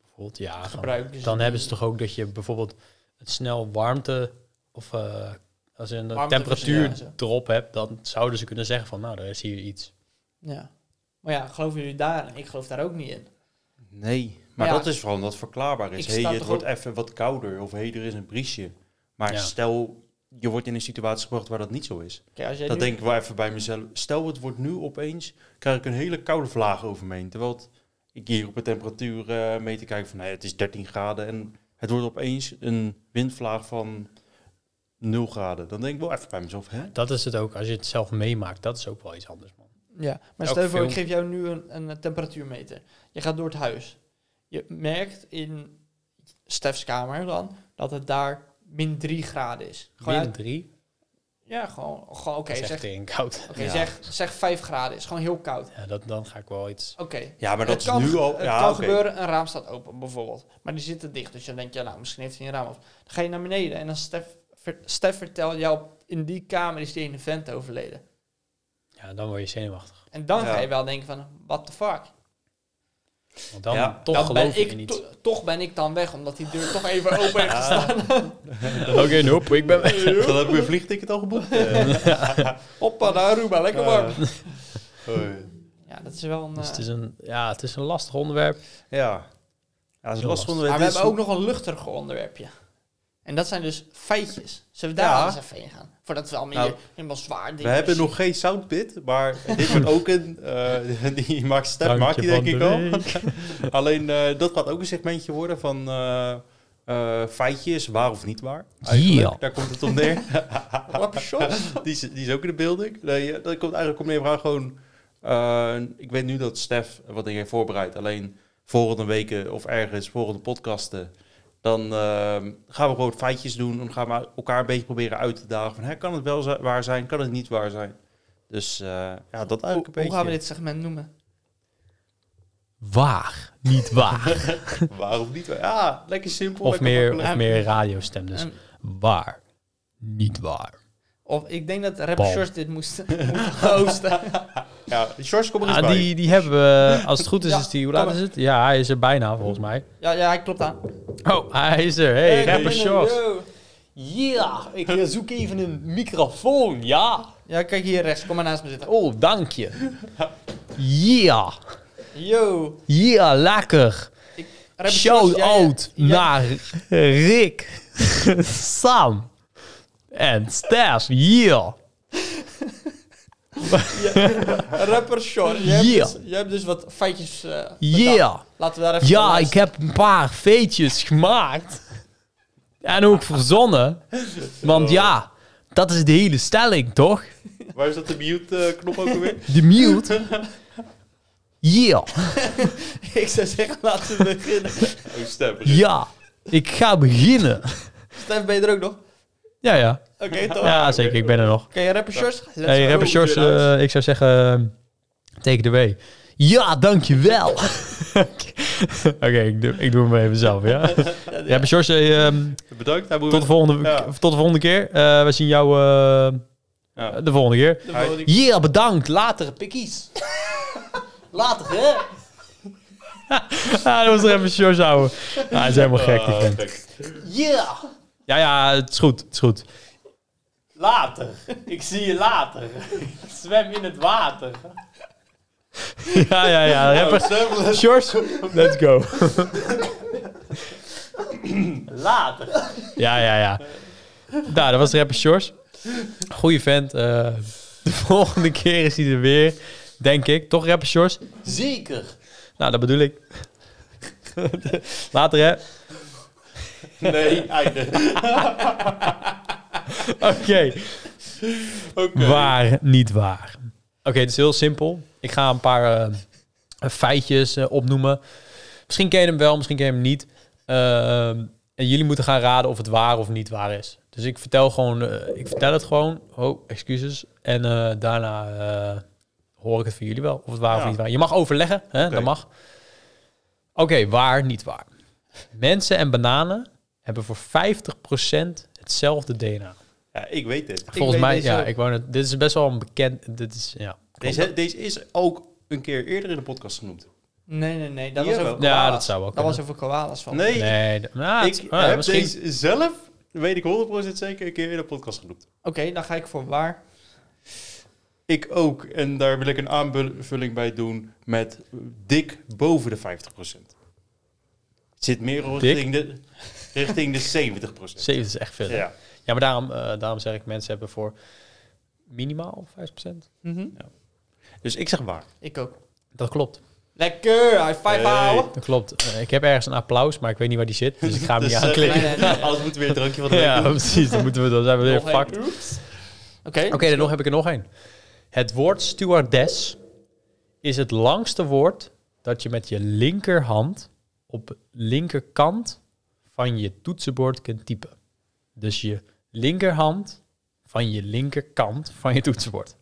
[SPEAKER 1] bijvoorbeeld ja,
[SPEAKER 3] Gebruiken ze
[SPEAKER 1] dan
[SPEAKER 3] die-
[SPEAKER 1] hebben ze toch ook dat je bijvoorbeeld het snel warmte of eh, als je een
[SPEAKER 3] Warmte
[SPEAKER 1] temperatuur
[SPEAKER 3] verschuiven.
[SPEAKER 1] erop hebt, dan zouden ze kunnen zeggen van nou, daar is hier iets.
[SPEAKER 3] Ja. Maar ja, geloven jullie daarin? Ik geloof daar ook niet in.
[SPEAKER 2] Nee, maar
[SPEAKER 3] Ja.
[SPEAKER 2] dat is vooral omdat het verklaarbaar is.
[SPEAKER 3] Ik
[SPEAKER 2] Hey,
[SPEAKER 3] sta
[SPEAKER 2] het
[SPEAKER 3] toch
[SPEAKER 2] wordt
[SPEAKER 3] ook-
[SPEAKER 2] even wat kouder of hey, er is een briesje. Maar
[SPEAKER 1] Ja.
[SPEAKER 2] stel, je wordt in een situatie gebracht waar dat niet zo is.
[SPEAKER 3] Kijk, als jij
[SPEAKER 2] Dat
[SPEAKER 3] nu-
[SPEAKER 2] denk ik wel even bij mezelf. Stel, het wordt nu opeens, krijg ik een hele koude vlaag over me heen. Terwijl het- ik hier op de temperatuur eh, mee te kijken van, nee, het is 13 graden. En het wordt opeens een windvlaag van 0 graden. Dan denk ik wel even bij mezelf, hè?
[SPEAKER 1] Dat is het ook, als je het zelf meemaakt, dat is ook wel iets anders, man.
[SPEAKER 3] Ja, maar
[SPEAKER 1] Elk
[SPEAKER 3] stel je voor, ik
[SPEAKER 1] film.
[SPEAKER 3] geef jou nu een, een eh, temperatuurmeter. Je gaat door het huis. Je merkt in Stef's kamer dan dat het daar min 3 graden is. Gewoon
[SPEAKER 1] Min
[SPEAKER 3] uit-
[SPEAKER 1] drie,
[SPEAKER 3] ja, gewoon, gewoon oké,
[SPEAKER 1] dat is echt
[SPEAKER 3] zeg,
[SPEAKER 1] tegen koud.
[SPEAKER 3] oké,
[SPEAKER 2] Ja.
[SPEAKER 3] zeg, zeg 5 graden is. Gewoon heel koud.
[SPEAKER 1] Ja, dat, dan ga ik wel iets...
[SPEAKER 3] Oké.
[SPEAKER 2] Ja, maar dat
[SPEAKER 3] Het
[SPEAKER 2] is
[SPEAKER 3] kan,
[SPEAKER 2] nu al...
[SPEAKER 3] het
[SPEAKER 2] ja,
[SPEAKER 3] kan
[SPEAKER 2] oké.
[SPEAKER 3] gebeuren, een raam staat open bijvoorbeeld. Maar die zitten dicht, dus dan denk je, nou, misschien heeft hij een raam op. Dan ga je naar beneden en dan Stef, ver, Stef vertelt jou, in die kamer is die ene vent overleden.
[SPEAKER 1] Ja, dan word je zenuwachtig.
[SPEAKER 3] En dan
[SPEAKER 2] Ja.
[SPEAKER 3] ga je wel denken van, what the fuck?
[SPEAKER 1] Want dan
[SPEAKER 2] Ja,
[SPEAKER 1] toch
[SPEAKER 3] dan
[SPEAKER 1] geloof
[SPEAKER 3] ben
[SPEAKER 1] je
[SPEAKER 3] ik
[SPEAKER 1] in iets.
[SPEAKER 3] to- toch ben ik dan weg, omdat die deur toch even open heeft gestaan.
[SPEAKER 1] Oké, nope, ik ben...
[SPEAKER 2] Dan heb ik mijn vliegticket al geboekt. Eh,
[SPEAKER 3] Hoppa, naar Aruba, lekker warm.
[SPEAKER 2] eh,
[SPEAKER 3] Ja, dat is wel een...
[SPEAKER 1] Dus
[SPEAKER 3] eh,
[SPEAKER 1] het is een, ja, het is een lastig onderwerp.
[SPEAKER 2] ja, Ja, dat is
[SPEAKER 1] Heel
[SPEAKER 2] lastig
[SPEAKER 1] lastig.
[SPEAKER 2] onderwerp.
[SPEAKER 3] Maar we
[SPEAKER 2] Dit
[SPEAKER 3] hebben
[SPEAKER 2] is-
[SPEAKER 3] ook nog een luchtiger onderwerpje. En dat zijn dus feitjes. Zullen we daar
[SPEAKER 2] Ja.
[SPEAKER 3] eens even heen gaan? Voordat we allemaal
[SPEAKER 2] Nou,
[SPEAKER 3] hier helemaal zwaar dingen
[SPEAKER 2] We hebben
[SPEAKER 3] zien.
[SPEAKER 2] nog geen soundbit, maar dit wordt ook een... eh, die maakt step, maakt die denk
[SPEAKER 1] Drankje van
[SPEAKER 2] ik al.
[SPEAKER 1] de week.
[SPEAKER 2] Alleen eh, dat gaat ook een segmentje worden van eh, eh, feitjes, waar of niet waar.
[SPEAKER 1] Ja.
[SPEAKER 2] Daar komt het om neer.
[SPEAKER 3] Wapshots.
[SPEAKER 2] die, is, die is ook in de beelding. Nee, ja, dat komt eigenlijk om neer aan gewoon... eh, ik weet nu dat Stef wat dingen heeft voorbereid. Alleen volgende weken of ergens, volgende podcasten... Dan ehm, gaan we gewoon feitjes doen. Dan gaan we elkaar een beetje proberen uit te dagen. Van, hè, kan het wel zi- waar zijn? Kan het niet waar zijn? Dus eh, ja, dat eigenlijk een
[SPEAKER 3] Hoe,
[SPEAKER 2] beetje.
[SPEAKER 3] hoe gaan we dit segment noemen?
[SPEAKER 1] Waar, niet waar.
[SPEAKER 2] Waarom niet? Ja, lekker simpel.
[SPEAKER 1] of,
[SPEAKER 2] lekker
[SPEAKER 1] meer,
[SPEAKER 2] makkelijk.
[SPEAKER 1] of meer radiostem dus.
[SPEAKER 3] En-
[SPEAKER 1] Waar, niet waar.
[SPEAKER 3] Ehm, of ik denk dat Rap
[SPEAKER 1] Bal.
[SPEAKER 3] Shorts dit moesten moeten hosten.
[SPEAKER 2] Ja, George, Dus kom er eens
[SPEAKER 1] Ah,
[SPEAKER 2] bij.
[SPEAKER 1] die, die hebben we, als het goed is,
[SPEAKER 3] Ja,
[SPEAKER 1] is die, hoe
[SPEAKER 3] kom
[SPEAKER 1] laat is het? Ja, hij is er bijna volgens mij.
[SPEAKER 3] ja, ja, hij klopt aan.
[SPEAKER 1] Oh, hij is er. Hey, rapper Shorts.
[SPEAKER 5] Ja, ik eh, zoek even een microfoon, ja.
[SPEAKER 3] Ja, kijk hier rechts. Kom maar naast me zitten.
[SPEAKER 1] Oh, dank je. Ja,
[SPEAKER 3] Yo.
[SPEAKER 1] ja, lekker.
[SPEAKER 3] Rap Shorts,
[SPEAKER 1] Shout
[SPEAKER 3] jij-
[SPEAKER 1] out
[SPEAKER 3] jij-
[SPEAKER 1] naar Rick, Sam en Stef. Yeah.
[SPEAKER 3] Rapper Shorts. Jij, hebt
[SPEAKER 1] Yeah.
[SPEAKER 3] dus- jij hebt dus wat feitjes. eh, bedacht.
[SPEAKER 1] Yeah.
[SPEAKER 3] Laten we daar even naar
[SPEAKER 1] Ja, ik
[SPEAKER 3] luisteren.
[SPEAKER 1] heb een paar feetjes gemaakt. En ook verzonnen. Want ja, dat is de hele stelling, toch?
[SPEAKER 2] Waar is dat de mute-knop ook alweer?
[SPEAKER 1] De mute. Yeah.
[SPEAKER 3] ik zou zeggen, laten we beginnen.
[SPEAKER 2] Oh, stem.
[SPEAKER 1] Ja, ik ga beginnen.
[SPEAKER 3] Stef, ben je er ook nog? Oké,
[SPEAKER 1] Ja, ja.
[SPEAKER 3] toch?
[SPEAKER 1] Ja, zeker. Ik ben er nog.
[SPEAKER 3] Oké, Rapper Shorts. Let's
[SPEAKER 1] Hey,
[SPEAKER 3] go.
[SPEAKER 1] rapper Shorts, eh, ik zou zeggen, eh, take it away. Ja, dankjewel. Oké, ik, doe, ik doe hem even zelf, ja. Rapper Shorts, eh, ehm,
[SPEAKER 2] Bedankt. Hij moet
[SPEAKER 1] tot, de volgende,
[SPEAKER 2] Ja.
[SPEAKER 1] tot de volgende keer. Eh, we zien jou eh,
[SPEAKER 2] Ja.
[SPEAKER 1] de volgende keer.
[SPEAKER 3] De volgende
[SPEAKER 1] Ja, bedankt. Later,
[SPEAKER 5] Pikkies. Later, hè.
[SPEAKER 1] Ah, dat was er even George houden. Ah, hij is helemaal gek, die vent.
[SPEAKER 5] Ja,
[SPEAKER 1] Ja, ja, het is goed. Het is goed.
[SPEAKER 5] later. Ik zie je later. Ik zwem in het water.
[SPEAKER 1] Ja, ja, ja. Rapper George, let's go.
[SPEAKER 5] Later.
[SPEAKER 1] Ja, ja, ja. Nou, dat was rapper George. Goeie vent. eh, de volgende keer is hij er weer. Denk ik. Toch rapper George?
[SPEAKER 5] Zeker.
[SPEAKER 1] Nou, dat bedoel ik. Later, hè?
[SPEAKER 2] Nee, einde.
[SPEAKER 1] Oké. Waar, niet waar. Oké, het is heel simpel. Ik ga een paar eh, feitjes eh, opnoemen. Misschien ken je hem wel, misschien ken je hem niet. Ehm, en jullie moeten gaan raden of het waar of niet waar is. Dus ik vertel gewoon, eh, ik vertel het gewoon. Oh, excuses. En eh, daarna eh, hoor ik het van jullie wel. Of het waar
[SPEAKER 2] Ja.
[SPEAKER 1] of niet waar. Je mag overleggen, hè?
[SPEAKER 2] Oké.
[SPEAKER 1] dat mag. Oké, waar, niet waar. Mensen en bananen hebben voor 50% hetzelfde DNA.
[SPEAKER 2] Ja, ik weet dit.
[SPEAKER 1] Volgens
[SPEAKER 3] weet
[SPEAKER 1] mij,
[SPEAKER 3] deze
[SPEAKER 1] ja,
[SPEAKER 3] ook.
[SPEAKER 1] ik wou net, dit is best wel een bekend, dit is, ja.
[SPEAKER 2] Deze, deze is ook een keer eerder in de podcast genoemd.
[SPEAKER 3] Nee, nee, nee. Dat
[SPEAKER 2] Hier
[SPEAKER 3] was over
[SPEAKER 2] wel.
[SPEAKER 3] koalas.
[SPEAKER 1] Ja, dat zou wel
[SPEAKER 3] Dat
[SPEAKER 1] kunnen.
[SPEAKER 3] was over koalas van.
[SPEAKER 2] Nee,
[SPEAKER 1] Nee, d- nou,
[SPEAKER 2] ik
[SPEAKER 1] het- ah,
[SPEAKER 2] heb
[SPEAKER 1] misschien,
[SPEAKER 2] deze zelf, weet ik 100% zeker, een keer in de podcast genoemd.
[SPEAKER 3] Oké, dan ga ik voor waar.
[SPEAKER 2] Ik ook. En daar wil ik een aanvulling bij doen met dik boven de 50%. Het zit meer richting de, richting de 70%.
[SPEAKER 1] 7 is echt veel. hè? Ja,
[SPEAKER 2] Ja.
[SPEAKER 1] maar daarom, eh, daarom zeg ik, mensen hebben voor minimaal 5%.
[SPEAKER 3] Mhm.
[SPEAKER 2] Dus ik zeg waar.
[SPEAKER 3] Ik ook.
[SPEAKER 1] Dat klopt.
[SPEAKER 3] Lekker, high five
[SPEAKER 2] Hey.
[SPEAKER 3] houden.
[SPEAKER 1] Dat klopt. Eh, ik heb ergens een applaus, maar ik weet niet waar die zit, dus ik ga hem
[SPEAKER 2] Dus,
[SPEAKER 1] niet
[SPEAKER 2] eh,
[SPEAKER 1] aanklikken.
[SPEAKER 3] Nee, nee, nee.
[SPEAKER 2] Alles moet weer een drankje van de week
[SPEAKER 1] Ja,
[SPEAKER 2] doen.
[SPEAKER 1] precies. Dan moeten we, dan zijn we weer
[SPEAKER 2] Nog één.
[SPEAKER 1] fucked.
[SPEAKER 3] Oké,
[SPEAKER 1] Oké, dan nog heb ik er nog één. Het woord stewardess is het langste woord dat je met je linkerhand op linkerkant van je toetsenbord kunt typen. Dus je linkerhand van je linkerkant van je toetsenbord.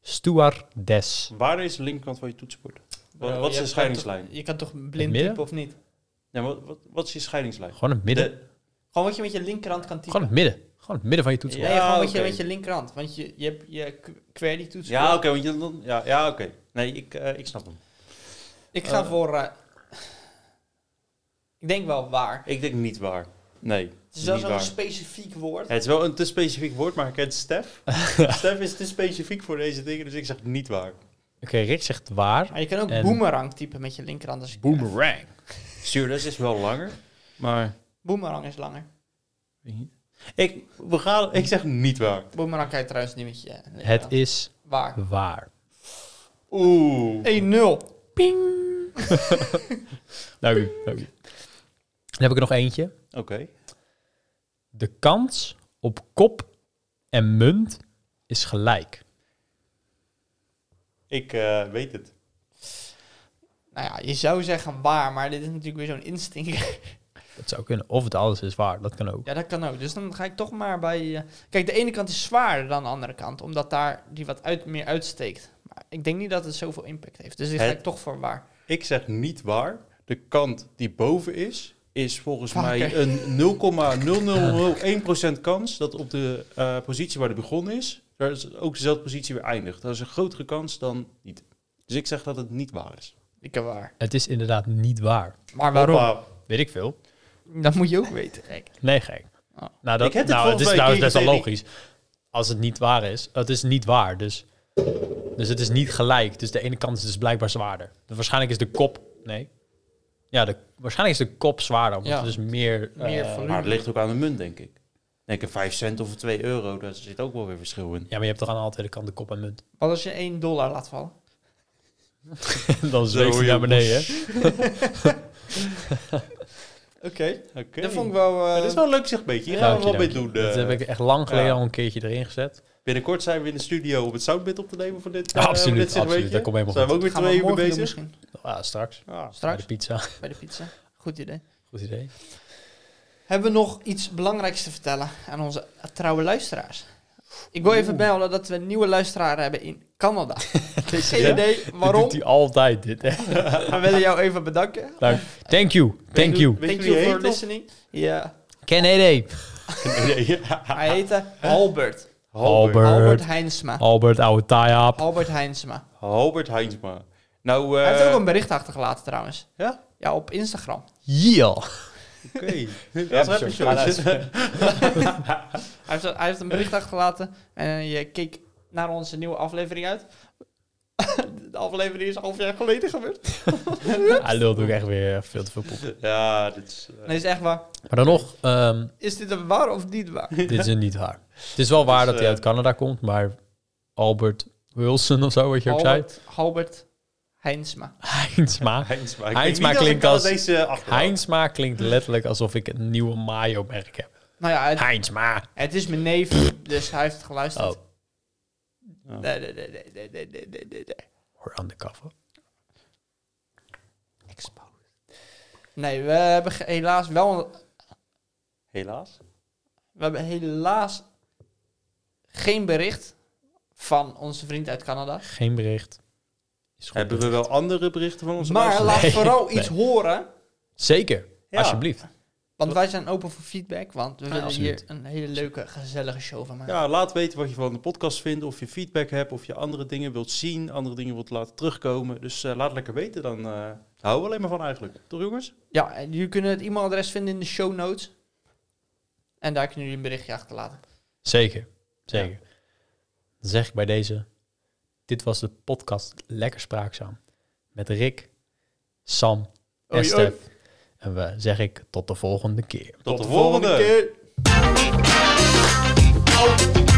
[SPEAKER 1] Stewardess.
[SPEAKER 2] Waar is de linkerkant van je toetsenbord? Wat,
[SPEAKER 3] Bro,
[SPEAKER 2] wat
[SPEAKER 3] je
[SPEAKER 2] is de
[SPEAKER 3] hebt-
[SPEAKER 2] scheidingslijn?
[SPEAKER 3] Je kan toch
[SPEAKER 1] Het
[SPEAKER 3] blind
[SPEAKER 1] midden?
[SPEAKER 3] typen of niet?
[SPEAKER 2] Ja, wat, wat, wat is je scheidingslijn?
[SPEAKER 1] Gewoon het midden.
[SPEAKER 2] De-
[SPEAKER 3] Gewoon wat je met je linkerhand kan typen.
[SPEAKER 1] Gewoon het midden. Gewoon het midden van je toetsenbord.
[SPEAKER 3] Nee, gewoon wat
[SPEAKER 2] oké.
[SPEAKER 3] je met je linkerhand. Want je, je hebt je qu- query toets.
[SPEAKER 2] ja, oké, want je dan... Ja, ja oké. Nee, ik, eh, ik snap hem.
[SPEAKER 3] Ik ga
[SPEAKER 2] Eh.
[SPEAKER 3] voor... eh, ik denk wel waar.
[SPEAKER 2] Ik denk niet waar. Nee,
[SPEAKER 3] Het is
[SPEAKER 2] niet
[SPEAKER 3] wel zo'n
[SPEAKER 2] waar.
[SPEAKER 3] specifiek woord.
[SPEAKER 2] Ja, het is wel een te specifiek woord, maar ik ken Stef. Stef is te specifiek voor deze dingen, dus ik zeg niet waar.
[SPEAKER 1] Oké, Rick zegt waar.
[SPEAKER 3] Maar je kan ook
[SPEAKER 1] En-
[SPEAKER 3] boomerang typen met je linkerhand. Dus
[SPEAKER 1] Boomerang.
[SPEAKER 2] Stewardess is wel langer, maar...
[SPEAKER 3] Boomerang is langer.
[SPEAKER 2] weet niet. Ik, we gaan, ik zeg niet waar.
[SPEAKER 3] Boomerang kijkt trouwens niet met je. nee,
[SPEAKER 1] Het
[SPEAKER 3] ja.
[SPEAKER 1] is
[SPEAKER 3] Waar? 1-0.
[SPEAKER 1] waar.
[SPEAKER 2] Oeh.
[SPEAKER 1] Dank Nou, u, dank u. Dan heb ik er nog eentje.
[SPEAKER 2] Oké.
[SPEAKER 1] De kans op kop en munt is gelijk.
[SPEAKER 2] Ik eh, weet het.
[SPEAKER 3] Nou ja, je zou zeggen waar, maar dit is natuurlijk weer zo'n instinker.
[SPEAKER 1] Dat zou kunnen. Of het alles is waar, dat kan ook.
[SPEAKER 3] ja, dat kan ook. Dus dan ga ik toch maar bij... eh, Kijk, de ene kant is zwaarder dan de andere kant, omdat daar die wat uit, meer uitsteekt. Maar ik denk niet dat het zoveel impact heeft. Dus ik ga
[SPEAKER 2] Het-
[SPEAKER 3] ik toch voor waar.
[SPEAKER 2] Ik zeg niet waar. De kant die boven is, is volgens
[SPEAKER 3] Fuck,
[SPEAKER 2] mij
[SPEAKER 3] hè?
[SPEAKER 2] een 0,0001% kans dat op de eh, positie waar de begonnen is, daar is ook dezelfde positie weer eindigt. Dat is een grotere kans dan niet. Dus ik zeg dat het niet waar is.
[SPEAKER 3] Ik heb waar.
[SPEAKER 1] Het is inderdaad niet waar.
[SPEAKER 3] Maar waarom?
[SPEAKER 2] Hoppa.
[SPEAKER 1] Weet ik veel.
[SPEAKER 3] Dat moet je ook weten. Kijk.
[SPEAKER 1] Nee, gek.
[SPEAKER 3] Oh.
[SPEAKER 1] Nou, dat,
[SPEAKER 2] Ik heb dit
[SPEAKER 1] nou het
[SPEAKER 2] volgens
[SPEAKER 1] is
[SPEAKER 2] mij
[SPEAKER 1] trouwens
[SPEAKER 2] een
[SPEAKER 1] best wel
[SPEAKER 2] keer
[SPEAKER 1] logisch. Als het niet waar is. Het is niet waar, dus... Dus het is niet gelijk. Dus de ene kant is dus blijkbaar zwaarder. Dus waarschijnlijk is de kop... Nee. Ja, de, waarschijnlijk is de kop zwaarder. Omdat
[SPEAKER 3] Ja.
[SPEAKER 1] er dus meer...
[SPEAKER 3] Meer
[SPEAKER 1] eh,
[SPEAKER 3] volume.
[SPEAKER 2] Maar het ligt ook aan de munt, denk ik. Denk ik 5 cent of 2 euro, daar zit ook wel weer verschil in.
[SPEAKER 1] ja, maar je hebt toch aan altijd de kant de kop en munt.
[SPEAKER 3] Wat als je 1 dollar laat vallen?
[SPEAKER 1] Dan zweeft hij
[SPEAKER 2] joh.
[SPEAKER 1] naar beneden, hè?
[SPEAKER 3] Oké.
[SPEAKER 2] Oké.
[SPEAKER 3] Dat vond ik wel... eh,
[SPEAKER 2] Dat is wel een leuk zegbeetje. Hier gaan
[SPEAKER 1] Dank
[SPEAKER 2] we
[SPEAKER 1] je,
[SPEAKER 2] wel mee
[SPEAKER 1] dank
[SPEAKER 2] doen.
[SPEAKER 1] je. Dat
[SPEAKER 2] eh.
[SPEAKER 1] heb ik echt lang geleden
[SPEAKER 2] ja.
[SPEAKER 1] al een keertje erin gezet.
[SPEAKER 2] Binnenkort zijn we in de studio om het soundbit op te nemen voor dit.
[SPEAKER 1] Ja,
[SPEAKER 2] eh,
[SPEAKER 1] absoluut,
[SPEAKER 2] voor dit
[SPEAKER 1] absoluut.
[SPEAKER 2] segmentje.
[SPEAKER 1] Dat komt helemaal
[SPEAKER 2] Zijn we ook weer
[SPEAKER 3] gaan we
[SPEAKER 2] twee uur mee
[SPEAKER 3] morgen doen
[SPEAKER 2] bezig?
[SPEAKER 3] misschien.
[SPEAKER 1] Ja, straks.
[SPEAKER 2] Ah,
[SPEAKER 1] Bij de
[SPEAKER 3] Straks
[SPEAKER 1] pizza.
[SPEAKER 3] bij de pizza. Goed idee.
[SPEAKER 1] Goed idee.
[SPEAKER 3] Hebben we nog iets belangrijks te vertellen aan onze trouwe luisteraars? Ik wil even melden dat we een nieuwe luisteraar hebben in Canada. Geen idee waarom,
[SPEAKER 1] Dit doet hij altijd, dit. hè.
[SPEAKER 3] maar we willen jou even bedanken.
[SPEAKER 1] Dank- Thank you, thank you.
[SPEAKER 2] Weet je
[SPEAKER 3] Thank
[SPEAKER 2] wie hij
[SPEAKER 3] you for
[SPEAKER 2] heet, of?
[SPEAKER 3] listening. Ja,
[SPEAKER 1] Canada.
[SPEAKER 2] Nee, ja.
[SPEAKER 3] hij heette Albert.
[SPEAKER 1] Albert.
[SPEAKER 3] Albert Heinsma.
[SPEAKER 1] Albert, ouwe taaiaap.
[SPEAKER 3] Albert Heinsma.
[SPEAKER 2] Albert Heinsma. Nou, eh
[SPEAKER 3] Hij heeft ook een bericht achtergelaten trouwens.
[SPEAKER 2] Ja?
[SPEAKER 3] Ja, op Instagram.
[SPEAKER 1] Yeah.
[SPEAKER 2] Oké. Ja, dat heb je
[SPEAKER 5] Ja, dat
[SPEAKER 2] zo.
[SPEAKER 3] Hij heeft, hij heeft een bericht achtergelaten en je keek naar onze nieuwe aflevering uit. De aflevering is een half jaar geleden gebeurd.
[SPEAKER 1] Hij lult ook echt weer veel te veel poep.
[SPEAKER 2] Ja, dit is... eh,
[SPEAKER 3] Nee, is echt waar.
[SPEAKER 1] Maar dan nog, ehm,
[SPEAKER 3] Is dit een waar of niet waar?
[SPEAKER 1] dit is een niet waar. Het is wel waar
[SPEAKER 2] Dus,
[SPEAKER 1] dat hij
[SPEAKER 2] eh,
[SPEAKER 1] uit Canada komt, maar Albert Wilson of zo, wat je ook zei.
[SPEAKER 3] Albert, Albert Heinsma.
[SPEAKER 1] Heinsma.
[SPEAKER 2] Heinsma. Ik
[SPEAKER 1] Heinsma
[SPEAKER 2] denk niet
[SPEAKER 1] klinkt
[SPEAKER 2] dat ik
[SPEAKER 1] als-
[SPEAKER 2] aan Deze achterhoud.
[SPEAKER 1] Heinsma klinkt letterlijk alsof ik een nieuwe mayo-merk heb.
[SPEAKER 3] Nou ja, het,
[SPEAKER 1] Heinsma.
[SPEAKER 3] het is mijn neef, dus hij heeft geluisterd.
[SPEAKER 1] Oh.
[SPEAKER 2] Oh.
[SPEAKER 3] Nee, nee, nee, nee, nee, nee, nee, nee, nee, nee.
[SPEAKER 1] We're undercover.
[SPEAKER 3] Nee, we hebben ge- helaas wel... een-
[SPEAKER 2] Helaas.
[SPEAKER 3] We hebben helaas geen bericht van onze vriend uit Canada.
[SPEAKER 1] Geen bericht. Is goed.
[SPEAKER 2] Hebben we wel andere berichten van onze
[SPEAKER 3] Maar
[SPEAKER 2] luisteraars?
[SPEAKER 3] laat vooral
[SPEAKER 1] nee.
[SPEAKER 3] iets horen.
[SPEAKER 1] Zeker,
[SPEAKER 2] Ja.
[SPEAKER 1] alsjeblieft.
[SPEAKER 3] Want wij zijn open voor feedback. Want we willen
[SPEAKER 1] absoluut.
[SPEAKER 3] hier een hele leuke, gezellige show van maken.
[SPEAKER 2] Ja, laat weten wat je van de podcast vindt. Of je feedback hebt. Of je andere dingen wilt zien. Andere dingen wilt laten terugkomen. Dus eh, laat lekker weten. Dan eh, daar houden we alleen maar van eigenlijk. Toch jongens?
[SPEAKER 3] Ja, en jullie kunnen het e-mailadres vinden in de show notes. En daar kunnen jullie een berichtje achterlaten.
[SPEAKER 1] Zeker, zeker. Dan zeg ik bij deze, dit was de podcast Lekker Spraakzaam. Met Rick, Sam en
[SPEAKER 3] Oei, oei.
[SPEAKER 1] Stef. En we zeg ik tot de volgende keer.
[SPEAKER 2] Tot, de volgende.
[SPEAKER 3] keer.